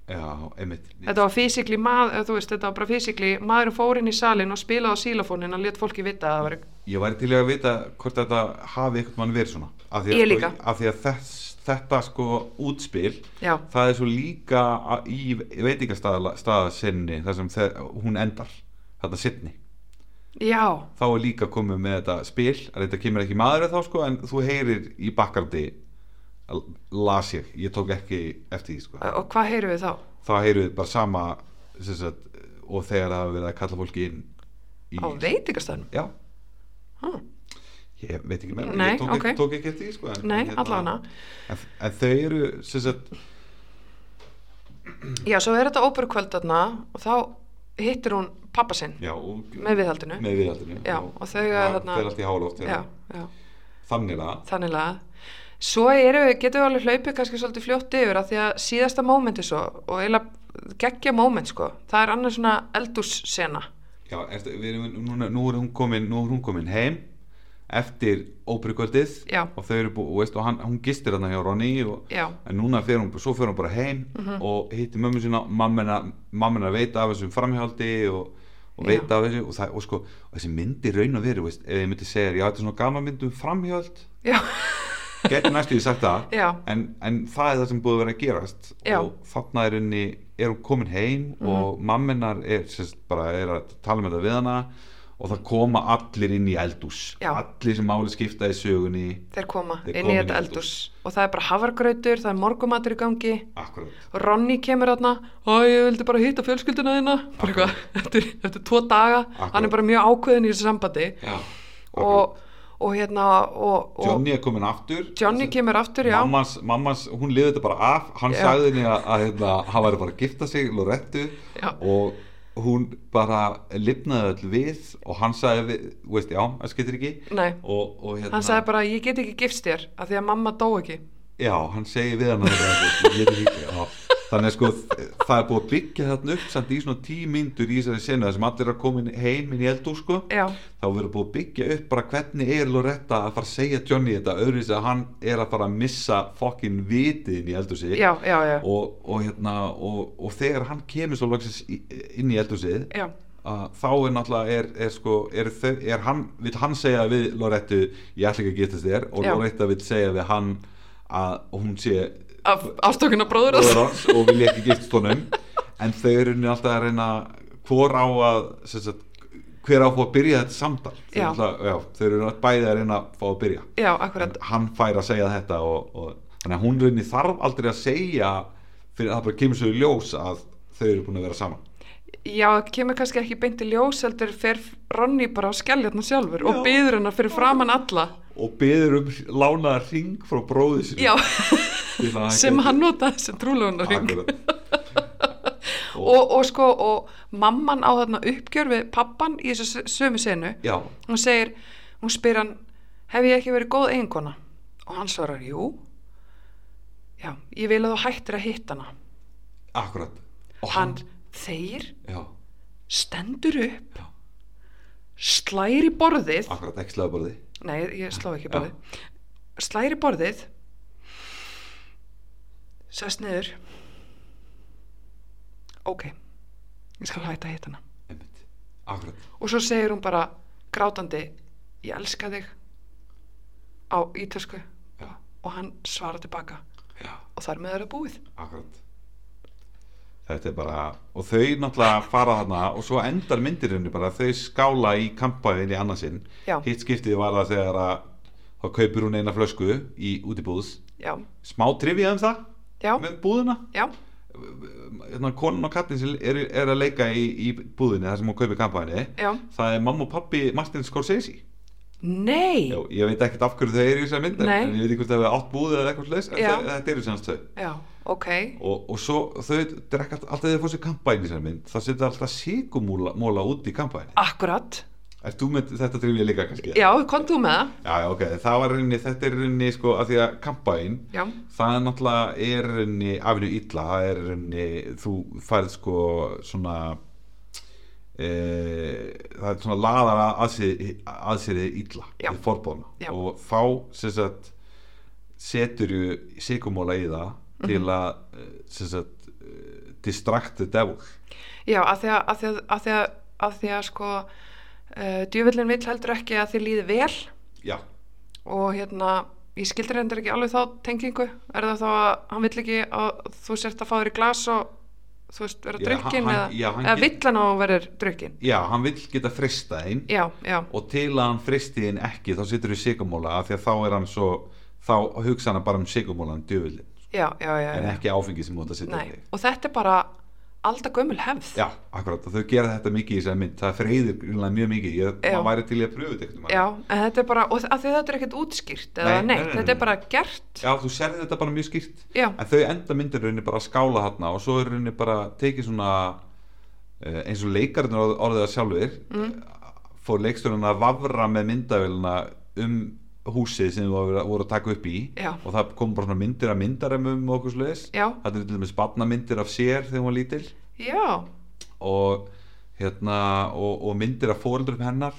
[SPEAKER 1] já, einmitt
[SPEAKER 2] þetta var fysikli maður, þú veist, þetta var bara fysikli maður fór inn í salin og spilaði á sílófónin og let fólki vita að það var
[SPEAKER 1] Ég væri til í að vita hvort þetta hafi einhvern mann verið svona af því að,
[SPEAKER 2] Ég líka.
[SPEAKER 1] sko, af því að þess, þetta sko útspil
[SPEAKER 2] já,
[SPEAKER 1] það er svo líka að- í veitingastaðasinni þar sem þe- hún endar þetta sittni
[SPEAKER 2] já,
[SPEAKER 1] þá er líka komið með þetta spil að þetta kemur ekki maður þá sko en þú heyrir í bakkardi las ég, ég tók ekki eftir því sko
[SPEAKER 2] og hvað heyrum við þá?
[SPEAKER 1] þá heyrir við bara sama sem sagt, og þegar það hafa verið að kalla fólki inn í,
[SPEAKER 2] á veitingastæðnum
[SPEAKER 1] já,
[SPEAKER 2] huh.
[SPEAKER 1] ég veit ekki meira
[SPEAKER 2] Nei,
[SPEAKER 1] ég tók,
[SPEAKER 2] ok.
[SPEAKER 1] ekki, tók ekki eftir því sko en,
[SPEAKER 2] nei,
[SPEAKER 1] en
[SPEAKER 2] allavega
[SPEAKER 1] en, en þau eru sem sagt,
[SPEAKER 2] já, svo er þetta óperukvöld þarna og þá hittir hún pappa sinn
[SPEAKER 1] já, og,
[SPEAKER 2] með viðhaldinu
[SPEAKER 1] með viðhaldinu
[SPEAKER 2] Já, og þau eru
[SPEAKER 1] það
[SPEAKER 2] þarna-
[SPEAKER 1] fer allt í hálóft
[SPEAKER 2] já, já,
[SPEAKER 1] þannig að
[SPEAKER 2] þannig lagað svo erum við, getum við alveg hlaupið kannski svolítið fljótt yfir að því að síðasta mómenti svo og eiginlega geggja móment sko það er annars svona eldússena
[SPEAKER 1] já, er, erum, núna, nú, er hún komin, nú er hún komin heim eftir óbryggöldið
[SPEAKER 2] Já.
[SPEAKER 1] og þau eru búið, og, veist, og hann, hún gistir hann hjá Ronny og,
[SPEAKER 2] já, Mhm.
[SPEAKER 1] en núna fer hún, svo fer hún bara heim og hittir mömmu sína mammina, mammina veit af þessum framhjaldi og, og veit
[SPEAKER 2] Já.
[SPEAKER 1] af þessu og, það, og, sko, og þessi myndi raun og veru veist, ef ég myndi segja þér, já þetta er svona gama mynd um framhjald
[SPEAKER 2] já,
[SPEAKER 1] getur næstu því sagt það
[SPEAKER 2] já
[SPEAKER 1] en, en það er það sem búið að vera að gerast
[SPEAKER 2] Já. Mhm.
[SPEAKER 1] og þarna er henni er hún komin heim og mamminar er, sérst, bara, er að tala með þetta við hana og það koma allir inn í eldús
[SPEAKER 2] Já.
[SPEAKER 1] allir sem máli skipta í sögunni
[SPEAKER 2] þeir koma
[SPEAKER 1] Þeir koma
[SPEAKER 2] inn í
[SPEAKER 1] inn í
[SPEAKER 2] þetta eldús og það er bara hafargrautur, það er morgumatur í gangi
[SPEAKER 1] akkurat
[SPEAKER 2] og Ronny kemur þarna og ég vildi bara hitta fjölskylduna þína bara eitthvað, eftir, eftir tvo daga
[SPEAKER 1] Akkurat.
[SPEAKER 2] hann er bara mjög ákveðin í þessu sambandi
[SPEAKER 1] já,
[SPEAKER 2] og, og hérna og, og
[SPEAKER 1] Johnny er komin aftur
[SPEAKER 2] Johnny kemur aftur, já
[SPEAKER 1] mammas, mammas, hún liði þetta bara af hann
[SPEAKER 2] Já.
[SPEAKER 1] sagði henni að, að hérna, hann væri bara að gifta sig Lorettu
[SPEAKER 2] Já.
[SPEAKER 1] og hún bara lifnaði öll við og hann sagði, við, þú veist, já, það skiptir ekki
[SPEAKER 2] Nei,
[SPEAKER 1] og, og hérna
[SPEAKER 2] hann sagði bara ég get ekki gifst þér af því að mamma dó ekki
[SPEAKER 1] Já, hann segir við hann að það er ekki já. Þannig að sko það er búið að byggja þarna upp samt í svona tíu myndur í þessari senu þessum allir er að koma inn- heim inn í eldur sko
[SPEAKER 2] Já,
[SPEAKER 1] þá verður búið að byggja upp bara hvernig er Loretta að fara að segja Johnny þetta öðru þess að hann er að fara að missa fokkin vitið inn í eldur sig
[SPEAKER 2] já, já, já
[SPEAKER 1] og, og hérna og, og þegar hann kemur svo loksins í- inn í eldur sig
[SPEAKER 2] Já,
[SPEAKER 1] þá er náttúrulega er, er sko, er þau, er hann, vil hann segja við Lorettu, ég ætla ekki að getast þér og
[SPEAKER 2] Já.
[SPEAKER 1] Loretta vil segja við hann að hún sé
[SPEAKER 2] af ástökuna bróður
[SPEAKER 1] bróður hans og vil ekki giftast honum en þau eru henni alltaf að reyna hvor á að sem sagt, hver á að fá að byrja þetta samtal þau,
[SPEAKER 2] Já.
[SPEAKER 1] eru alltaf, já, þau eru bæði að reyna að fá að byrja
[SPEAKER 2] Já,
[SPEAKER 1] en
[SPEAKER 2] akkurat,
[SPEAKER 1] hann fær að segja þetta og, og, þannig að hún reyni þarf aldrei að segja fyrir að það bara kemur svo í ljós að þau eru búin að vera saman
[SPEAKER 2] já, það kemur kannski ekki beint í ljós heldur fer Ronny bara á skelljarnar sjálfur og
[SPEAKER 1] Já.
[SPEAKER 2] byður hennar fyrir framann alla
[SPEAKER 1] og byður um lánaða ring frá bróði sinni
[SPEAKER 2] Já,
[SPEAKER 1] til að
[SPEAKER 2] sem
[SPEAKER 1] geti-
[SPEAKER 2] hann notaði sem trúlegunaring
[SPEAKER 1] Akkurat.
[SPEAKER 2] og, og sko, og mamman á þarna uppgjör við pappan í þessu s- sömu senu
[SPEAKER 1] já,
[SPEAKER 2] hún segir, hún spyr hann hef ég ekki verið góð eiginkona og hann svarar, jú já, ég vil að þú hættir að hitta hana
[SPEAKER 1] akkurat og
[SPEAKER 2] hann þeir
[SPEAKER 1] já,
[SPEAKER 2] stendur upp
[SPEAKER 1] Já.
[SPEAKER 2] slær í borðið
[SPEAKER 1] akkurat, ekki slega bara því
[SPEAKER 2] nei, ég slá ekki í
[SPEAKER 1] Já.
[SPEAKER 2] borðið slær í borðið sest niður ok ég skal hætta að hitta hana
[SPEAKER 1] einmitt, akkurat
[SPEAKER 2] og svo segir hún bara grátandi ég elska þig á ítösku
[SPEAKER 1] Já.
[SPEAKER 2] og hann svarar tilbaka
[SPEAKER 1] já
[SPEAKER 2] og þar með er það búið
[SPEAKER 1] Akkurat Þetta er bara, og þau náttúrulega fara þarna og svo endar myndirinu bara þau skála í kampaðin í annarsinn
[SPEAKER 2] Já.
[SPEAKER 1] hitt skiptið var það þegar að þá kaupir hún eina flösku í útibúðs
[SPEAKER 2] já,
[SPEAKER 1] smá trivja um það
[SPEAKER 2] já,
[SPEAKER 1] með búðina
[SPEAKER 2] já,
[SPEAKER 1] hérna, konan og kattin sem er, er að leika í, í búðinni þar sem hún kaupir kampaðinni
[SPEAKER 2] já
[SPEAKER 1] það er mamma og pappi Martin Scorsese
[SPEAKER 2] nei,
[SPEAKER 1] Já, ég veit ekkert af hverju þau eru í þessar myndir
[SPEAKER 2] Nei.
[SPEAKER 1] en ég veit ekki hvort það er átt búðið eða eitthvað slags en
[SPEAKER 2] Já.
[SPEAKER 1] þau- þetta eru sem hans þau
[SPEAKER 2] já, ok
[SPEAKER 1] og, og svo þau drekka alltaf þegar fór sér kampæni sem mynd það setja alltaf sigumóla móla út í kampæni
[SPEAKER 2] akkurat,
[SPEAKER 1] er þú með þetta trivja líka kannski?
[SPEAKER 2] já, kom þú með það
[SPEAKER 1] já, já, ok, það var rauninni, þetta er rauninni sko að því að kampæn
[SPEAKER 2] já,
[SPEAKER 1] það er náttúrulega er rauninni afinu illa, það er rauninni þú færð sko svona e, það er svona laðar að að sér, að sér þið illa
[SPEAKER 2] Já.
[SPEAKER 1] þið forbóðna
[SPEAKER 2] Já.
[SPEAKER 1] og þá sem sagt, setur ju sikumóla í það
[SPEAKER 2] Mhm.
[SPEAKER 1] til að eh, sem sagt, eh, distract the devil
[SPEAKER 2] Já, að því að, að, því að, að, því að, að, því að sko uh, djöfullin vill heldur ekki að þið líði vel
[SPEAKER 1] já,
[SPEAKER 2] og hérna ég skildir hendur ekki alveg þá tengingu er það þá að hann vill ekki að þú sért að fá þér í glas og þú veist vera
[SPEAKER 1] Já,
[SPEAKER 2] drukkin
[SPEAKER 1] hann-
[SPEAKER 2] eða,
[SPEAKER 1] já, hann
[SPEAKER 2] eða
[SPEAKER 1] get-
[SPEAKER 2] vill hann á að vera drukkin
[SPEAKER 1] já, hann vill geta frista einn
[SPEAKER 2] Já, já,
[SPEAKER 1] og til að hann fristi einn ekki þá setur við sikumóla af því að þá er hann svo þá hugsa hann bara um sikumólan djöfullin
[SPEAKER 2] já, já, já,
[SPEAKER 1] en
[SPEAKER 2] já.
[SPEAKER 1] ekki áfengi sem þú ert að setja í
[SPEAKER 2] Nei,
[SPEAKER 1] þig.
[SPEAKER 2] og þetta er bara alltaf gömul hefð
[SPEAKER 1] Já, akkurat, og þau gera þetta mikið í þessari mynd það freyðir grunlega mjög mikið ég,
[SPEAKER 2] Já.
[SPEAKER 1] maður væri til í að pröfu þetta einhvern tímann.
[SPEAKER 2] Já, en þetta er bara, og að því þetta er ekkert útskýrt eða
[SPEAKER 1] Nei,
[SPEAKER 2] neitt,
[SPEAKER 1] nei, nei, nei,
[SPEAKER 2] þetta er
[SPEAKER 1] nei.
[SPEAKER 2] bara gert
[SPEAKER 1] Já, þú serði þetta bara mjög skýrt
[SPEAKER 2] Já.
[SPEAKER 1] en þau enda myndir rauninni bara að skála þarna og svo er rauninni bara tekið svona eh, eins og leikarinn orðið að sjálfur mm. fór leiksturinn að vafra með myndavélina um húsið sem þú voru voru að taka upp í
[SPEAKER 2] Já.
[SPEAKER 1] og það kom bara svona myndir af myndaremum og okkur sluðis
[SPEAKER 2] Já.
[SPEAKER 1] þetta er til dæmis barnamyndir af sér þegar hún var lítil
[SPEAKER 2] Já,
[SPEAKER 1] og, hérna, og, og myndir af fóreldrum hennar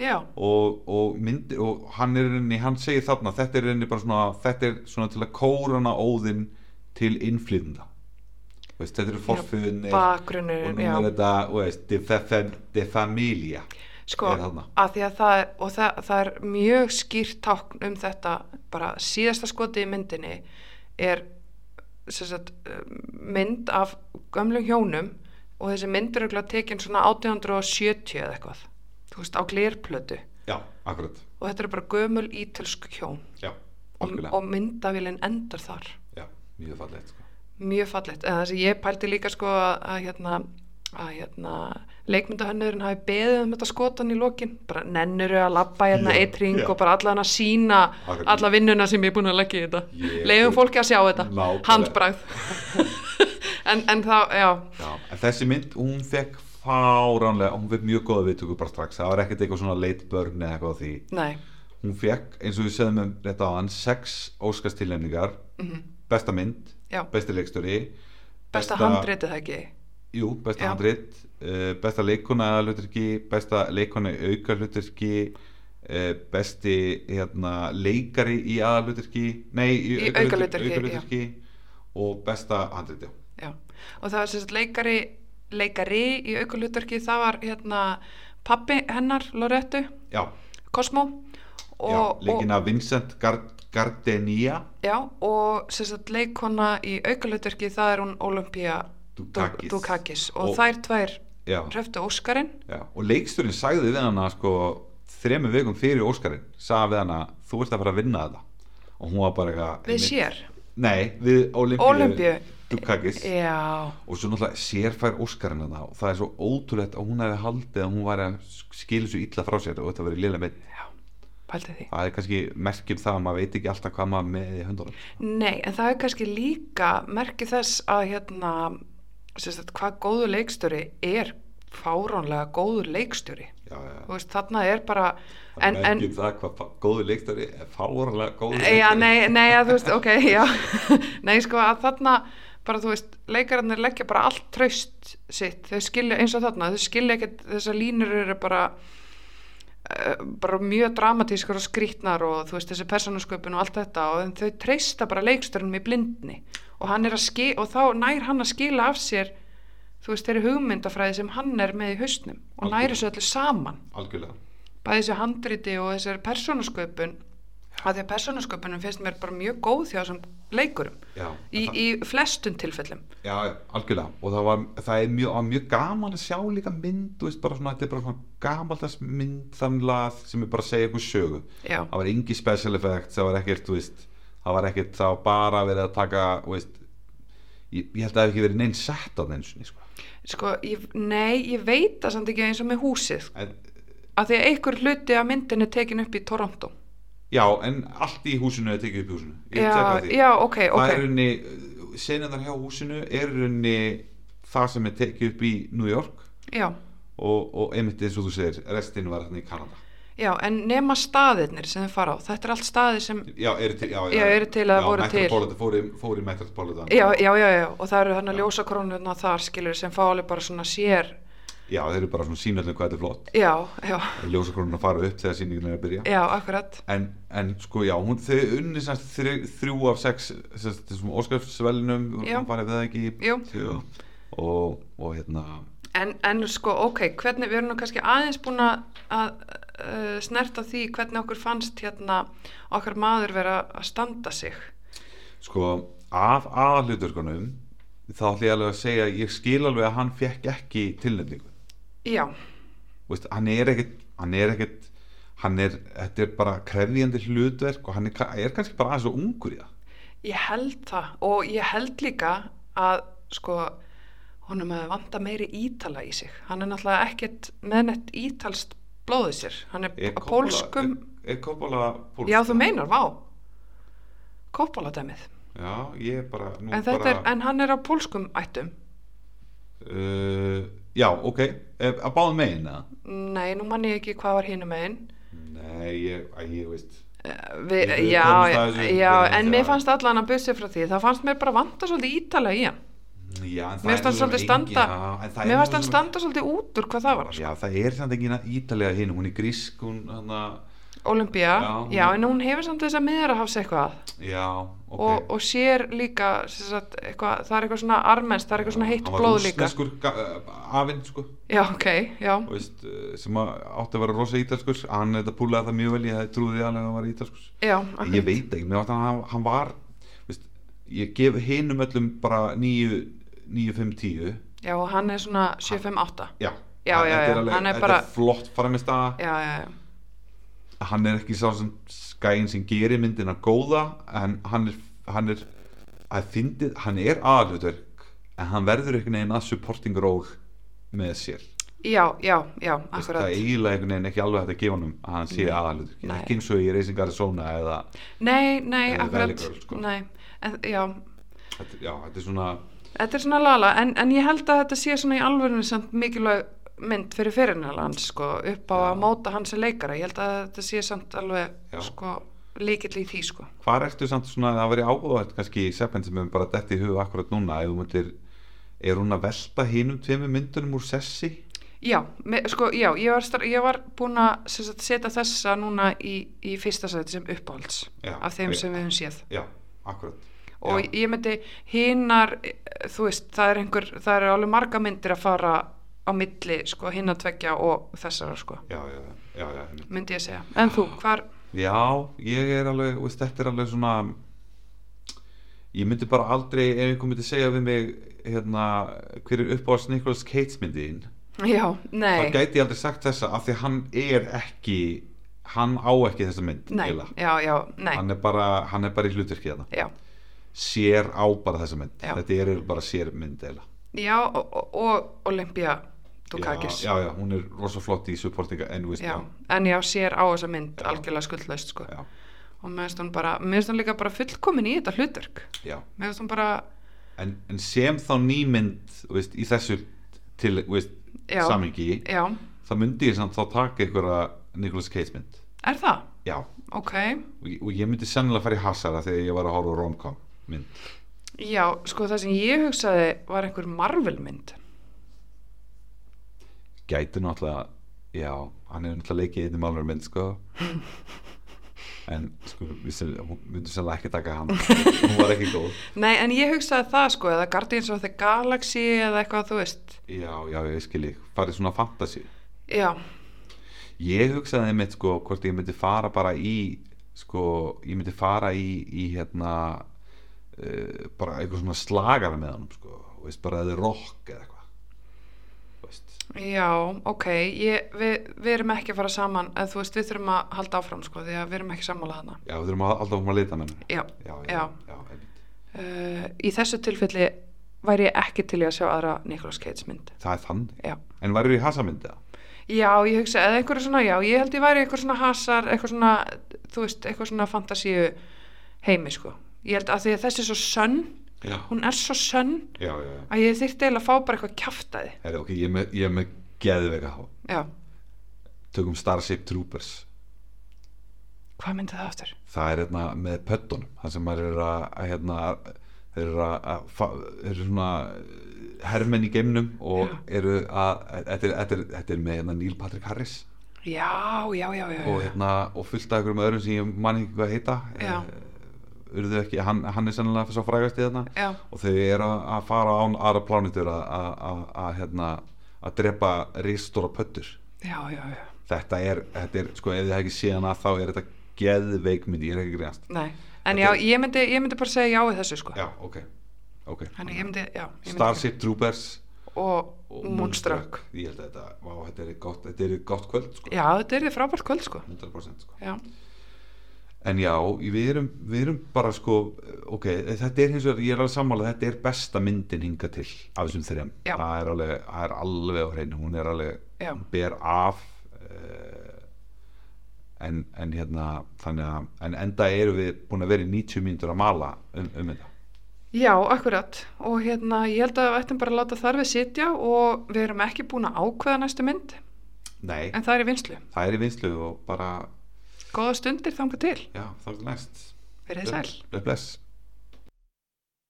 [SPEAKER 2] já,
[SPEAKER 1] og, og, myndi, og hann er inni, hann segir þarna þetta er, inni bara svona, þetta er svona til að kórana óðinn til innflytenda veist, þetta eru forföðunir og
[SPEAKER 2] bakgrunnurinn,
[SPEAKER 1] núna
[SPEAKER 2] já
[SPEAKER 1] er þetta þú veist, de, fe, fe, de familia
[SPEAKER 2] sko,
[SPEAKER 1] er þarna.
[SPEAKER 2] að því að það er og það, það er mjög skýrt tákn um þetta bara síðasta skoti í myndinni er sem sagt, eh, mynd af gömlum hjónum og þessi mynd er örugglega tekin svona 1870 eða eitthvað þú veist, á glirplötu
[SPEAKER 1] já, akkurat
[SPEAKER 2] og þetta er bara gömul ítölsk hjón
[SPEAKER 1] já,
[SPEAKER 2] og,
[SPEAKER 1] algjörlega.
[SPEAKER 2] og myndavélinn endur þar
[SPEAKER 1] já, mjög fallegt sko.
[SPEAKER 2] mjög fallegt, en það sem ég pælti líka sko að, að hérna að hérna, leikmyndahönnurinn hafi beðið um þetta skotan í lokin, bara nennuru að labba hérna
[SPEAKER 1] Já,
[SPEAKER 2] eitt ring
[SPEAKER 1] já.
[SPEAKER 2] og bara allan að sína
[SPEAKER 1] Akkurat.
[SPEAKER 2] alla vinnuna sem ég er búin að leggja í þetta
[SPEAKER 1] Ég-
[SPEAKER 2] leiðum fólki að sjá þetta,
[SPEAKER 1] Nákvæmlega.
[SPEAKER 2] handbragð en, en þá, já
[SPEAKER 1] já, en þessi mynd, hún fekk fáránlega, hún fekk mjög góða viðtöku bara strax, það var ekkert eitthvað svona late burn eða eitthvað á því
[SPEAKER 2] nei,
[SPEAKER 1] hún fekk, eins og við segðum um þetta á hann sex óskastilnefningar besta mynd,
[SPEAKER 2] Mhm. Já.
[SPEAKER 1] besti leikstöri
[SPEAKER 2] besta, handritið það ekki
[SPEAKER 1] jú, besta
[SPEAKER 2] Já.
[SPEAKER 1] handrit uh, besta leikona að hluturki besta leikona í auka hluturki uh, besti hérna, leikari í aða hluturki nei, í,
[SPEAKER 2] Í aukahlutverki,
[SPEAKER 1] aukahlutverki, og besta handrit já.
[SPEAKER 2] já, og það var sérst leikari leikari í aukulutverki það var hérna pappi hennar, Lorettu,
[SPEAKER 1] Já,
[SPEAKER 2] Cosmo
[SPEAKER 1] já,
[SPEAKER 2] og, og,
[SPEAKER 1] leikina Vincent Gard Gardenia
[SPEAKER 2] Já, og sem sagt leikona í aukalutverki það er hún Olympia
[SPEAKER 1] Dukakis.
[SPEAKER 2] Dukakis og,
[SPEAKER 1] Og-
[SPEAKER 2] þær tvær
[SPEAKER 1] já,
[SPEAKER 2] hreftu Óskarinn
[SPEAKER 1] Já, og leiksturinn sagði við hana sko þremur vikum fyrir Óskarinn sagði við hana, þú ert að fara að vinna þetta og hún var bara eitthvað
[SPEAKER 2] við
[SPEAKER 1] einmitt-
[SPEAKER 2] sér
[SPEAKER 1] Nei, við Olympíu,
[SPEAKER 2] Olympíu.
[SPEAKER 1] Dukakis
[SPEAKER 2] E- Já,
[SPEAKER 1] og svo náttúrulega sér fær Óskarinn hana og það er svo ótrúlegt að hún hefði haldið að hún var að skilja svo illa frá sér og þetta verið lélega mynd
[SPEAKER 2] já, pælti því
[SPEAKER 1] það er kannski merkjum það að maður veit ekki alltaf hvað maður með í höndunum
[SPEAKER 2] Nei, en það er kannski líka merki þess að hérna sem sagt, hvað góður leikstjóri er fáránlega góður leikstjóri
[SPEAKER 1] já, já,
[SPEAKER 2] þú veist, þarna er bara
[SPEAKER 1] það er merkjum það hvað fá- góður leikstöri er fárlega góður
[SPEAKER 2] Já,
[SPEAKER 1] leikstjóri.
[SPEAKER 2] nei, nei, að, þú veist, ok, já Nei, sko, að þarna bara, þú veist, leikararnir leggja bara allt traust sitt, þau skilja eins og þarna þau skilja ekkert, þessar línur eru bara eh, bara mjög dramatískar og skrýtnar og þú veist þessi persónusköpun og allt þetta og en þau treysta bara leikstörnum í blindni og hann er að skila og þá nær hann að skila af sér þú veist þeirri hugmyndafræði sem hann er með í hausnum og
[SPEAKER 1] Algjörlega.
[SPEAKER 2] næri þessu öllu saman
[SPEAKER 1] algjörlega
[SPEAKER 2] bæði þessu handriti og þessari persónusköpun að því að persónusköpunum finnst mér bara mjög góð hjá þessum leikurum
[SPEAKER 1] Já,
[SPEAKER 2] í,
[SPEAKER 1] það-
[SPEAKER 2] í flestum tilfellum
[SPEAKER 1] Já, já, algjörlega og það var, það er mjög, var mjög gaman að sjá líka mynd, þú veist, bara svona þetta er bara svona gamaldags mynd þannlega sem er bara að segja eitthvað sögu
[SPEAKER 2] Já.
[SPEAKER 1] það var engi special effects, það var ekkert, þú veist það var ekkert, það var bara verið að taka þú veist, ég, ég held að það hef ekki verið neinn sett á neins sko.
[SPEAKER 2] sko, ég, nei, ég veit það samt ekki eins og með húsið
[SPEAKER 1] en,
[SPEAKER 2] að því að einhver hluti af myndinni er tekin upp í Toronto
[SPEAKER 1] já, en allt í húsinu er tekið upp í húsinu Ég
[SPEAKER 2] já,
[SPEAKER 1] tek á því.
[SPEAKER 2] já, ok,
[SPEAKER 1] það er
[SPEAKER 2] ok
[SPEAKER 1] runni, senaðar hjá húsinu er runni það sem er tekið upp í New York
[SPEAKER 2] já,
[SPEAKER 1] og, og einmitt eins og þú segir, restin var þarna í Kanada
[SPEAKER 2] já, en nema staðirnir sem þið fara á, þetta er allt staðir sem
[SPEAKER 1] Já, eru til, já,
[SPEAKER 2] Já, eru til að voru til.
[SPEAKER 1] Metropolitan, fóru, fóru í Metropolitan
[SPEAKER 2] já, já, já, já, og það eru þannig ljósakrónuna þar skilur sem fá alveg bara svona sér
[SPEAKER 1] já, þeir eru bara svona sínöldin hvað þetta er flott
[SPEAKER 2] já, já,
[SPEAKER 1] ljósakrónun að fara upp þegar síningin er að byrja
[SPEAKER 2] já, akkurat
[SPEAKER 1] en, en sko já, hún, þau unni sem sagt þri, þrjú af sex sem sagt, þessum óskrifsvelnum
[SPEAKER 2] Já.
[SPEAKER 1] hún farið við það ekki
[SPEAKER 2] Jú.
[SPEAKER 1] Jú. og, og hérna
[SPEAKER 2] en, en sko, ok, hvernig við erum nú kannski aðeins búin að að, uh, snerta því hvernig okkur fannst hérna okkar maður vera að standa sig
[SPEAKER 1] sko af aðalhuturkunum þá ætlum ég alveg að segja ég skil alveg að hann fekk ekki tilnefningu
[SPEAKER 2] já,
[SPEAKER 1] Vist, hann er ekkit hann er ekkit hann er, þetta er bara krefjandi hlutverk og hann er, ka- er kannski bara aðeins og ungur í það
[SPEAKER 2] ég held það og ég held líka að sko honum að vanda meiri ítala í sig hann er náttúrulega ekkert meðnett ítalst blóðið sér, hann er,
[SPEAKER 1] er
[SPEAKER 2] er pólskum
[SPEAKER 1] er, er Coppola pólskum
[SPEAKER 2] já þú meinar, vá koppaladæmið
[SPEAKER 1] já, ég er bara, nú
[SPEAKER 2] en, þetta
[SPEAKER 1] bara
[SPEAKER 2] er, en hann er á pólskum ættum
[SPEAKER 1] Uh, já, ok, Eh, að báðum megin eða?
[SPEAKER 2] nei, nú mann ég ekki hvað var hinum einn
[SPEAKER 1] Nei, ég, að ég veist
[SPEAKER 2] Vi,
[SPEAKER 1] Við- við
[SPEAKER 2] já,
[SPEAKER 1] komumst
[SPEAKER 2] já,
[SPEAKER 1] að þessu-
[SPEAKER 2] já,
[SPEAKER 1] við-
[SPEAKER 2] en
[SPEAKER 1] já.
[SPEAKER 2] mér fannst allan að bussi frá því það fannst mér bara vanta svolítið ítala í hann
[SPEAKER 1] já, en það
[SPEAKER 2] mér
[SPEAKER 1] er
[SPEAKER 2] fannst hann
[SPEAKER 1] alveg
[SPEAKER 2] svolítið
[SPEAKER 1] engin-
[SPEAKER 2] standa
[SPEAKER 1] já, en það er
[SPEAKER 2] mér fannst
[SPEAKER 1] alveg
[SPEAKER 2] hann
[SPEAKER 1] sem-
[SPEAKER 2] standa sko. svolítið út úr hvað það var
[SPEAKER 1] Já, það er samt engin ítalega hinn, hún er grísk hún, hana,
[SPEAKER 2] Olympia, já,
[SPEAKER 1] Já, hún-
[SPEAKER 2] en hún hefur samt þess að miðra hafs eitthvað
[SPEAKER 1] já, ok
[SPEAKER 2] og, og sér líka sem sagt, eitthvað, það er eitthvað svona armens það er eitthvað svona heitt
[SPEAKER 1] Hann var
[SPEAKER 2] blóð líka
[SPEAKER 1] rússneskur ga- afinn, sko
[SPEAKER 2] já, ok, já,
[SPEAKER 1] og veist, eh, sem að átti að vera rosa ítalskur hann þetta púlaði það mjög vel, ég trúði alveg að hann var ítalskur
[SPEAKER 2] já
[SPEAKER 1] En
[SPEAKER 2] akkurat.
[SPEAKER 1] ég veit ekki, mér átti að hann, hann var veist, ég gef hinum öllum bara 9, 9, 5, 10
[SPEAKER 2] já, og hann er svona 758
[SPEAKER 1] já,
[SPEAKER 2] Já, já,
[SPEAKER 1] þetta
[SPEAKER 2] já,
[SPEAKER 1] alveg-
[SPEAKER 2] hann er
[SPEAKER 1] þetta
[SPEAKER 2] bara-
[SPEAKER 1] flott framist að
[SPEAKER 2] já, já, já,
[SPEAKER 1] hann er ekki sá sem skæin sem gerir myndina góða en hann er, hann er að fyndið, hann er aðalutverk en hann verður einhvern veginn að supporting role með sér
[SPEAKER 2] já, já, já
[SPEAKER 1] Veist, það
[SPEAKER 2] akkurat
[SPEAKER 1] er eiginlega einhvern veginn ekki alveg hægt að gefa hann að hann sé aðalutverk
[SPEAKER 2] Nei.
[SPEAKER 1] ekki eins og í Racing Arizona eða
[SPEAKER 2] nei, nei,
[SPEAKER 1] Eða Valley
[SPEAKER 2] akkurat
[SPEAKER 1] Girl, sko.
[SPEAKER 2] nei, en, já,
[SPEAKER 1] þetta, já, þetta er svona
[SPEAKER 2] Þetta er svona lala, en, en ég held að þetta sé svona í alvörinu samt mikilvæg mynd fyrir fyrirnæla hans, sko, upp á að móta hans sem leikara. Ég held að þetta sé samt alveg,
[SPEAKER 1] Já.
[SPEAKER 2] sko, líkill í því, sko.
[SPEAKER 1] Hvar ertu samt svona að vera áhugavert kannski í seppin sem er bara detti í huga akkurat núna ef þú myndir, er hún að velta hinum tveimur myndunum úr sessi?
[SPEAKER 2] Já, me, sko, já, ég var, star, ég var búin að sem sagt, setja þessa núna í, í fyrsta sæti sem uppáhalds
[SPEAKER 1] Já,
[SPEAKER 2] af þeim
[SPEAKER 1] já.
[SPEAKER 2] sem við höfum séð.
[SPEAKER 1] Já, akkurat
[SPEAKER 2] Og
[SPEAKER 1] já,
[SPEAKER 2] ég myndi hinnar, eh, þú veist, það er einhver, það eru alveg marga myndir að fara á milli, sko, hinnar tveggja og þessara, sko,
[SPEAKER 1] já, já, já, já, já.
[SPEAKER 2] myndi ég segja. En þú, hvar,
[SPEAKER 1] Já, ég er alveg, veist, þetta er alveg svona ég myndi bara aldrei ef einhver myndi segja við mig hérna, hver er uppáðast Nicolas Cage myndiðin
[SPEAKER 2] já, nei.
[SPEAKER 1] þá gæti ég aldrei sagt þessa af því að hann er ekki hann á ekki þessa mynd
[SPEAKER 2] Nei,
[SPEAKER 1] eiginlega.
[SPEAKER 2] já, já, nei
[SPEAKER 1] hann, er bara, hann er bara í hlutverki þarna
[SPEAKER 2] já.
[SPEAKER 1] sér á bara þessa mynd
[SPEAKER 2] Já.
[SPEAKER 1] þetta er bara sér mynd eila
[SPEAKER 2] já, og, og- og Olympia Dukakis
[SPEAKER 1] já, já, hún er rosa flott í supportinga en, veist,
[SPEAKER 2] Já, en já, sér á þessa mynd
[SPEAKER 1] Já.
[SPEAKER 2] algjörlega skuldlaust sko.
[SPEAKER 1] já,
[SPEAKER 2] og mér finnst hún bara, mér finnst hún líka bara fullkomin í þetta hlutverk,
[SPEAKER 1] já.
[SPEAKER 2] mér finnst hún bara
[SPEAKER 1] En, en sem þá nýmynd veist, í þessu til, veist,
[SPEAKER 2] Já.
[SPEAKER 1] samingi
[SPEAKER 2] já,
[SPEAKER 1] þá myndi ég samt þá taka einhverja Nicolas Cage mynd
[SPEAKER 2] er það?
[SPEAKER 1] já,
[SPEAKER 2] Ok,
[SPEAKER 1] og ég- og ég myndi sennilega fara í Hassara þegar ég var að horfa á romcom mynd
[SPEAKER 2] já, sko það sem ég hugsaði var einhver Marvel mynd
[SPEAKER 1] gæti náttúrulega, já, hann er náttúrulega leikið í einnig málur mynd, sko en sko, við sem, hún myndi sennilega ekki taka hann hún var ekki góð
[SPEAKER 2] Nei, en ég hugsaði það sko, eða Guardians of the Galaxy eða eitthvað, þú veist
[SPEAKER 1] já, já, ég skil ég, farið svona fantasy
[SPEAKER 2] Já,
[SPEAKER 1] ég hugsaði mitt sko hvort ég myndi fara bara í sko, ég myndi fara í, í hérna uh, bara eitthvað svona slagara með honum sko, þú veist, bara eða rock eða eitthvað Þú veist.
[SPEAKER 2] já, ok ég, við, við erum ekki að fara saman en þú veist, við þurfum að halda áfram sko því að við erum ekki sammála þarna
[SPEAKER 1] já, við þurfum að- alltaf um að leita með henni
[SPEAKER 2] Já,
[SPEAKER 1] já, já,
[SPEAKER 2] Já.
[SPEAKER 1] já, einmitt.
[SPEAKER 2] uh, í þessu tilfelli væri ég ekki til í að sjá aðra Nicolas Cage mynd
[SPEAKER 1] það er þannig
[SPEAKER 2] já,
[SPEAKER 1] en værið í hasamyndi það?
[SPEAKER 2] já ég hugsa eða einhverju svona, já, ég held ég væri eitthvað svona hasar, eitthvað svona þú veist, eitthvað svona fantasíu heimi sko, ég held að því að þessi er svo sönn
[SPEAKER 1] já,
[SPEAKER 2] hún er svo sönn
[SPEAKER 1] já, já, já.
[SPEAKER 2] að ég þyrfti eiginlega að fá bara eitthvað kjaftaði
[SPEAKER 1] Heri, ok, ég er með, ég er með geðveika há
[SPEAKER 2] já,
[SPEAKER 1] tökum Starship Troopers
[SPEAKER 2] hvað myndi það aftur?
[SPEAKER 1] það er hérna með pöttunum það sem maður er að, að hérna, þeir eru, að, að, fa- eru svona eh, hermenn í geimnum og eru að þetta er, þetta er, þetta er með hérna, Neil Patrick Harris
[SPEAKER 2] já, já, já, já,
[SPEAKER 1] og,
[SPEAKER 2] já.
[SPEAKER 1] hérna, og fullt af einhverjum öðrum sem ég man ekki hvað heita
[SPEAKER 2] Já.
[SPEAKER 1] Eh, urðu ekki, hann, hann er sennilega svo frægast í þarna
[SPEAKER 2] Já.
[SPEAKER 1] og þau eru að að fara án aðra plánitur að, að, að, að, hérna, að drepa ristóra pöttur
[SPEAKER 2] já, já, já.
[SPEAKER 1] þetta er, þetta er sko, ef þið hefði ekki séð hana þá er þetta geðveikmynd, ég er ekki greiðast
[SPEAKER 2] Nei. en
[SPEAKER 1] Þetta
[SPEAKER 2] já,
[SPEAKER 1] er-
[SPEAKER 2] ég myndi, ég myndi bara segja já í þessu sko
[SPEAKER 1] já, ok, ok
[SPEAKER 2] Þannig ég myndi, já, ég myndi
[SPEAKER 1] Starship Troopers
[SPEAKER 2] og Moonstruck
[SPEAKER 1] ég held að þetta, vá, þetta er gott, þetta er gott kvöld sko.
[SPEAKER 2] já, þetta er þið frábært kvöld sko
[SPEAKER 1] 100% sko.
[SPEAKER 2] já,
[SPEAKER 1] en já, við erum, við erum bara sko, ok, þetta er hins vegar ég er alveg sammála, þetta er besta myndin hinga til af þessum þrejum,
[SPEAKER 2] Já.
[SPEAKER 1] það er alveg það er alveg á hreinu, hún er alveg
[SPEAKER 2] Já.
[SPEAKER 1] hún ber af uh, en, en hérna þannig að, en enda erum við búin að vera í 90 mínútur að mala um, um þetta
[SPEAKER 2] já, akkurat og hérna, ég held að við ættum bara að láta þar við sitja og við erum ekki búin að ákveða næstu mynd
[SPEAKER 1] nei,
[SPEAKER 2] en það er í vinslu,
[SPEAKER 1] það er í vinslu og bara,
[SPEAKER 2] góða stundir þanga til
[SPEAKER 1] já, þá er næst
[SPEAKER 2] verið þið sæl
[SPEAKER 1] bless, bless